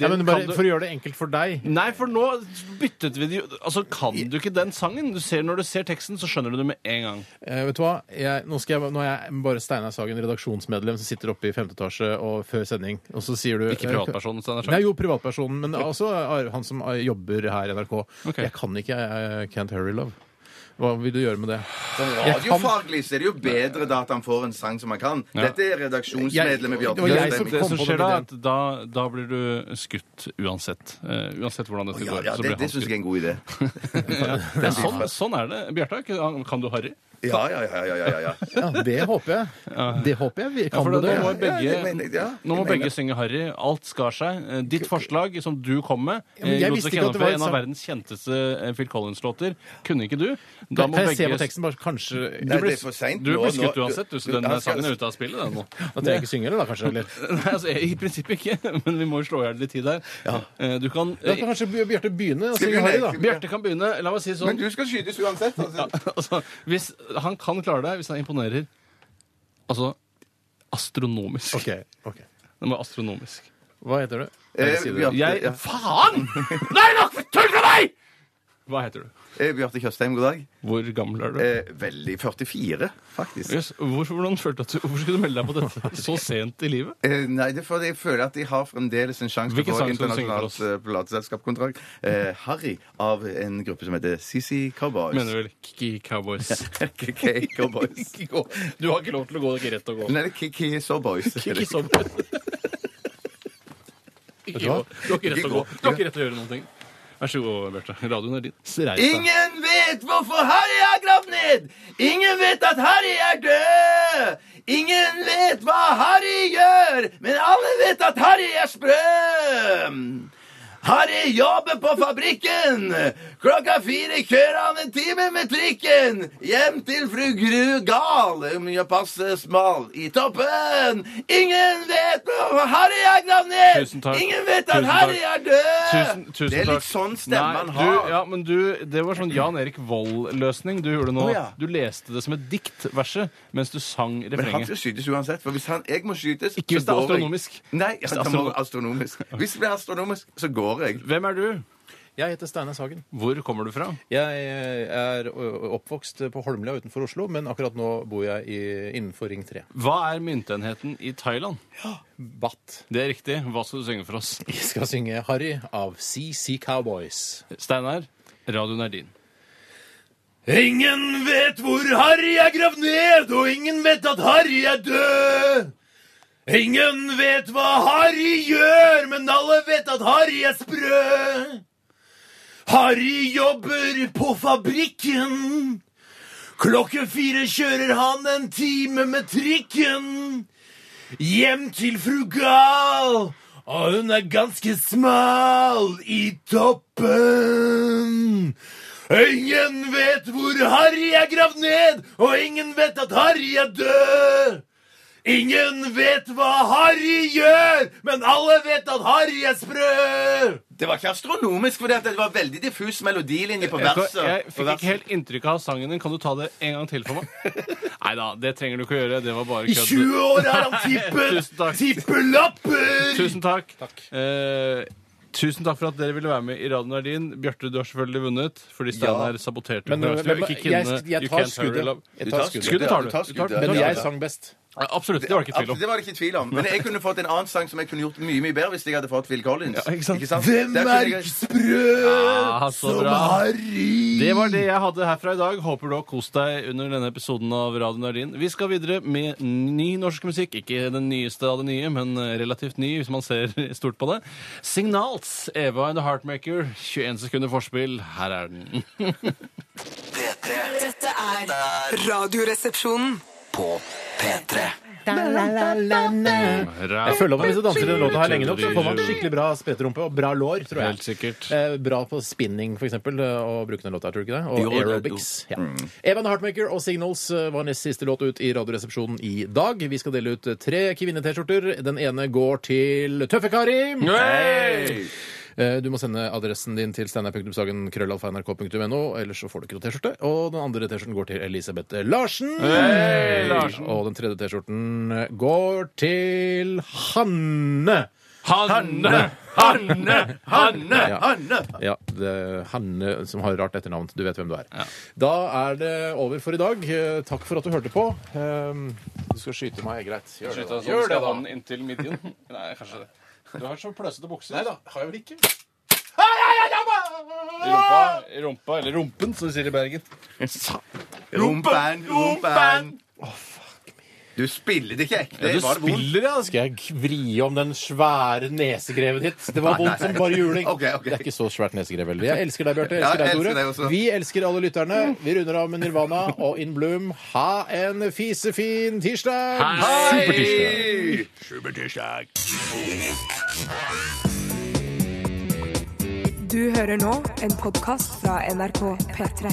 D: det
C: Ja, men bare
D: kan du
C: For å gjøre det enkelt for deg
D: Nei, for nå byttet vi det jo Altså, kan du ikke den sangen? Du ser, når du ser teksten, så skjønner du det med en gang.
C: eh, Vet du hva? Jeg, nå, skal jeg, nå er jeg bare Steinar Sagen, redaksjonsmedlem, som sitter oppe i femte etasje og før sending, og så sier du
D: Ikke privatperson, Steinar.
C: Nei, jo, privatpersonen, men også er- han som er- jobber her i NRK.
D: Ok.
C: Jeg kan ikke eh, Can't Hurry Love. Hva vil du gjøre med det? Jeg kan-
E: Radiofaglig så er det jo bedre da at han får en sang som han kan. Dette er redaksjonsmedlemmet
C: Jeg- det
E: Bjarte
C: var jeg
E: Stemning.
C: kom
D: det som
C: på
D: skjer
C: den
D: da, er
C: ideen.
D: at da, da blir du skutt uansett. Eh, uansett hvordan dette
E: Ja,
D: går.
E: ja,
D: så
E: det,
D: blir
E: det syns
D: han skutt.
E: jeg er en god idé.
D: Det er sånn, sånn er det. Bjarte, er ikke- han- kan du harry?
E: Ja, ja, ja. ja, ja, ja.
C: Ja, det håper jeg. Det håper jeg. vi-
D: Ja,
C: Kan
D: for
C: du
D: da
C: det?
D: må begge,
E: Ja, jeg mener- ja, jeg
D: nå må
E: mener-
D: begge synge harry. Alt skar seg. Eh, Ditt forslag, som du kom med,
C: men jeg
D: eh,
C: visste
D: Josef
C: ikke at det var et
D: Gjennomfører, en av
C: sam-
D: verdens kjenteste eh, Phil Collins-låter, kunne ikke du? Da
C: Kan
D: må
C: jeg se på
D: begge
C: teksten? Bare kanskje
E: Nei,
C: Da
E: det er for seint.
D: Du
E: nå,
D: blir
E: nå-
D: skutt uansett, du, så den
E: han skal-
D: sangen er ute av spillet, den nå.
C: trenger jeg ikke synge, eller da, kanskje? Eller?
D: Nei, altså, I prinsippet ikke, men vi må jo slå i hjel litt tid her. Eh, Du kan
C: Da kan kanskje Bj- Bjarte begynne å
E: Skal
C: synge
E: jeg
C: Harry,
E: begynne?
C: da.
E: Skal jeg
D: Bjarte kan begynne. La meg si sånn
E: Men du skal skytes uansett. Altså.
D: altså, hvis, han kan klare det hvis han imponerer. Altså astronomisk.
C: Ok, ok.
D: Det må være astronomisk.
C: Hva heter du?
E: Eh,
C: Jeg sier det.
E: Bjarte,
D: Jeg
E: ja.
D: Faen! Nei, nok for tull fra deg! Hva heter du?
E: Eh, Bjarte Tjøstheim, god dag.
D: Hvor gammel er du?
E: Eh, veldig 44, faktisk.
D: Yes. Hvor, hvordan følte du at du, hvorfor skulle du melde deg på dette så sent i livet?
E: Eh, nei, det er fordi jeg føler at de har fremdeles en sjanse
D: Hvilken
E: til å få
D: sang skal du synge for
E: internasjonalt eh, plateselskapskontrakt. Eh, Harry av en gruppe som heter CC Cowboys.
D: Mener du vel Kiki Cowboys?
E: KK Cowboys.
D: Du har ikke lov til å gå ikke rett og gå.
E: Nei, det er Kiki Sawboys.
D: Ikke
E: Kiki
D: sånn. Ikke gå. Du har ikke rett til å gå. Du har ikke rett til å gjøre noen ting. Vær så god, Bjarte. Radioen er din. Reis deg.
E: Ingen vet hvorfor Harry er gravd ned! Ingen vet at Harry er død! Ingen vet hva Harry gjør, men alle vet at Harry er sprø! Harry jobber på fabrikken. Klokka fire kjører han en time med trikken. Hjem til fru Gru Gal, mye passe smal i toppen. Ingen vet hvorfor Harry er gravd ned!
D: Tusen takk.
E: Ingen vet at
D: Tusen
E: Harry
D: takk.
E: er død!
D: Tusen, tusen
E: det er
D: takk.
E: litt sånn stemmen han
D: Nei,
E: har.
D: Du, ja, men du, det var sånn Jan Erik Vold-løsning du gjorde nå.
E: Å, ja.
D: Du leste det som et dikt, verset, mens du sang
E: Men han
D: refrenget.
E: skal skytes uansett. For hvis han, jeg må skytes
D: Ikke hvis det er
E: går jeg.
D: astronomisk.
E: Nei,
D: Hvis det er
E: det må
D: astronomisk.
E: astronomisk. Hvis det blir astronomisk, så går jeg.
D: Hvem er du?
C: Jeg heter Steinar Sagen.
D: Hvor kommer du fra?
C: Jeg eh, er ø, oppvokst på Holmlia utenfor Oslo, men akkurat nå bor jeg i, innenfor Ring 3.
D: Hva er myntenheten i Thailand?
C: Batt.
D: Det er riktig. Hva skal du synge for oss?
C: Vi skal synge Harry av CC Cowboys.
D: Steinar, radioen er din.
C: Ingen vet hvor Harry er gravd ned, og ingen vet at Harry er død. Ingen vet hva Harry gjør, men alle vet at Harry er sprø. Harry jobber på fabrikken. Klokke fire kjører han en time med trikken. Hjem til fru Gal, og hun er ganske smal i toppen. Ingen vet hvor Harry er gravd ned, og ingen vet at Harry er død. Ingen vet hva Harry gjør, men alle vet at Harry er sprø.
E: Det var ikke astronomisk, for det var veldig diffus melodilinje på
D: Jeg,
E: verset. På
D: fikk
E: verset.
D: ikke helt inntrykk av sangen din. Kan du ta det en gang til for meg? Nei da, det trenger du ikke å gjøre. Det var bare
C: I
D: kødd.
C: 20 år har han
D: Tusen takk.
C: tippet tippelapper.
D: Tusen takk.
C: Takk.
D: Eh, tusen takk for at dere ville være med i Radio Nardin. Bjarte, du har selvfølgelig vunnet, fordi Steinar saboterte.
C: Men,
D: konkurransen.
C: men, men,
D: Vi ikke
C: jeg,
D: kunne
C: jeg
D: You
C: tar
D: Can't Hurry Love.
C: skuddet. Jeg tar skuddet.
D: Skuddet tar du.
E: tar
D: du tar,
E: skuddet.
C: Men
D: ja,
C: jeg
D: ja.
C: sang best.
D: Ja, Absolutt. Det var det ikke tvil
E: Absolutt,
D: om.
E: det var det ikke tvil om. Men jeg kunne fått en annen sang som jeg kunne gjort mye mye bedre hvis jeg hadde fått Phil Collins.
D: Ja, ikke sant?
C: Hvem
E: Der kunne
C: er
E: jeg-
C: sprø
D: Ja, Ah, så
C: som
D: bra.
C: Harry?
D: Det var det jeg hadde herfra i dag. Håper du har kost deg under denne episoden av Radio Nardin. Vi skal videre med ny norsk musikk. Ikke den nyeste av det nye, men eh, relativt ny hvis man ser stort på det. Signals, Eva and the Heartmaker. 21 sekunder forspill. Her er den.
B: P3
G: Dette er Radioresepsjonen.
B: på P3
C: Jeg føler at hvis du danser den låta her lenge nok, så får man skikkelig bra speterumpe og bra lår, tror jeg.
D: Helt sikkert.
C: Eh, Bra på spinning, for eksempel, eh, å bruke den låta, tror du ikke det? Og
E: Jo, det-
C: aerobics. Ja. Evan Heartmaker og Signals eh, var nest siste låt ut i Radioresepsjonen i dag. Vi skal dele ut eh, tre kvinne-T-skjorter. Den ene går til Tøffe-Kari.
D: Hey!
C: Eh, Du må sende adressen din til steinar.sagen.krøllalfa.nrk.no, ellers så får du ikke noe T-skjorte. Og den andre T-skjorten går til Elisabeth Larsen.
D: Hei, Larsen.
C: Og den tredje T-skjorten går til Hanne.
D: Hanne! Hanne! Hanne!
C: Ja. Ja, det er Hanne som har rart etternavn. Du vet hvem du er. Da er det over for i dag. Eh, Takk for at du hørte på. Eh, Du skal skyte meg, greit. Gjør det, da. Gjør det, da.
D: sånn inntil midjen. Nei, kanskje det. Du har så pløsete bukser.
C: Nei da, har jeg vel ikke?
D: Rumpa, rumpa, eller rumpen, som de sier i Bergen.
E: Rumpen, rumpen. Du spiller det ikke ekte.
D: Ja, du
E: Var det vondt?
D: spiller, altså, ja.
C: Skal jeg vri om den svære nesegreven ditt? Det var vondt som bare juling.
E: Ok, ok.
C: Det er ikke så svært nesegrev heller. Jeg elsker deg, Bjarte. Jeg
E: Ja,
C: elsker
E: jeg elsker
C: deg,
E: deg
C: Tore.
E: også.
C: Vi elsker alle lytterne. Vi runder av med Nirvana og In Bloom. Ha en fisefin tirsdag! Supertirsdag!
A: Du hører nå en podkast fra NRK P3.